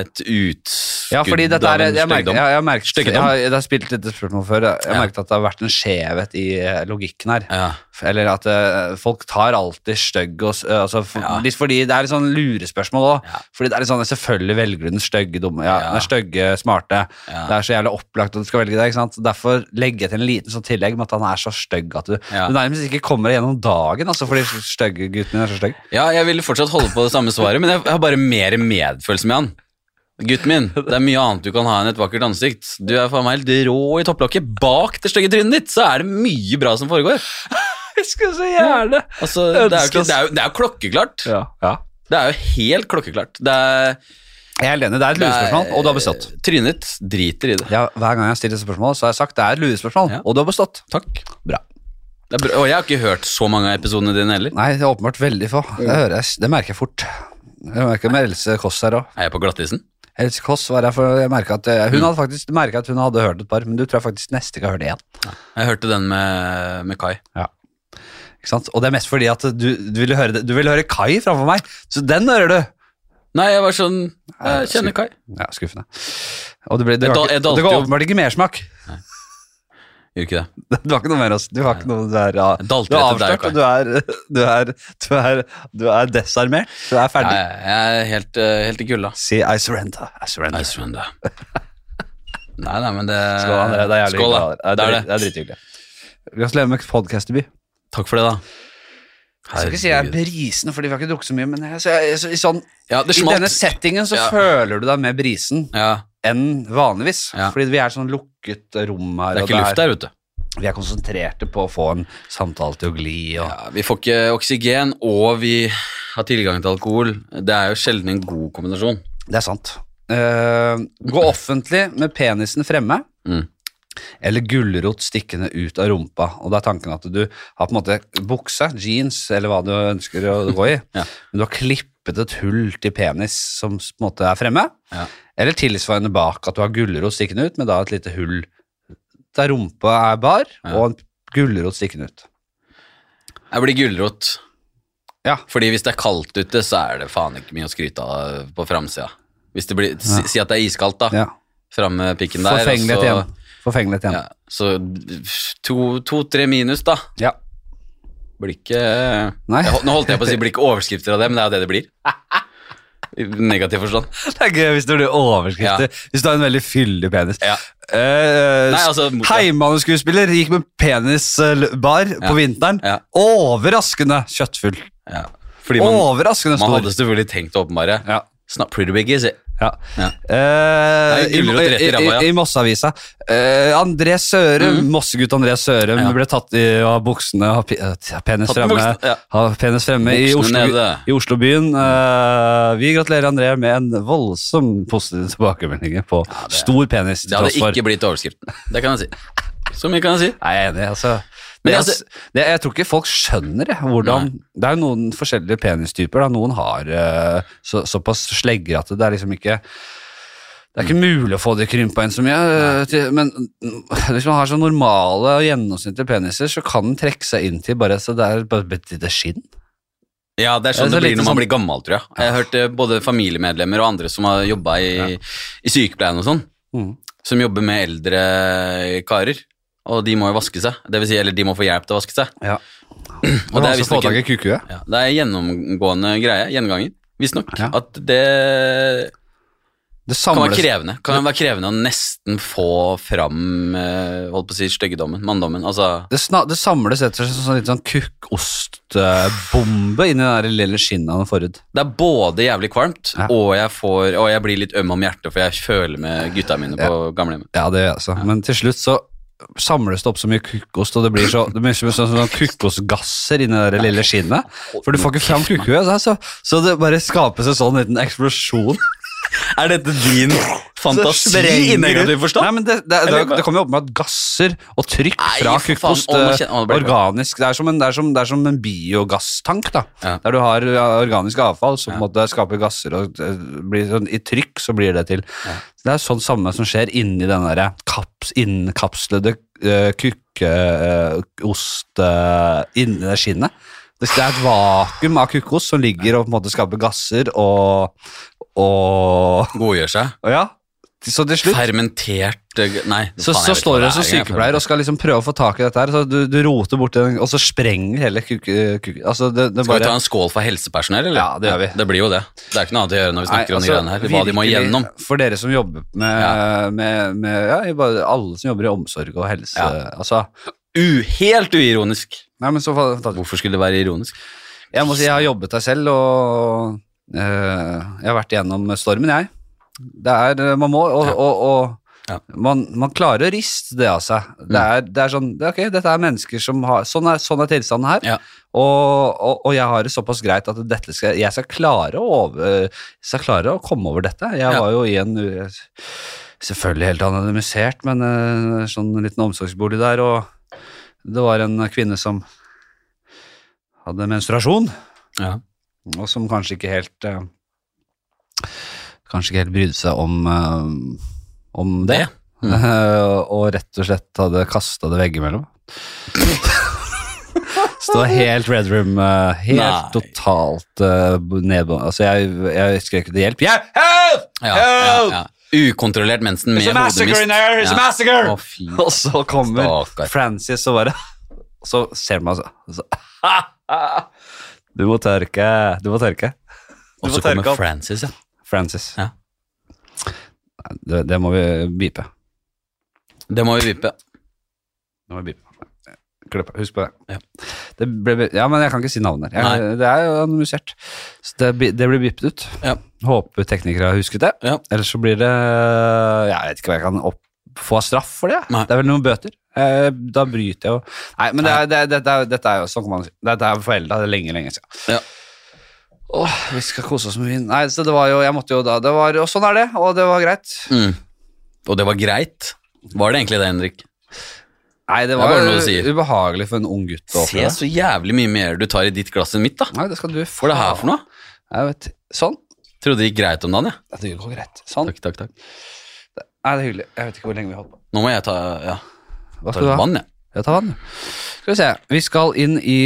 S2: et utskudd
S1: Ja, fordi dette
S2: av
S1: er,
S2: en
S1: jeg merker,
S2: styggdom.
S1: jeg, jeg merker, jeg,
S2: Styggedom.
S1: har, jeg har spilt dette spørsmålet før. Jeg har
S2: Ja.
S1: merket at det har vært en skjevhet i eh, logikken her.
S2: Ja.
S1: Eller at eh, folk tar alltid stygg og s- eh, altså, for,
S2: Ja.
S1: Litt fordi det er litt sånn lurespørsmål òg.
S2: Ja.
S1: Fordi det er litt sånn Selvfølgelig velger du den stygge, dumme ja,
S2: Ja.
S1: Den stygge, smarte.
S2: Ja.
S1: Det er så jævlig opplagt at du skal velge det. ikke sant? Så Derfor legger jeg til en liten sånn tillegg med at han er så stygg at du,
S2: Ja.
S1: du nærmest ikke kommer deg gjennom dagen altså, fordi stygge gutten din er så stygg.
S2: Ja, jeg ville fortsatt holde på det samme svaret, men jeg har bare mer medfølelse med han. Gutten min, det er mye annet du kan ha enn et vakkert ansikt. Du er faen meg helt rå i topplokket. Bak det stygge trynet ditt så er det mye bra som foregår.
S1: Jeg skulle så gjerne
S2: Altså, det, er jo ikke, det, er jo, det er jo klokkeklart.
S1: ja. Ja.
S2: Det er jo helt klokkeklart. Det er,
S1: Jeg er helt enig. Det er et
S2: det er-
S1: lurespørsmål, og du har bestått.
S2: Trynet driter i det.
S1: Ja, Hver gang jeg stiller spørsmål, så har jeg sagt det er et lurespørsmål,
S2: Ja.
S1: og du har bestått.
S2: Takk.
S1: Bra.
S2: Det er bra. Og jeg har ikke hørt så mange av episodene dine heller.
S1: Nei, det er åpenbart veldig få. Det, hører jeg, det merker jeg fort. Jeg merker med Else Kåss her òg.
S2: Er jeg på glattisen?
S1: Else Kåss var her for jeg merket at eh, hun hadde faktisk merket at hun hadde hørt et par, men du tror jeg faktisk nesten ikke har hørt én.
S2: Jeg hørte den med, med Kai.
S1: Ikke sant? Og det er mest fordi at du, du ville høre det. Du ville høre Kai framfor meg, så den hører du.
S2: Nei, jeg var sånn
S1: Nei,
S2: Jeg kjenner Kai.
S1: Ja, skuffende. Og det, ble, det,
S2: Jeg
S1: var
S2: dal-
S1: ikke,
S2: jeg dalte
S1: det ga
S2: jo-
S1: åpenbart ikke mersmak. [LAUGHS]
S2: Gjorde ikke det.
S1: Det var ikke noe mer, altså. Du har ikke noe du er, ja.
S2: Jeg
S1: Du
S2: dalte
S1: er
S2: etter deg,
S1: avslørt,
S2: Kai.
S1: og du er, [LAUGHS] du, er, du, er, du er desarmert. Du er
S2: Ja,
S1: ferdig.
S2: jeg jeg er helt, eh, helt i kulda.
S1: Si I surrender. I surrender.
S2: I surrender.
S1: [LAUGHS]
S2: Nei, nei, men det
S1: Skål, André. Det er jævlig
S2: Skål,
S1: hyggelig.
S2: da.
S1: Det er,
S2: Det
S1: drit-
S2: er
S1: det
S2: det.
S1: er drithyggelig. Gratulerer med podkastdebut.
S2: Takk for det, da.
S1: Jeg skal ikke si jeg er
S2: Herregud.
S1: brisen, fordi vi har ikke drukket så mye, men jeg, så jeg, så, i, sånn,
S2: Ja, det
S1: i
S2: smalt.
S1: denne settingen så
S2: Ja.
S1: føler du deg mer brisen
S2: Ja,
S1: enn vanligvis.
S2: Ja.
S1: Fordi vi er sånn lukket rom her,
S2: det er
S1: og
S2: ikke luft der ute.
S1: vi er konsentrerte på å få en samtale til å gli. Og,
S2: Ja, vi får ikke oksygen, og vi har tilgang til alkohol. Det er jo sjelden en god kombinasjon.
S1: Det er sant. Eh, gå offentlig med penisen fremme.
S2: Mm.
S1: Eller gulrot stikkende ut av rumpa. Og da er tanken at du har på en måte bukse, jeans eller hva du ønsker å gå i,
S2: [LAUGHS] Ja.
S1: men du har klippet et hull til penis som s- på en måte er fremme.
S2: Ja.
S1: Eller tilsvarende bak, at du har gulrot stikkende ut, men da et lite hull der rumpa er bar,
S2: Ja.
S1: og en gulrot stikkende ut.
S2: Jeg blir gulrot.
S1: Ja.
S2: Fordi hvis det er kaldt ute, så er det faen ikke mye å skryte av på framsida. Hvis det blir, si, si at det er iskaldt, da.
S1: Ja.
S2: Fram med pikken der. og
S1: Forfengelighet
S2: så-
S1: igjen. Forfengelighet igjen.
S2: Ja, så to-tre minus, da.
S1: Ja.
S2: Blir ikke
S1: Nei.
S2: Jeg hol- Nå holdt jeg på å si blir ikke overskrifter av det, men det er jo det det blir. I negativ forstand.
S1: Det er gøy hvis det blir overskrifter. Hvis du har en veldig fyldig penis.
S2: Ja.
S1: Eh,
S2: Nei, altså, motsatt.
S1: Heimemanneskuespiller gikk med penisbar på vinteren.
S2: Ja.
S1: Overraskende kjøttfull.
S2: ja. Fordi man,
S1: Overraskende
S2: man
S1: stor.
S2: hadde selvfølgelig tenkt å åpenbare.
S1: Ja.
S2: Snap pretty big, is it?
S1: Ja.
S2: Ja.
S1: Eh,
S2: Det er gulrot rett i
S1: i, i,
S2: ramma, ja. Mm.
S1: i, I Mosseavisa. Eh, André Sørum, Mossegutt André Sørum,
S2: Ja.
S1: ble tatt i av buksene av pe- eh, penis
S2: Tatt med
S1: fremme,
S2: buksene, ja.
S1: av penis fremme i,
S2: Buksene
S1: Oslo,
S2: nede.
S1: i Oslobyen. Eh, vi gratulerer André med en voldsom positiv tilbakemelding på
S2: det-
S1: stor penis. til
S2: Det hadde
S1: tross for-
S2: ikke blitt overskriften. Det kan jeg si. Så mye kan jeg si.
S1: Nei, jeg er enig, altså.
S2: Men
S1: Det,
S2: altså-
S1: det, jeg tror ikke folk skjønner det, hvordan Det er jo noen forskjellige penistyper. Da. Noen har eh, så, såpass slegger at det er liksom ikke Det er ikke mulig å få det krympa inn så mye. eh, til, men mm, hvis man har så normale og gjennomsnittlige peniser, så kan den trekke seg inn til bare så det er bare et lite skinn.
S2: Ja, det
S1: Det er
S2: er sånn
S1: så
S2: det, blir
S1: lite
S2: når man
S1: sånn-
S2: blir gammel, tror jeg. Jeg har hørt eh, både familiemedlemmer og andre som har jobba i, i sykepleien og sånn,
S1: Mhm.
S2: som jobber med eldre karer. Og de må jo vaske seg. Det vil si, eller de må få hjelp til å vaske seg.
S1: Ja.
S2: Og det er
S1: vanskelig å få
S2: visstnok en-
S1: tak i altså kukue.
S2: Ja, det er en gjennomgående greie, gjenganger, visstnok.
S1: Ja.
S2: At det
S1: Det
S2: kan være
S1: samles
S2: krevende Kan være krevende å nesten få fram eh, holdt på å si, styggedommen, manndommen. Altså,
S1: det, sna, det samles rett og slett som en sånn, litt sånn kukkostbombe inni den der lille skinnet av en forhud.
S2: det er både jævlig kvalmt,
S1: Ja.
S2: og, jeg får, og jeg blir litt øm om hjertet, for jeg føler med gutta mine på gamlehjemmet.
S1: Ja, det gjør jeg altså. Men til slutt så samles det opp så mye kukkost, og det blir så, det blir så, så, sånn kukkostgasser inni det der lille skinnet. For du får ikke fram kukkuet, så, så det bare skapes en sånn liten eksplosjon.
S2: Er dette din
S1: Så sprenger det. Nei, men det, det, det,
S2: Eller bare-
S1: det kommer jo opp med at gasser og trykk
S2: Nei,
S1: fra
S2: for faen.
S1: kukkost
S2: Å, nå
S1: eh,
S2: kjen- å, det ble-
S1: organisk det er, som en, det, er som, det er som en biogasstank, da.
S2: Ja.
S1: Der du har ja, organisk avfall som på en måte skaper gasser, og eh, blir sånn, i trykk så blir det til. Det er sånn samme som skjer inni den derre kaps, eh, innenkapslede uh, kukkeost uh, eh, inni det skinnet. Det det er et vakuum av kukkos som ligger og på en måte skaper gasser og, og,
S2: Godgjør seg.
S1: og Ja. Så til slutt
S2: Fermentert eh, Nei.
S1: så, så står du som sykepleier og skal liksom prøve å få tak i dette, her, så du, du roter borti den, og så sprenger hele kukken altså det, det
S2: Skal vi ta
S1: bare,
S2: en skål for helsepersonell, eller?
S1: Ja, det gjør vi.
S2: Det blir jo det. Det er ikke noe annet å gjøre når vi
S1: Nei,
S2: snakker om de
S1: altså,
S2: greiene her. Hva de må
S1: virkelig,
S2: gjennom.
S1: For dere som jobber med,
S2: Ja.
S1: med, med ja, i bare alle som jobber i omsorg og helse.
S2: Ja.
S1: Altså,
S2: U helt uironisk.
S1: nei, men så fantastisk.
S2: Hvorfor skulle det være ironisk?
S1: Jeg må si jeg har jobbet der selv, og eh, jeg har vært igjennom stormen, jeg. Det er, eh, man må, og,
S2: Ja.
S1: og, og
S2: Ja. Mm.
S1: man, man klarer å riste det av seg. Det er, det er sånn, det er, ok, dette er mennesker som har, sånn er, sånn er tilstanden her,
S2: Ja.
S1: og, og, og jeg har det såpass greit at dette skal, jeg skal klare, å over, skal klare å komme over dette. Jeg
S2: Ja.
S1: var jo i en, u- selvfølgelig helt anonymisert, men eh, sånn liten omsorgsbolig der, og det var en kvinne som hadde menstruasjon,
S2: Ja.
S1: og som kanskje ikke helt eh, Kanskje ikke helt brydde seg om, eh, om det.
S2: Det?
S1: Eh, [LAUGHS] og rett og slett hadde kasta det veggimellom. Så det var helt Red Room, eh, helt
S2: Nei.
S1: totalt uh, nedbå... Altså, jeg, jeg skrek etter hjelp. Hjelp! Help!
S2: Ja, ja, ja. Ukontrollert mensen med
S1: It's a massacre in
S2: hodemist.
S1: there! It's
S2: Ja.
S1: a massacre!
S2: Å, fy.
S1: [LAUGHS] Og så kommer
S2: Stakkar.
S1: Francis og bare [LAUGHS] Så [LAUGHS] ser man altså så, Du må tørke, du må tørke. Du
S2: Og
S1: må
S2: så
S1: tørke
S2: kommer
S1: opp.
S2: Francis, ja.
S1: Francis.
S2: Ja.
S1: Nei, Det, det må vi bipe.
S2: Det må vi vippe.
S1: Det må vi bipe. Eh, Klipp, husk på det.
S2: Ja.
S1: Det ble, ja, men jeg kan ikke si navnet her. Jeg, det er jo anonymisert. Så det, bi- det blir bipet ut.
S2: Ja.
S1: Håper teknikere har husket det.
S2: Ja.
S1: Ellers så blir det eh, Jeg vet ikke hva jeg kan opp, få av straff for det.
S2: Nei.
S1: Det er vel noen bøter. Eh, da bryter jeg jo Nei, men det er, det, det, det er, dette er jo sånn kan man si. Dette er forelda. Det er lenge, lenge siden.
S2: Ja.
S1: Åh, vi skal kose oss med vin. Nei, så det var jo Jeg måtte jo da det var, Og sånn er det, og det var greit.
S2: Mm. Og det var greit. Var det egentlig det, Henrik?
S1: Nei, det
S2: er
S1: var
S2: bare noe
S1: jo
S2: du sier.
S1: ubehagelig for en ung gutt å
S2: Se
S1: oppleve.
S2: så jævlig mye mer du tar i ditt glass enn mitt, da.
S1: Nei, det skal du
S2: Hva er det her for noe?
S1: Jeg vet, sånn.
S2: Trodde det gikk greit om dagen, jeg.
S1: Ja, Det går greit. Sånn.
S2: Takk, takk, takk.
S1: Nei, det er hyggelig. Jeg vet ikke hvor lenge vi har holdt på.
S2: Nå må jeg ta, ja,
S1: Hva skal
S2: ta
S1: du
S2: litt
S1: ha?
S2: vann, jeg.
S1: Jeg tar vann. Skal vi se. Vi skal inn i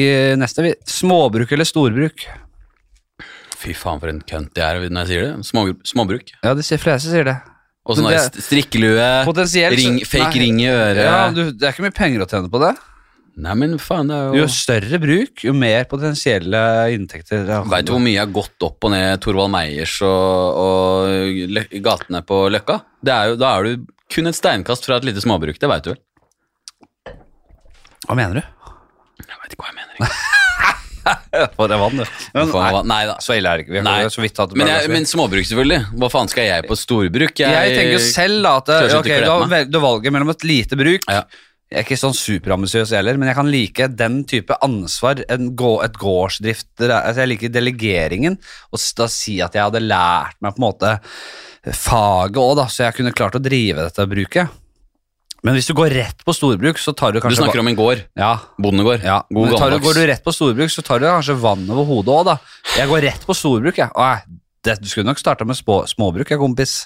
S1: neste. vi- Småbruk eller storbruk?
S2: Fy faen, for en kønt jeg er når jeg sier det. Små, småbruk.
S1: Ja, de sier- fleste sier det.
S2: Og sånn
S1: Men
S2: der
S1: det-
S2: st- strikkelue,
S1: Potensielt
S2: ring, fake eh. ring i øret.
S1: Ja, du, Det er ikke mye penger å tjene på det.
S2: Nei, men faen, det er
S1: Jo
S2: jo
S1: større bruk, jo mer potensielle inntekter. har
S2: Veit du hvor
S1: man.
S2: mye jeg har gått opp og ned Thorvald Meyers og, og lø- gatene på Løkka? Det er jo, da er du kun et steinkast fra et lite småbruk, det veit du vel?
S1: Hva mener du?
S2: [LAUGHS] Jeg veit ikke hva jeg
S1: [LAUGHS]
S2: mener.
S1: For det er vann, du. Men, nei,
S2: Nei da.
S1: så ille er det ikke. Vi har
S2: Nei.
S1: så vidt tatt det
S2: Men,
S1: bra,
S2: jeg,
S1: så vi-
S2: men småbruk, selvfølgelig. Hva faen skal jeg på storbruk?
S1: Jeg tenker jo selv da at
S2: Klarer ikke å
S1: ok, du,
S2: klare
S1: har, vel- du valget mellom et lite bruk
S2: Ja.
S1: Jeg er ikke sånn superambisiøs heller, men jeg kan like den type ansvar, en gå, et gårdsdrift det er- altså Jeg liker delegeringen, og s- da si at jeg hadde lært meg på en måte faget òg, da, så jeg kunne klart å drive dette bruket. Men hvis du går rett på storbruk, så tar du
S2: Du
S1: kanskje
S2: snakker om en gård.
S1: ja,
S2: Bondegård.
S1: ja.
S2: God
S1: men tar du, Går du
S2: gammeldags.
S1: rett på storbruk, så tar du kanskje vann over hodet òg, da. Jeg går rett på storbruk, jeg. Å, nei, det, du skulle nok starta med spå, småbruk, jeg, kompis.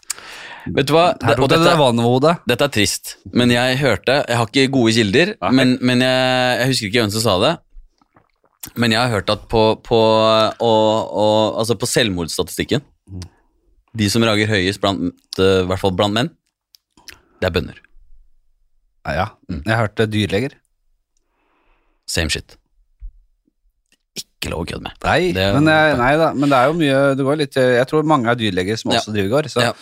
S2: Vet du hva?
S1: Her
S2: og
S1: tok du
S2: dette,
S1: det vannet over hodet.
S2: Dette er trist, men jeg hørte Jeg har ikke gode kilder,
S1: Nei.
S2: men, men jeg, jeg husker ikke hvem som sa det. Men jeg har hørt at på, på, og, og, altså på selvmordsstatistikken De som rager høyest, blant, eh, i hvert fall blant menn, det er bønder.
S1: Ja, ja. jeg hørte dyrleger.
S2: Same shit. Ikke lov å kødde med.
S1: Nei,
S2: Det er-
S1: men, jeg, nei da, men det er jo mye det går litt, Jeg tror mange er dyrleger som
S2: Ja.
S1: også driver gård. Så
S2: Ja.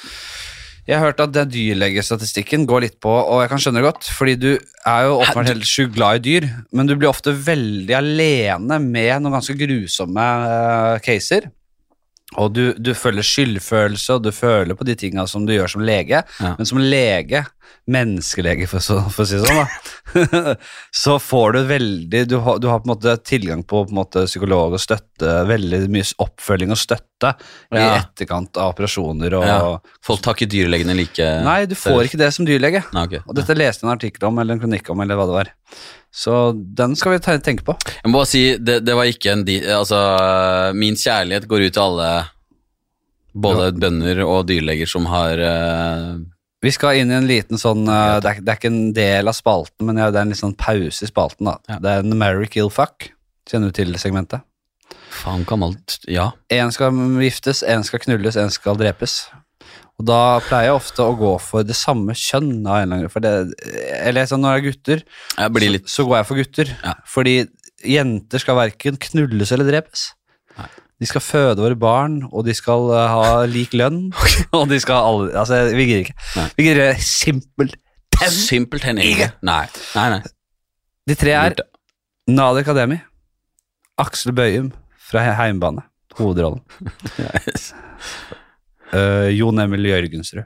S1: jeg har hørt at det dyrlegestatistikken går litt på, og jeg kan skjønne det godt, fordi du er jo
S2: Hæ,
S1: åpenbart
S2: du-
S1: helt sjukt glad i dyr, men du blir ofte veldig alene med noen ganske grusomme eh, caser. Og du, du føler skyldfølelse, og du føler på de tinga som du gjør som lege.
S2: Ja.
S1: Men som lege, menneskelege for, så, for å si det sånn, da, [LAUGHS] så får du veldig Du har, du har på en måte tilgang på, på en måte, psykolog og støtte, veldig mye oppfølging og støtte i
S2: Ja.
S1: etterkant av operasjoner og
S2: Ja. Folk tar ikke dyrlegene like
S1: Nei, du får ikke det som dyrlege.
S2: Nei, ok.
S1: Og dette leste jeg en artikkel om, eller en kronikk om, eller hva det var. Så den skal vi te- tenke på.
S2: Jeg må bare si, det, det var ikke en di... Altså, min kjærlighet går ut til alle både bønder og dyrleger som har eh,
S1: Vi skal inn i en liten sånn eh, det, er, det er ikke en del av spalten, men ja, det er en litt sånn pause i spalten. da.
S2: Ja.
S1: Det er en Mary Kill Fuck. Kjenner du til segmentet?
S2: Faen, gammelt Ja.
S1: Én skal giftes, én skal knulles, én skal drepes. Og da pleier jeg ofte å gå for det samme kjønn. av en eller annen grunn, For det, eller sånn når det er gutter,
S2: Jeg blir litt
S1: så går jeg for gutter.
S2: Ja.
S1: Fordi jenter skal verken knulles eller drepes.
S2: Nei.
S1: De skal føde våre barn, og de skal eh, ha lik
S2: [LAUGHS]
S1: lønn. Og de skal alle Altså, vi gidder ikke.
S2: Nei.
S1: Vi gidder simpelthen.
S2: Simpelthen ikke. Nei. Nei, nei.
S1: De tre er
S2: Lurt, ja.
S1: Nader Kademi, Aksel Bøyum fra He- Heimbane,
S2: [LAUGHS]
S1: hovedrollen. Eh, Jon Emil Jørgensrud,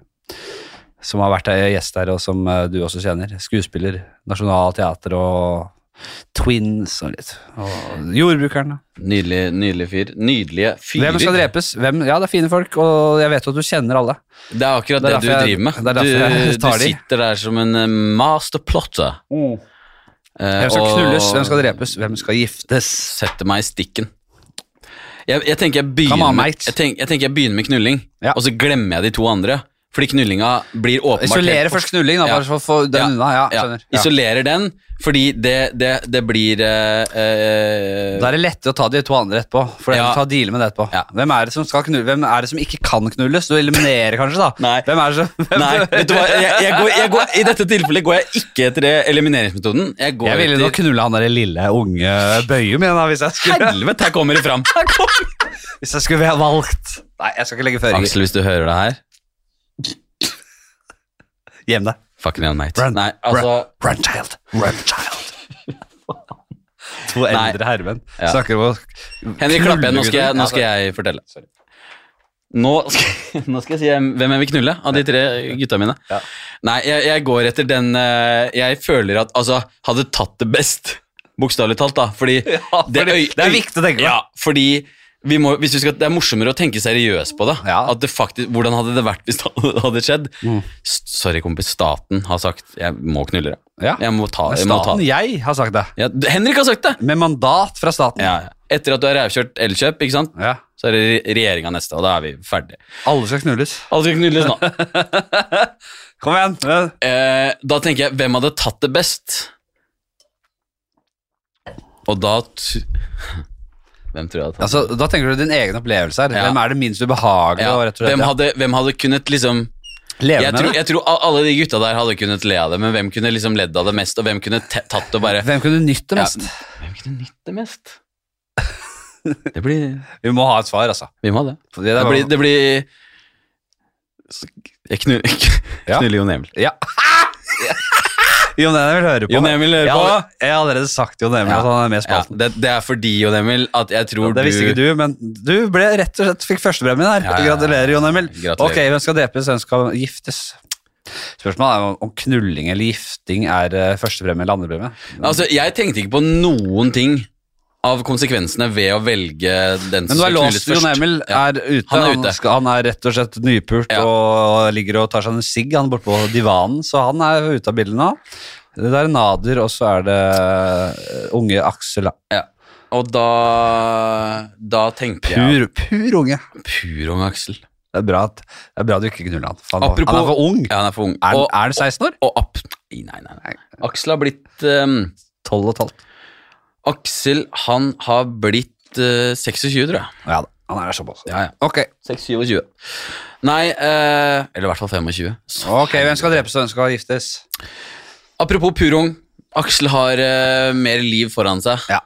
S1: som har vært her- gjest her, og som eh, du også kjenner. Skuespiller, Nasjonal Teater og Twins og litt. Og Jordbrukeren. da.
S2: Nydelig, nydelig fyr. Nydelige fyrer.
S1: Hvem skal drepes? Hvem? Ja, det er fine folk, og jeg vet jo at du kjenner alle.
S2: Det er akkurat
S1: Det
S2: det,
S1: er
S2: du
S1: derfor jeg-
S2: driver med.
S1: det er derfor
S2: du,
S1: jeg tar
S2: du
S1: de.
S2: sitter der som en eh, masterplotter. Eh,
S1: Hvem skal
S2: Mm. og
S1: knulles? Hvem skal drepes? Hvem skal giftes?
S2: Setter meg i stikken. Jeg, jeg, tenker jeg, begynner
S1: Come on,
S2: med,
S1: mate.
S2: jeg, tenk, jeg tenker jeg begynner med knulling,
S1: Ja.
S2: og så glemmer jeg de to andre. Fordi knullinga blir åpenbart
S1: Isolere
S2: helt-
S1: først knulling, da,
S2: Ja.
S1: bare for å få
S2: Ja,
S1: den unna. Ja,
S2: ja.
S1: skjønner. Ja.
S2: Isolerer den, fordi det, det, det blir eh, eh,
S1: Da er det lettere å ta de to andre etterpå. For ja.
S2: Ja.
S1: ta deale med det etterpå
S2: Ja.
S1: Hvem er det som skal knulle? Hvem er det som ikke kan knulles? Du eliminerer kanskje, da.
S2: Nei.
S1: Hvem er det som [LAUGHS] hvem,
S2: Nei, vet du hva? Jeg, jeg går, jeg går, I dette tilfellet går jeg ikke etter det elimineringsmetoden. Jeg går
S1: Jeg ville nok
S2: etter
S1: knulle han der lille unge Bøyum igjen, da, hvis jeg skulle,
S2: Helvete, her kommer det fram!
S1: hvis jeg skulle ha valgt. Nei, jeg skal ikke legge føringer.
S2: Aksel, hvis du hører det her
S1: Gjem deg.
S2: Fucking hell, mate.
S1: Run,
S2: Nei, altså
S1: run, run, child. Run,
S2: [LAUGHS]
S1: child. To
S2: Nei.
S1: eldre herremenn
S2: Ja.
S1: snakker om å
S2: Henrik Klappe,
S1: knulle
S2: nå skal jeg,
S1: gutter.
S2: nå skal jeg fortelle. Nå skal, nå skal jeg si hvem- hvem jeg vil knulle av de tre gutta mine.
S1: Ja.
S2: Nei, jeg, jeg går etter den eh, Jeg føler at Altså, hadde tatt det best. Bokstavelig talt, da. Ah,
S1: [LAUGHS]
S2: Fordi
S1: Ja, for det,
S2: øy-
S1: det er
S2: øy-
S1: viktig å tenke på.
S2: Ja, fordi vi må, hvis vi skal, Det er morsommere å tenke seriøst på det.
S1: Ja.
S2: At det faktisk, hvordan hadde det vært hvis det hadde skjedd?
S1: Mm.
S2: S- Sorry, kompis. Staten har sagt jeg må knulle deg.
S1: Ja.
S2: Jeg må ta,
S1: Det er
S2: jeg må ta.
S1: Staten, jeg har sagt det.
S2: Ja, d- Henrik har sagt det!
S1: Med mandat fra staten.
S2: Ja, ja. Etter at du har rævkjørt Elkjøp, ikke sant?
S1: Ja.
S2: så er det re- regjeringa neste, og da er vi ferdige.
S1: Alle skal knulles.
S2: Alle skal knulles nå.
S1: Kom igjen.
S2: Eh, da tenker jeg, hvem hadde tatt det best? Og da t [LAUGHS] Hvem tror jeg hadde tatt
S1: Altså, da tenker du din egen opplevelse her.
S2: Ja.
S1: Hvem er det minst ubehagelige?
S2: ja,
S1: og rett og slett,
S2: hvem, hadde, hvem hadde kunnet liksom
S1: ja. leve
S2: jeg
S1: med
S2: tror,
S1: det?
S2: jeg tror a- alle de gutta der hadde kunnet le av det, men hvem kunne liksom ledd av det mest, og hvem kunne te- tatt det og bare
S1: Hvem kunne nytt det
S2: Ja.
S1: mest?
S2: Hvem kunne nytt det mest? Det blir
S1: Vi må ha et svar, altså.
S2: Vi må ha det.
S1: For [LAUGHS] det
S2: Det
S1: der var-
S2: blir, det blir Jeg knu- [LAUGHS]
S1: Ja.
S2: knuller Jon Emil.
S1: Ja. Jon Emil hører på.
S2: Jon Emil hører
S1: Jeg
S2: på.
S1: har allerede- Jeg har allerede sagt Jon Emil
S2: Ja.
S1: at han er med i
S2: Ja,
S1: spalten.
S2: det, det er fordi, Jon Emil, at jeg tror
S1: Det visste ikke du, men du ble rett og slett fikk førstepremien her.
S2: Ja, ja, ja.
S1: Gratulerer, Jon Emil.
S2: Gratulerer.
S1: Ok, hvem skal drepes, hvem skal giftes? Spørsmålet er om- om knulling eller gifting er eh, førstepremie eller andrepremie.
S2: Altså, jeg tenkte ikke på noen ting av konsekvensene ved å velge den
S1: Men
S2: som
S1: du er
S2: skal knulles
S1: låst.
S2: først.
S1: Jon Emil
S2: Ja.
S1: er ute.
S2: Han er
S1: Han,
S2: ute.
S1: skal, han er rett og slett nypult
S2: Ja.
S1: og ligger og tar seg en sigg han bortpå divanen, så han er ute av bildet nå. Det der er Nader, og så er det eh, unge Aksel. da.
S2: Og da, da tenker jeg
S1: Pur, pur unge.
S2: Pur ung Aksel.
S1: Det er bra at, det er bra at du ikke knuller han. for Han,
S2: Apropos-
S1: han er for ung.
S2: Ja, han er for ung.
S1: Er,
S2: og,
S1: er det 16 år?
S2: og ap... Nei, nei, nei. nei. Aksel har blitt ehm,
S1: 12 og et halvt.
S2: Aksel, han har blitt eh, 26, tror jeg.
S1: Ja da, han er såpass.
S2: Ja, ja.
S1: Ok,
S2: 26. Nei, eh, eller i hvert fall 25. Så
S1: ok, hvem skal drepes og hvem skal giftes?
S2: Apropos purung. Aksel har eh, mer liv foran seg.
S1: Ja.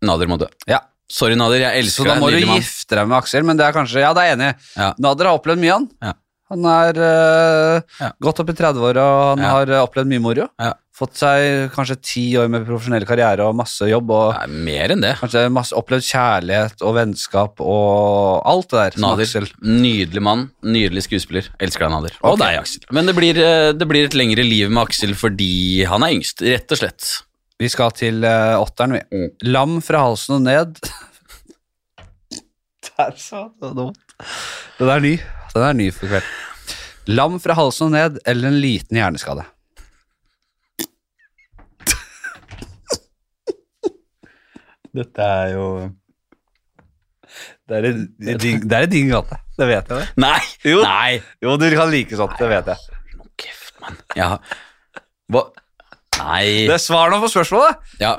S2: Nader må dø.
S1: Ja,
S2: Sorry, Nader. Jeg
S1: Så
S2: elsker
S1: da
S2: deg,
S1: må du
S2: lille mann.
S1: gifte deg med Aksel, men det er kanskje Ja, det er jeg enig. i.
S2: Ja.
S1: Nader har opplevd mye, han.
S2: Ja.
S1: Han er øh,
S2: Ja.
S1: godt opp i 30-åra, og han
S2: Ja.
S1: har øh, opplevd mye moro.
S2: Ja.
S1: Fått seg kanskje ti år med profesjonell karriere og masse jobb, og
S2: Nei, mer enn det.
S1: kanskje masse opplevd kjærlighet og vennskap og alt det der. som
S2: Nader.
S1: Aksel.
S2: Nydelig mann. Nydelig skuespiller. Elsker deg, Nader. Og
S1: Ok.
S2: deg, Aksel. Men det blir, eh, det blir et lengre liv med Aksel fordi han er yngst, rett og slett.
S1: Vi skal til øh, åtteren, vi.
S2: Mm.
S1: Lam fra halsen og ned. [LAUGHS] det er så dumt. Den er ny. Den er ny for kveld. Lam fra halsen og ned eller en liten hjerneskade.
S2: Dette er jo
S1: Det er i- i din- det er i din gate. Det vet jeg. det.
S2: Nei!
S1: Jo.
S2: Nei!
S1: Jo, du kan like sånt. Det vet jeg.
S2: Nå Kjeft, mann. Ja. Hva Nei.
S1: Det er svar nå på spørsmålet.
S2: Ja.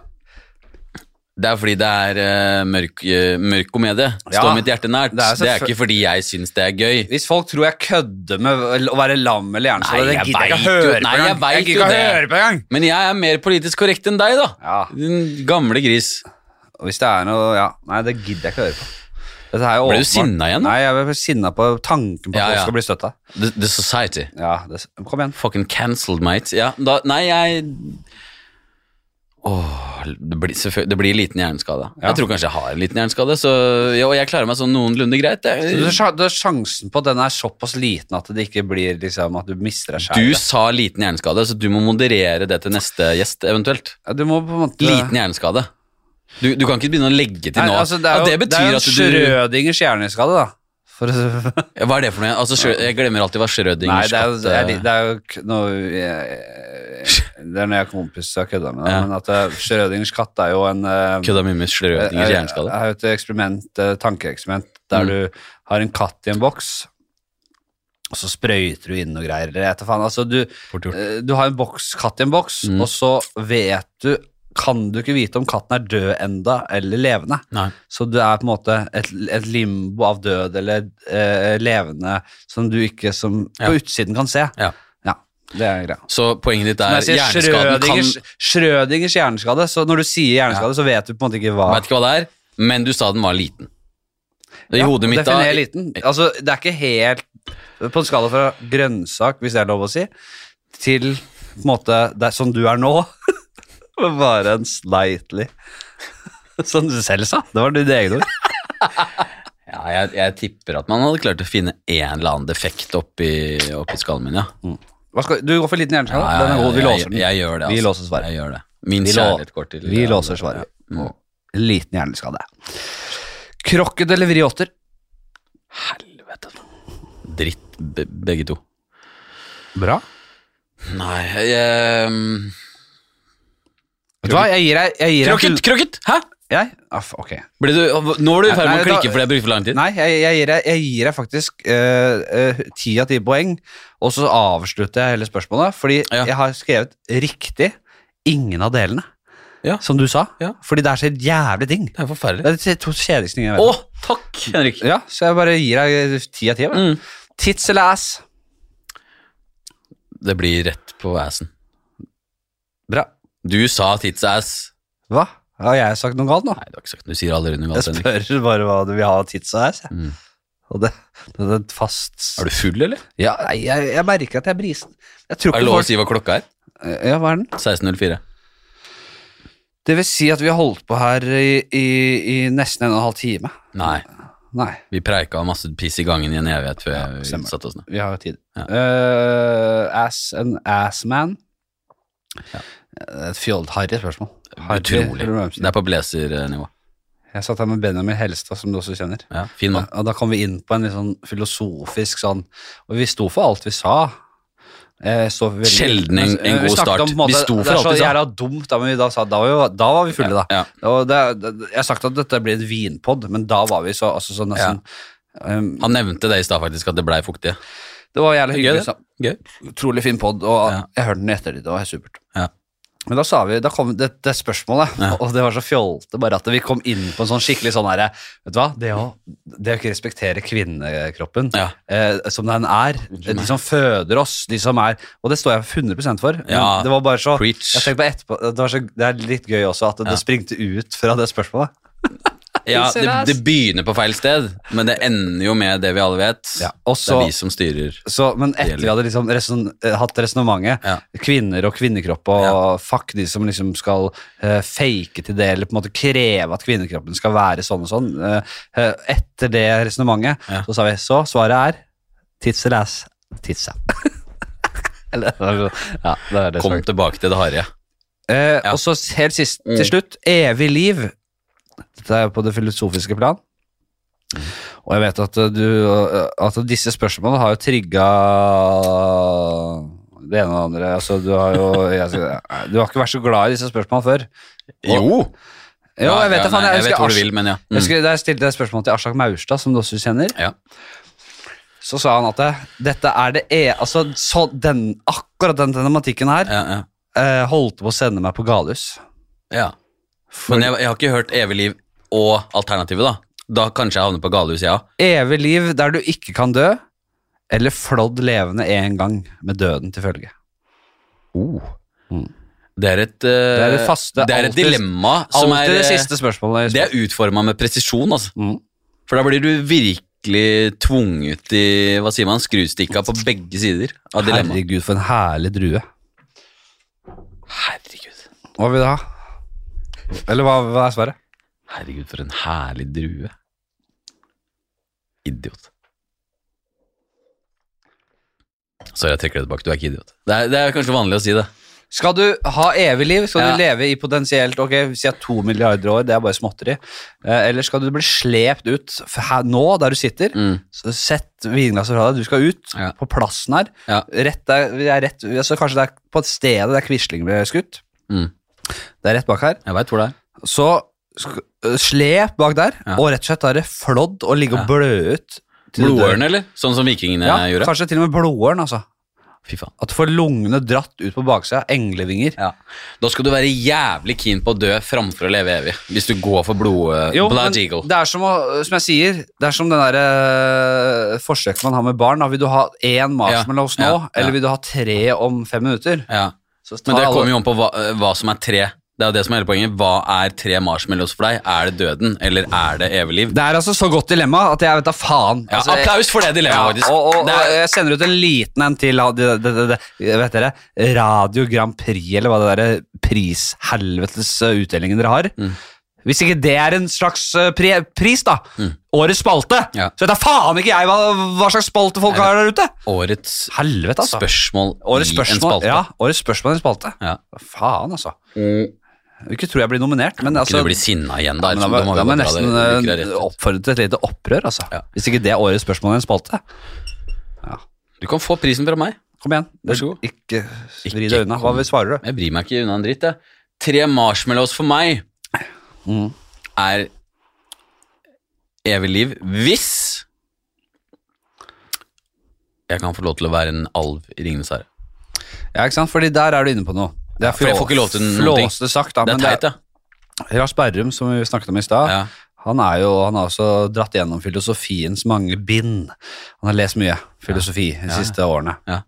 S2: Det er fordi det er eh, mørk, eh, mørk komedie. Står
S1: Ja.
S2: mitt hjerte nært.
S1: Det
S2: Det
S1: er
S2: er,
S1: selvfø-
S2: ikke fordi jeg syns det er gøy.
S1: Hvis folk tror jeg kødder med vel- å være lam eller hjerneskada,
S2: Nei,
S1: det
S2: jeg
S1: gidder jeg ikke å
S2: vet jo-
S1: høre på
S2: nei, jeg
S1: engang.
S2: vet
S1: Jeg gidder ikke
S2: jo
S1: å
S2: det.
S1: høre på engang.
S2: Men jeg er mer politisk korrekt enn deg, da.
S1: Ja.
S2: Din gamle gris.
S1: Og Hvis det er noe Ja, nei, det gidder jeg ikke å høre på. Dette er jo
S2: Ble du
S1: åpenbart-
S2: sinna igjen, da?
S1: Nei, jeg ble sinna på tanken på at
S2: Ja,
S1: folk
S2: ja.
S1: skal bli støtta.
S2: The, the Society.
S1: Ja, det, kom igjen.
S2: Fucking cancelled, mate. Ja, da, nei, jeg Åh, det blir, selvfø- det blir liten hjerneskade.
S1: Ja.
S2: Jeg tror kanskje jeg har en liten hjerneskade, så, ja, og jeg klarer meg sånn noenlunde greit.
S1: Så Du,
S2: Jeg,
S1: sja- du, sjansen på at den er såpass liten at det ikke blir liksom at du mister deg
S2: du
S1: sjæl.
S2: sa liten hjerneskade, så du må moderere det til neste gjest, eventuelt.
S1: Ja, du må på en måte
S2: Liten hjerneskade. Du, du kan ikke begynne å legge til
S1: Nei,
S2: nå.
S1: altså, det er jo,
S2: ja, det betyr
S1: jo
S2: at du
S1: Schrødingers hjerneskade, da. For, å-
S2: Ja, Hva er det for noe? Altså, Schrø- jeg glemmer alltid hva
S1: nei,
S2: Schrødingers
S1: det er, jo- det er,
S2: katt,
S1: li-
S2: eh,
S1: det er jo k- noe jeg- Det er når jeg og kompis har kødda med det,
S2: Ja.
S1: men at eh, Schrødingers katt er jo en eh,
S2: Kødda mye med Schrødingers
S1: Det
S2: hjerneskade.
S1: er jo et eksperiment, eh, tankeeksperiment, der
S2: Mm.
S1: du har en katt i en boks, og så sprøyter du inn noe greier, eller etter faen. Altså, du,
S2: Fort gjort.
S1: eh, du har en boks, katt i en boks,
S2: Mm.
S1: og så vet du, kan du ikke vite om katten er død enda, eller levende.
S2: Nei.
S1: Så du er på en måte et, et limbo av død, eller eh, levende, som du ikke som,
S2: Ja.
S1: på utsiden kan se.
S2: Ja.
S1: Ja, det er greia.
S2: Så poenget ditt
S1: Når
S2: er
S1: jeg sier
S2: hjerneskaden kan
S1: Schrødingers, Schrødingers hjerneskade, så når du sier hjerneskade, så vet du på en måte ikke hva
S2: Vet ikke hva det er, men du sa den var liten. I
S1: Ja,
S2: hodet mitt da
S1: definer liten. Altså, det er ikke helt På en skala fra grønnsak, hvis det er lov å si, til på en måte det er som du er nå, [LAUGHS] men bare en slightly [LAUGHS] Som du selv sa. Det var ditt eget ord.
S2: ja, jeg, jeg tipper at man hadde klart å finne en eller annen defekt oppi, oppi skallen min, ja.
S1: Hva skal, du går for liten hjerneskade.
S2: Ja, ja,
S1: Den er god. Vi
S2: jeg-
S1: låser den.
S2: Jeg, jeg gjør det, altså.
S1: Vi låser svaret.
S2: Jeg gjør det. Min
S1: Vi lå-
S2: kjærlighet går til
S1: Vi låser svaret.
S2: Mm.
S1: Og Liten hjerneskade. Krokket eller vriotter?
S2: Helvete. Dritt, be, begge to.
S1: Bra.
S2: Nei, jeg um,
S1: Vet du hva, jeg gir deg jeg gir deg
S2: Krokket,
S1: full-
S2: krokket! Hæ?
S1: Jeg? Aff, ok.
S2: Ble du, nå var du i ferd med
S1: Nei, da-
S2: å klikke fordi jeg brukte for lang tid.
S1: Nei, jeg, jeg, gir, deg, jeg gir deg faktisk eh, eh, ti av ti poeng, og så avslutter jeg hele spørsmålet. Fordi
S2: Ja.
S1: jeg har skrevet riktig ingen av delene,
S2: Ja.
S1: som du sa.
S2: Ja.
S1: Fordi det er så jævlig ting.
S2: Det er
S1: Det
S2: forferdelig.
S1: er de to kjedeligste tingene jeg vet
S2: Å,
S1: om.
S2: takk, Henrik.
S1: Ja, så jeg bare gir deg eh, ti av ti. jeg.
S2: Mm.
S1: Tits eller ass?
S2: Det blir rett på assen.
S1: Bra.
S2: Du sa titsass.
S1: Hva? Har jeg sagt noe galt nå?
S2: Nei, du har ikke sagt Du sier aldri noe
S1: Jeg
S2: galt, Henrik.
S1: spør bare hva du vil ha av tits og ass. jeg.
S2: Mm.
S1: Og det, det er et fast
S2: Er du full, eller?
S1: ja, nei, jeg, jeg merker at jeg er brisen. Jeg tror
S2: Er
S1: ikke
S2: det lov å
S1: folk
S2: si hva klokka er?
S1: Ja, hva er den?
S2: 16.04.
S1: Det vil si at vi har holdt på her i, i, i nesten en og en halv time.
S2: Nei,
S1: Nei,
S2: vi preika masse piss i gangen i en evighet før
S1: Ja,
S2: vi
S1: stemmer.
S2: satte oss ned.
S1: vi har jo tid.
S2: Ja.
S1: Eh, ass an assman. Et fjold, harry spørsmål.
S2: Utrolig.
S1: Harry.
S2: Det er på blazernivå.
S1: Jeg satt her med Benjamin Helstad, som du også kjenner.
S2: Ja, fin mann.
S1: Og da kom vi inn på en litt sånn filosofisk sånn Og vi sto for alt vi sa. Eh, så veldig-
S2: Sjelden en- en
S1: Vi snakket
S2: god
S1: om,
S2: start.
S1: på en måte,
S2: Vi sto for
S1: det er
S2: alt vi
S1: så
S2: sa.
S1: jævla dumt, da, men vi da, sa, da, var vi, da var vi fulle, da.
S2: Ja.
S1: Og det, det, jeg har sagt at dette blir en vinpod, men da var vi så, altså, så nesten um,
S2: Han nevnte det i stad, faktisk, at det blei fuktige.
S1: Det var jævlig
S2: Gøy,
S1: hyggelig.
S2: det.
S1: så-
S2: Gøy.
S1: Utrolig fin pod, og
S2: Ja.
S1: jeg hørte den i ettertid. Det var helt supert.
S2: Ja.
S1: Men da sa vi, da kom det, det spørsmålet,
S2: Ja.
S1: og det var så fjolte bare at vi kom inn på en sånn skikkelig sånn herre Vet du hva, det å, det å ikke respektere kvinnekroppen
S2: Ja.
S1: eh, som den er, de som føder oss, de som er Og det står jeg 100 for. men
S2: Ja,
S1: Det var bare så
S2: preach.
S1: Jeg tenkte på etterpå, det, var så, det er litt gøy også at det,
S2: Ja.
S1: springte ut fra det spørsmålet.
S2: Ja, det,
S1: Titsass.
S2: det begynner på feil sted, men det ender jo med det vi alle vet.
S1: Ja, og
S2: det
S1: så-
S2: er vi som styrer.
S1: Så, men etter vi hadde liksom reson, eh, hatt resonnementet,
S2: Ja.
S1: kvinner og kvinnekropp og fuck de som liksom skal eh, fake til det, eller på en måte kreve at kvinnekroppen skal være sånn og sånn, eh, eh, etter det resonnementet,
S2: Ja.
S1: så sa vi så svaret er tits eller ass, titsa. [LAUGHS] eller, ja, det er det som
S2: Kom
S1: er.
S2: tilbake til det harde.
S1: Eh,
S2: Ja.
S1: Og så helt sist, til
S2: Mm.
S1: slutt, evig liv. Dette er på det filosofiske plan. Og jeg vet at, eh, du, eh, at disse spørsmålene har jo trigga det ene og det andre. Altså, du har jo jeg, skal- Du har ikke vært så glad i disse spørsmålene før.
S2: Jo!
S1: Jo, jeg vet, det, faen,
S2: nei,
S1: jeg,
S2: jeg vet
S1: husker
S2: hvor du
S1: Ars-
S2: vil, men ja.
S1: jeg
S2: Mm.
S1: husker da jeg stilte et spørsmål til Aslak Maurstad, som du også kjenner.
S2: Ja.
S1: Så sa han at det, dette er det e... Altså, så den, akkurat den tematikken her
S2: Ja, ja.
S1: eh, holdt på å sende meg på galehus.
S2: ja. Men jeg, jeg har ikke hørt Evig liv og alternativet, da. Da kanskje jeg havner på galehus, jeg ja. òg.
S1: Evig liv der du ikke kan dø, eller flådd levende en gang med døden til følge.
S2: Det er et, eh,
S1: Oh. Mm. Det er det faste,
S2: det er et
S1: alltid-
S2: dilemma som er
S1: Alltid det
S2: eh,
S1: siste spørsmålet.
S2: Det er utforma med presisjon, altså.
S1: Mm.
S2: For da blir du virkelig tvunget i hva sier man, skrustikka på begge sider av dilemmaet.
S1: Herregud, for en herlig drue.
S2: Herregud.
S1: Hva vil du ha? Eller hva, hva er svaret?
S2: Herregud, for en herlig drue. Idiot. Sorry, jeg trekker det tilbake. Du er ikke idiot. Det er, det er kanskje vanlig å si det.
S1: Skal du ha evig liv? Skal
S2: Ja.
S1: du leve i potensielt ok, si at to milliarder år? Det er bare småtteri. Eh, eller skal du bli slept ut f- her, nå, der du sitter?
S2: Mm.
S1: Så sett vinglasset fra deg. Du skal ut
S2: Ja.
S1: på plassen her.
S2: Ja.
S1: Rett der, vi er rett, altså kanskje det er på et sted der Quisling ble skutt.
S2: Mm.
S1: Det er rett bak her.
S2: Jeg veit hvor det er.
S1: Så sk- øh, slep bak der,
S2: Ja.
S1: og rett og slett da er det flådd og ligge og blø ut. til du dør.
S2: Blodørn, eller? Sånn som vikingene
S1: Ja,
S2: gjorde?
S1: kanskje til og med blodåren, altså.
S2: Fy faen.
S1: At du får lungene dratt ut på baksida. Englevinger.
S2: Ja. Da skal du være jævlig keen på å dø framfor å leve evig. Hvis du går for blod... eh,
S1: Jo,
S2: blood
S1: men
S2: eagle.
S1: det er som, å, som jeg sier, det er som den der øh, forsøket man har med barn. Da vil du ha én marshmallows
S2: Ja,
S1: nå,
S2: ja, ja.
S1: eller vil du ha tre om fem minutter?
S2: Ja.
S1: Så tar
S2: Men det
S1: alle-
S2: kommer jo an på hva, eh, hva som er tre. Det er jo det som er hele poenget. Hva er tre marshmallows for deg? Er det døden, eller er det evig liv?
S1: Det er altså så godt dilemma at jeg vet da faen.
S2: Ja,
S1: altså, jeg-
S2: applaus for det dilemmaet, faktisk.
S1: og, og,
S2: det
S1: og
S2: er,
S1: jeg sender ut en liten en til av det, det, det, det, vet dere, Radio Grand Prix, eller hva det der prishelvetes eh, utdelingen dere har.
S2: Mm.
S1: Hvis ikke det er en slags eh, pri, pris, da, årets spalte,
S2: Mm. Ja.
S1: så vet da faen ikke jeg hva, hva slags spalte folk har der ute!
S2: årets
S1: Helvete, altså.
S2: spørsmål
S1: Årets
S2: i en
S1: spørsmål,
S2: spalte.
S1: ja, årets spørsmål i en spalte.
S2: Ja.
S1: Hva Faen, altså. Jeg vil Ikke tror jeg blir nominert, men
S2: Kunne
S1: altså
S2: Mm. du bli sinna igjen da?
S1: ja, men da
S2: Ellers
S1: må
S2: må
S1: da må
S2: vi
S1: jeg
S2: bare dra
S1: nesten
S2: det- ryker det
S1: eh,
S2: rett ut.
S1: oppfordre til et lite opprør, altså.
S2: Ja.
S1: Hvis ikke det er årets spørsmål i en spalte.
S2: Du kan få prisen fra meg.
S1: Kom igjen.
S2: Vær så god.
S1: Ikke vri
S2: Ikke
S1: deg unna. Hva vil svarer du?
S2: Jeg bryr meg ikke unna en dritt, jeg. Tre marshmallows for meg
S1: Mm.
S2: er evig liv hvis jeg kan få lov til å være en alv i Ringenes herre.
S1: Ja, ikke sant? Fordi der er du inne på noe. Det er
S2: for jeg får ikke lov til noen ting.
S1: flåste sagt, da.
S2: Det er
S1: men
S2: teit, ja.
S1: er- Lars Berrum, som vi snakket om i stad,
S2: ja.
S1: han er jo, han har også dratt gjennom filosofiens mange bind. Han har lest mye filosofi de siste årene.
S2: Ja.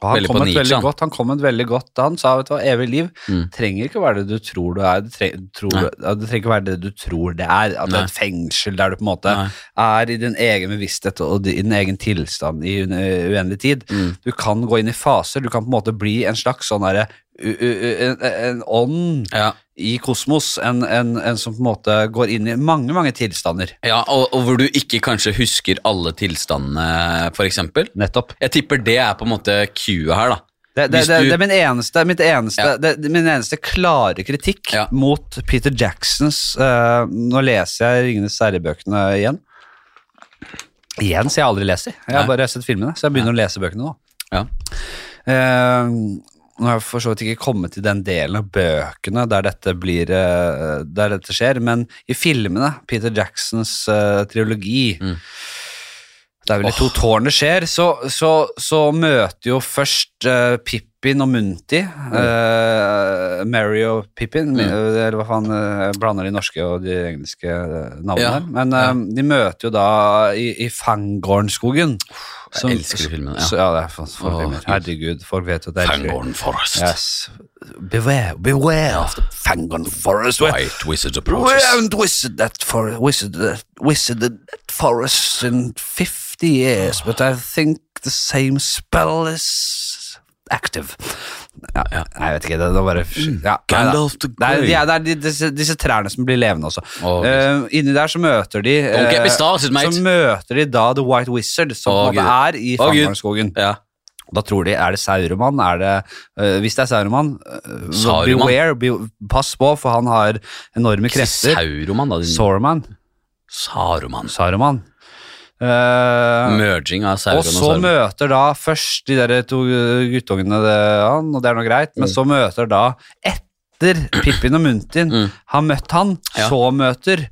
S1: Og han
S2: Veldig
S1: kom,
S2: på
S1: et
S2: Nietzsche,
S1: veldig
S2: han.
S1: godt, han kom et veldig godt da han sa vet du hva, evig liv
S2: Mm.
S1: trenger ikke være det du tror du er. Det, tre, tror,
S2: Nei.
S1: ja, det trenger ikke være det du tror det er. At det
S2: Nei.
S1: er et fengsel der du på en måte
S2: Nei.
S1: er i din egen bevissthet og di- i din egen tilstand i un- uendelig tid.
S2: Mm.
S1: Du kan gå inn i faser. Du kan på en måte bli en slags sånn derre u- u- u- en, en ånd
S2: ja.
S1: i kosmos. En, en, en som på en måte går inn i mange, mange tilstander.
S2: Ja, og, og hvor du ikke kanskje husker alle tilstandene, for eksempel.
S1: Nettopp.
S2: Jeg tipper det er på en måte Q-et her, da.
S1: Det, det,
S2: Hvis
S1: det,
S2: du-
S1: det er min eneste, mitt eneste,
S2: Ja.
S1: det, det- min eneste klare kritikk
S2: Ja.
S1: mot Peter Jacksons eh, Nå leser jeg Ringenes herre-bøkene igjen. Igjen, så jeg aldri leser. Jeg har
S2: Nei.
S1: bare sett filmene, så jeg begynner å lese bøkene nå.
S2: Ja.
S1: Eh, nå har jeg for så vidt ikke kommet til den delen av bøkene der dette, blir, eh, der dette skjer, men i filmene, Peter Jacksons eh, triologi
S2: Mm.
S1: Det er vel i to tårn det skjer, så, så, så møter jo først eh, Pippin og Munti. eh, Mary og Pippin,
S2: Mm.
S1: eh, eller hva faen eh, Jeg blander de norske og de engelske eh, navnene
S2: Ja,
S1: her. Men eh, de møter jo da i, i Fangornskogen. som-
S2: elsker de filmene, ja.
S1: Så, ja, det er for, for
S2: Åh,
S1: filmer.
S2: Gud.
S1: Herregud, folk vet jo at det er
S2: Fangorn Forest.
S1: Yes. Beware, beware of the Fangorn Forest. where-
S2: White Wizard
S1: Beware
S2: Approaches.
S1: and wizard that for wizard that wizard that forest in fifty years, but I think the same spell is active. Ja, Nei, jeg vet ikke, det, det var bare ja, nei da.
S2: Mm. Gandalf the
S1: Nei,
S2: Grey.
S1: de er- det er de, disse, disse trærne som blir levende også.
S2: Åh,
S1: Eh, inni der så møter de
S2: Don't get me
S1: eh,
S2: started, mate.
S1: Så møter de da The White Wizard, som
S2: Åh,
S1: på en måte er
S2: Gud.
S1: i
S2: Åh, Gud.
S1: Fangornskogen.
S2: Ja.
S1: Da tror de, er det Sauroman? Er det, øh, hvis det er Sauroman, øh,
S2: Saruman.
S1: beware, be, pass på, for han har enorme krefter.
S2: Sauroman, da. Din
S1: Sauroman.
S2: Saruman.
S1: Saruman. Eh,
S2: Merging av Sauron
S1: og
S2: og
S1: så
S2: Saruman.
S1: møter da først de der to øh, guttungene det, han, og det er nå greit,
S2: Mm.
S1: men så møter da etter Pippin og Muntin
S2: Mm.
S1: har møtt han,
S2: Ja.
S1: så møter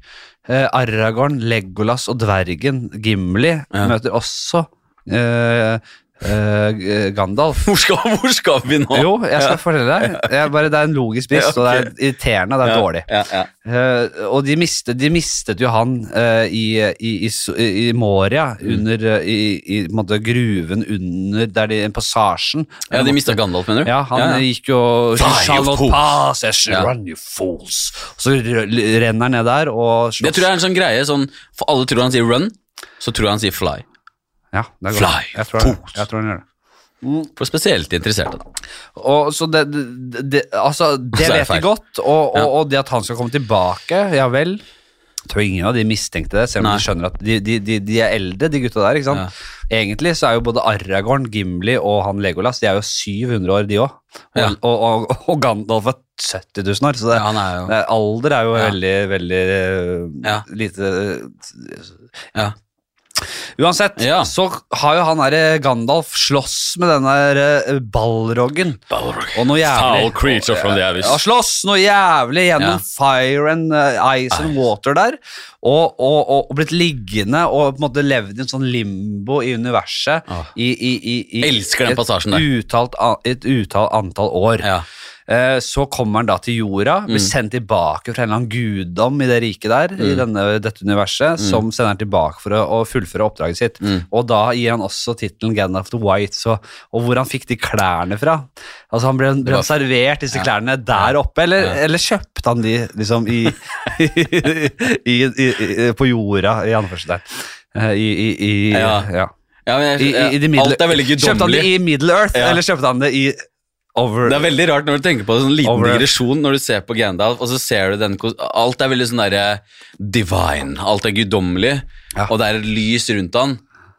S1: eh, Aragorn, Legolas og dvergen Gimli
S2: Ja.
S1: møter også eh, eh, G- Gandalf.
S2: Hvor skal, hvor skal vi nå?
S1: Jo, jeg skal fortelle deg. Jeg bare, det er en logisk brist,
S2: Ja, ok.
S1: og det er irriterende. Det er
S2: Ja,
S1: dårlig.
S2: Ja, ja.
S1: Eh, og de mistet, de mistet jo han eh, i, i, i, s- i Moria,
S2: Mm.
S1: under eh, i, i på en måte, gruven under der de, passasjen.
S2: ja, de mista Gandalf, mener du?
S1: Ja, han
S2: ja, ja.
S1: gikk jo
S2: Die,
S1: «You shall
S2: you
S1: not
S2: fools!»
S1: pass, I shall
S2: Ja.
S1: run, you fools. Og så r- renner han ned der og slåss.
S2: Det tror jeg er en sånn greie sånn For alle tror han sier run, så tror jeg han sier fly.
S1: Ja, det er godt.
S2: Fly,
S1: jeg tror,
S2: fools.
S1: jeg tror han gjør det.
S2: For spesielt interesserte. da.
S1: Og så det, det, det, altså, det
S2: er det
S1: vet de
S2: feil.
S1: godt, og, og,
S2: Ja.
S1: og det at han skal komme tilbake, ja vel. Jeg tror ingen av de mistenkte det, selv om
S2: Nei.
S1: de skjønner at de, de, de, de er eldre, de gutta der. ikke sant? Egentlig så er jo både Aragorn, Gimli og han Legolas de er jo 700 år, de òg. Og,
S2: Ja.
S1: og, og, og Gandalf er 70 000 år, så det,
S2: Ja, han er jo
S1: det, alder er jo
S2: Ja.
S1: veldig, veldig eh,
S2: Ja.
S1: lite
S2: Ja.
S1: Uansett,
S2: Ja.
S1: så har jo han derre Gandalf slåss med den der eh, ballroggen. Og noe jævlig
S2: Foul creature from the abyss.
S1: Ja, slåss noe jævlig gjennom
S2: Ja.
S1: fire and eh, ice and
S2: Ice.
S1: water der. Og, og, og, og blitt liggende og på en måte levd i en sånn limbo i universet
S2: Ah.
S1: i, i, i, i
S2: Elsker den
S1: et
S2: passasjen der.
S1: Uttalt, an- et utall antall år.
S2: Ja.
S1: Eh, Så kommer han da til jorda,
S2: Mm.
S1: blir sendt tilbake fra en eller annen guddom i det riket der, i denne, dette
S2: Mm.
S1: universet, som sender han tilbake for å, å fullføre oppdraget sitt. Og da gir han også tittelen Gandalf the White, så, og hvor han fikk de klærne fra. Altså Han ble, ble
S2: var-
S1: han servert disse klærne der oppe, eller, eller kjøpte han de liksom i, [LAUGHS] i, i, i, i På jorda, i anførselstegn. Eh, I, i, i,
S2: Ja.
S1: ja.
S2: Ja, men
S1: I,
S2: jeg,
S1: i, i de middle,
S2: alt er veldig
S1: Kjøpte han det
S2: guddommelig.
S1: i Middle Earth,
S2: Ja.
S1: eller kjøpte han det i Over...
S2: Det er veldig rart når du tenker på det, sånn liten
S1: Over-
S2: digresjon når du ser på Gandalf, og så ser du den kos- Alt er veldig sånn derre divine. Alt er guddommelig,
S1: Ja.
S2: og det er et lys rundt han.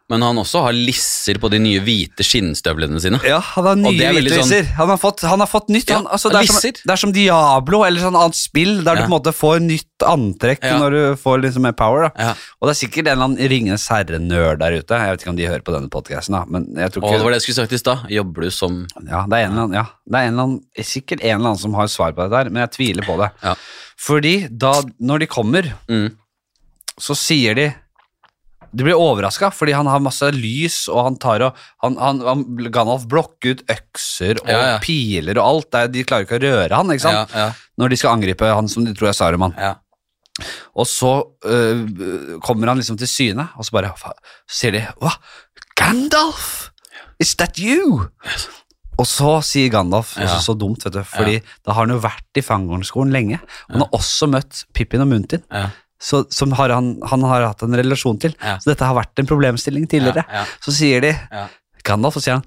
S2: Men han også har lisser på de nye hvite skinnstøvlene sine.
S1: Ja, han har nye
S2: Og det er veldig sånn-
S1: hvitviser. Han, har fått- han har fått nytt.
S2: Ja,
S1: han, altså, det, er som,
S2: lisser.
S1: det er som Diablo eller sånn annet spill, der du
S2: Ja.
S1: på en måte får nytt antrekk
S2: Ja.
S1: når du får liksom mer power. Da.
S2: Ja.
S1: Og det er sikkert en eller annen Ringenes herre-nerd der ute. Jeg vet ikke om de hører på denne podcasten da, men jeg tror
S2: Og det
S1: ikke
S2: var det jeg skulle sagt i stad. Jobber du som
S1: ja, det er, en eller annen, ja, det er en eller annen, sikkert en eller annen som har svar på dette, her, men jeg tviler på det.
S2: Ja.
S1: Fordi da, når de kommer,
S2: Mm.
S1: så sier de De blir overraska, fordi han har masse lys, og han tar og han, han, han, Gandalf blokker ut økser og
S2: Ja, ja.
S1: piler og alt. Det er- De klarer ikke å røre han ikke sant?
S2: Ja,
S1: når de skal angripe han som de tror er Saruman.
S2: ja, ja.
S1: Og så øh, kommer han liksom til syne, og så bare fa- så sier de Hva? Gandalf? Is that you? Og så sier Gandalf
S2: Ja.
S1: også så dumt, vet du, fordi da har han jo vært i Fangornskolen lenge. Og han har også møtt Pippin og Muntin,
S2: Ja.
S1: så, som har han, han har hatt en relasjon til.
S2: Ja.
S1: Så dette har vært en problemstilling tidligere.
S2: Ja, ja.
S1: Så sier de
S2: Ja.
S1: Gandalf, og sier han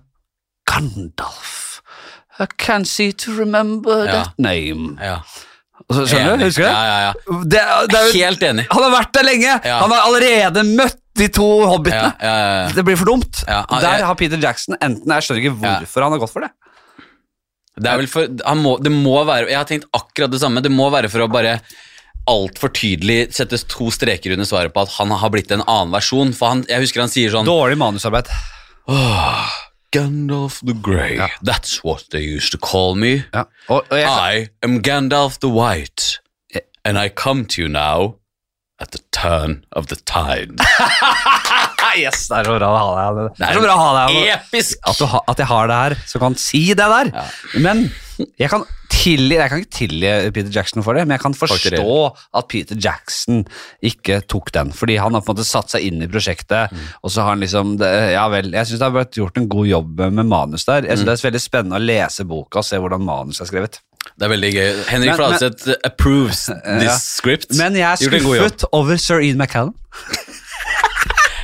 S1: Gandalf. I can't see to remember
S2: Ja.
S1: that name.
S2: ja.
S1: Og så, skjønner du?
S2: Enig.
S1: Husker du?
S2: Ja, ja, ja.
S1: Det, er- det er jo
S2: Helt enig.
S1: han har vært der lenge!
S2: Ja.
S1: Han har allerede møtt de to
S2: Ja,
S1: hobbitene.
S2: ja, ja, ja.
S1: Det blir for dumt.
S2: Ja, han-
S1: Der
S2: jeg-
S1: har Peter Jackson enten Jeg skjønner ikke hvorfor han har gått for det.
S2: Det er vel for han må, Det må være Jeg har tenkt akkurat det samme. Det må være for å bare altfor tydelig settes to streker under svaret på at han har blitt en annen versjon. For han, jeg husker han sier sånn
S1: Dårlig manusarbeid.
S2: Gandalf the Grey, that's what they used to call me.
S1: Ja. Og, og jeg,
S2: I am Gandalf the White, and I come to you now at the turn of the
S1: [LAUGHS]
S2: tide.
S1: Ah, yes, det er så bra å ha deg Det er
S2: Nei.
S1: så bra å ha deg
S2: Episk!
S1: At, du ha, at jeg har det her, så kan si det der. Men jeg kan, tilgi, jeg kan ikke tilgi Peter Jackson for det, men jeg kan forstå at Peter Jackson ikke tok den. Fordi han har på en måte satt seg inn i prosjektet,
S2: Mm.
S1: og så har han liksom det, Ja vel. Jeg syns det har vært gjort en god jobb med manus der. Jeg synes
S2: Mm.
S1: Det er veldig spennende å lese boka og se hvordan manus er skrevet.
S2: Det er veldig gøy.
S1: Men-
S2: Henrik
S1: men-
S2: Fladseth uh, approves
S1: [LAUGHS]
S2: this
S1: Ja.
S2: script.
S1: Men jeg er
S2: Gjort en god jobb.
S1: skuffet over sir Ian McCallan,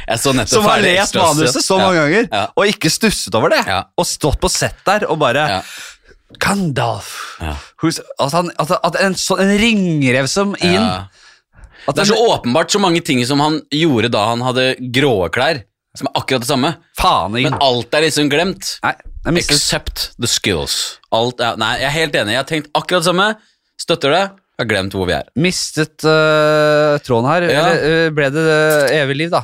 S2: Jeg så nettopp
S1: som har
S2: ferdig
S1: lest
S2: Extras,
S1: manuset så
S2: ja.
S1: mange ganger,
S2: Ja.
S1: og ikke stusset over det.
S2: Ja.
S1: Og stått på sett der og bare
S2: Ja.
S1: Gandalf
S2: Ja.
S1: Who's- at, han, at, at en, sånn- en ringrev som Ian
S2: Ja.
S1: at
S2: Det er
S1: han-
S2: så åpenbart så mange ting som han gjorde da han hadde grå klær, som er akkurat det samme.
S1: Faen, Ian.
S2: Men alt er liksom glemt.
S1: Nei, jeg mistet
S2: Except the skills. Alt er, nei, jeg er helt enig. Jeg har tenkt akkurat det samme. Støtter det. Jeg har glemt hvor vi er.
S1: Mistet øh, tråden her.
S2: Ja.
S1: Eller øh, ble det øh, evig liv, da?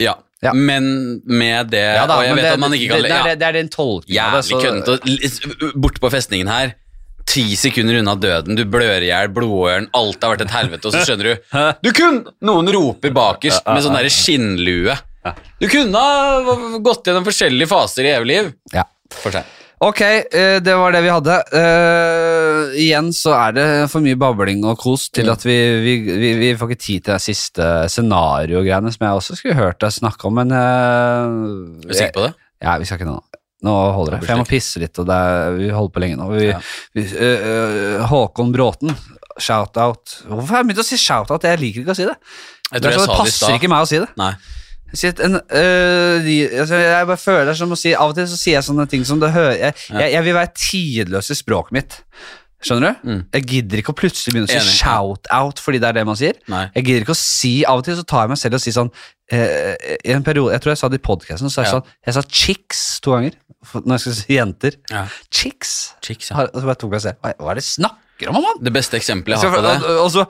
S2: Ja.
S1: Ja.
S2: Men med det
S1: Ja da,
S2: Og jeg
S1: men
S2: vet
S1: det,
S2: at man ikke
S1: det, det,
S2: kan ja,
S1: er, det er den tolkningen av det.
S2: Jævlig køddent. og l- Borte på festningen her. Ti sekunder unna døden, du blør i hjel, blodåren, alt har vært et helvete, og så skjønner du Du kun! Noen roper bakerst med sånn derre skinnlue. Du kunne ha gått gjennom forskjellige faser i evig liv.
S1: Ja.
S2: For seg.
S1: Ok, eh, det var det vi hadde. Eh, igjen så er det for mye babling og kos
S2: Mm.
S1: til at vi, vi, vi, vi får ikke tid til det siste scenario-greiene som jeg også skulle hørt deg snakke om, men
S2: Er
S1: eh,
S2: du sikker på det?
S1: Ja, vi skal ikke nå. Nå holder det. For jeg må pisse litt, og det er, vi holder på lenge nå. Vi,
S2: Ja.
S1: vi, øh, øh, Håkon Bråten, shout-out. Hvorfor har jeg begynt å si shout-out? Jeg liker ikke å si det. det,
S2: Jeg tror
S1: er
S2: jeg
S1: sånn, det
S2: sa det i
S1: passer
S2: stad.
S1: ikke meg å si det.
S2: Nei.
S1: Jeg, sier at en, øh, de, altså, jeg bare føler det er som å si Av og til så sier jeg sånne ting som det hører Jeg, jeg, jeg vil være tidløs i språket mitt. Skjønner du?
S2: Mm.
S1: Jeg gidder ikke å plutselig begynne å si
S2: Enig.
S1: shout-out fordi det er det man sier.
S2: Nei.
S1: Jeg gidder ikke å si, Av og til så tar jeg meg selv og sier sånn eh, I en periode, Jeg tror jeg sa det i podkasten. Så er det
S2: Ja.
S1: sånn, jeg sa chicks to ganger for- når jeg skulle si jenter.
S2: Ja.
S1: Chicks!
S2: Chicks, ja.
S1: Har, og så bare tok jeg og se, hva hva er det jeg snakker om, mann?
S2: Det beste eksempelet jeg
S1: Skal-
S2: har på det
S1: og- og så,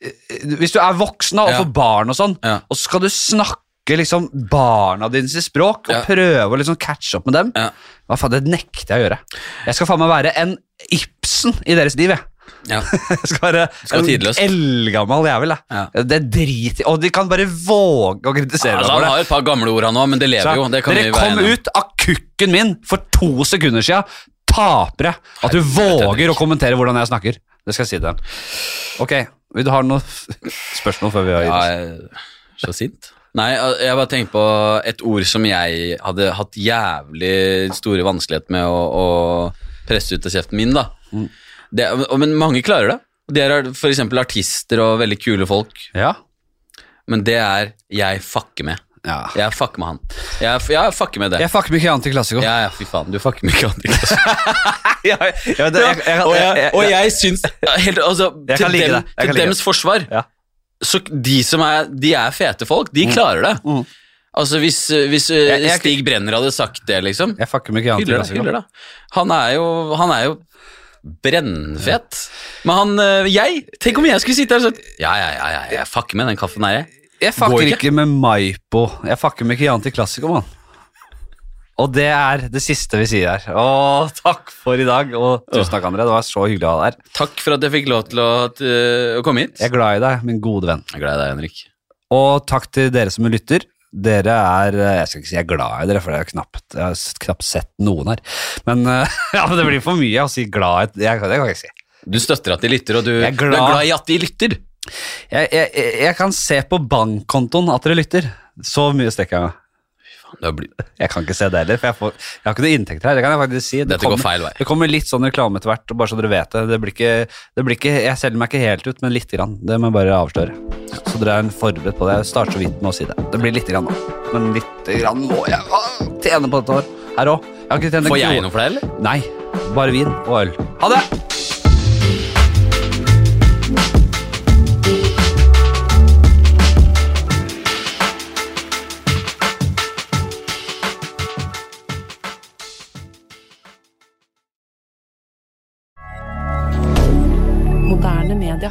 S1: eh, Hvis du er voksen da, og
S2: Ja.
S1: får barn og sånn,
S2: Ja.
S1: og så skal du snakke liksom barna dine sitt språk og
S2: Ja.
S1: prøve å liksom catche opp med dem,
S2: Ja.
S1: hva faen, det nekter jeg å gjøre. Jeg skal faen meg være en Ibsen i deres liv, jeg. [LAUGHS]
S2: ja.
S1: Jeg skal være
S2: skal være
S1: en
S2: tidløst.
S1: eldgammel jævel. jeg.
S2: Ja.
S1: Det driter Og de kan bare våge å kritisere
S2: Altså,
S1: meg for
S2: han
S1: det.
S2: har et par gamle ord, han òg, men det lever
S1: Så
S2: jo. Det kan
S1: Dere
S2: vi være
S1: kom
S2: enige om.
S1: ut av kukken min for to sekunder siden. Tapere. At du
S2: Helvete,
S1: våger å
S2: Henrik.
S1: kommentere hvordan jeg snakker. Det skal jeg si til dem. Ok, vil du ha noen f- spørsmål før vi har gitt
S2: Ja,
S1: oss?
S2: jeg- så sint. Nei, jeg jeg bare tenkte på et ord som jeg hadde hatt jævlig store vanskeligheter med å, å presse ut av kjeften min, da. Det, og- men mange klarer det. De er for eksempel artister og veldig kule folk,
S1: Ja.
S2: men det er 'jeg fucker med'.
S1: ja.
S2: Jeg fucker med han. Jeg, jeg fucker med det.
S1: Jeg fucker mye annet i klassiko.
S2: Ja, ja, fy faen, du fucker med ikke andre.
S1: [LAUGHS] Ja, ja, det- jeg- jeg-
S2: og, jeg,
S1: jeg- [LAUGHS]
S2: og
S1: jeg-
S2: jeg syns helt, altså,
S1: Jeg kan
S2: Til,
S1: like det.
S2: dem,
S1: Jeg kan
S2: til
S1: like
S2: dems forsvar
S1: Ja.
S2: Så de som er, de er fete folk, de klarer det.
S1: Mm.
S2: Altså Hvis, hvis eh,
S1: Jeg- jeg-
S2: Stig Brenner hadde sagt det, liksom
S1: Jeg fucker mye annet i
S2: Hyller det.
S1: klassiko.
S2: Hyller det. Han, er jo, han er jo brennfet. Men han eh, Jeg! Tenk om jeg skulle sitte her og sagt Ja, ja, ja, ja, jeg fucker med den kaffen her, jeg.
S1: Jeg
S2: Går
S1: fucker
S2: ikke.
S1: ikke med Maipo. Jeg fucker med Chianti Classico, mann. Og det er det siste vi sier her. Å, takk for i dag, og tusen takk, André. Det var så hyggelig å ha deg her.
S2: Takk for at jeg fikk lov til å, til å komme hit.
S1: Jeg er glad i deg, min gode venn.
S2: Jeg er glad i deg, Henrik.
S1: Og takk til dere som lytter. Dere er eh, Jeg skal ikke si jeg er glad i dere, for jeg har knapt, jeg har s- knapt sett noen her. Men eh, [LAUGHS] ja, men det blir for mye å si glad i jeg, Det kan jeg ikke si.
S2: Du støtter at de lytter, og du,
S1: Jeg er glad.
S2: du er glad i at de lytter.
S1: Jeg, jeg, jeg- jeg kan se på bankkontoen at dere lytter. Så mye stikker jeg meg.
S2: Det blir,
S1: Jeg kan ikke se det heller, for jeg, får, jeg har ikke noe inntekter her. Det kan jeg faktisk si. Det
S2: Dette går feil vei.
S1: Det kommer litt sånn reklame etter hvert, bare så dere vet det. det, blir ikke, det blir ikke, jeg selger meg ikke helt ut, men lite grann. Det må jeg bare avsløre. Så dere er forberedt på det. Jeg starter så vidt med å si det. Det blir lite grann nå. Men lite grann må jeg ah, tjene på dette år. Her òg. Jeg har ikke tjent en
S2: får jeg
S1: krone.
S2: noe for det, eller?
S1: Nei. Bare vin og øl. Ha det!
S7: Moderne media.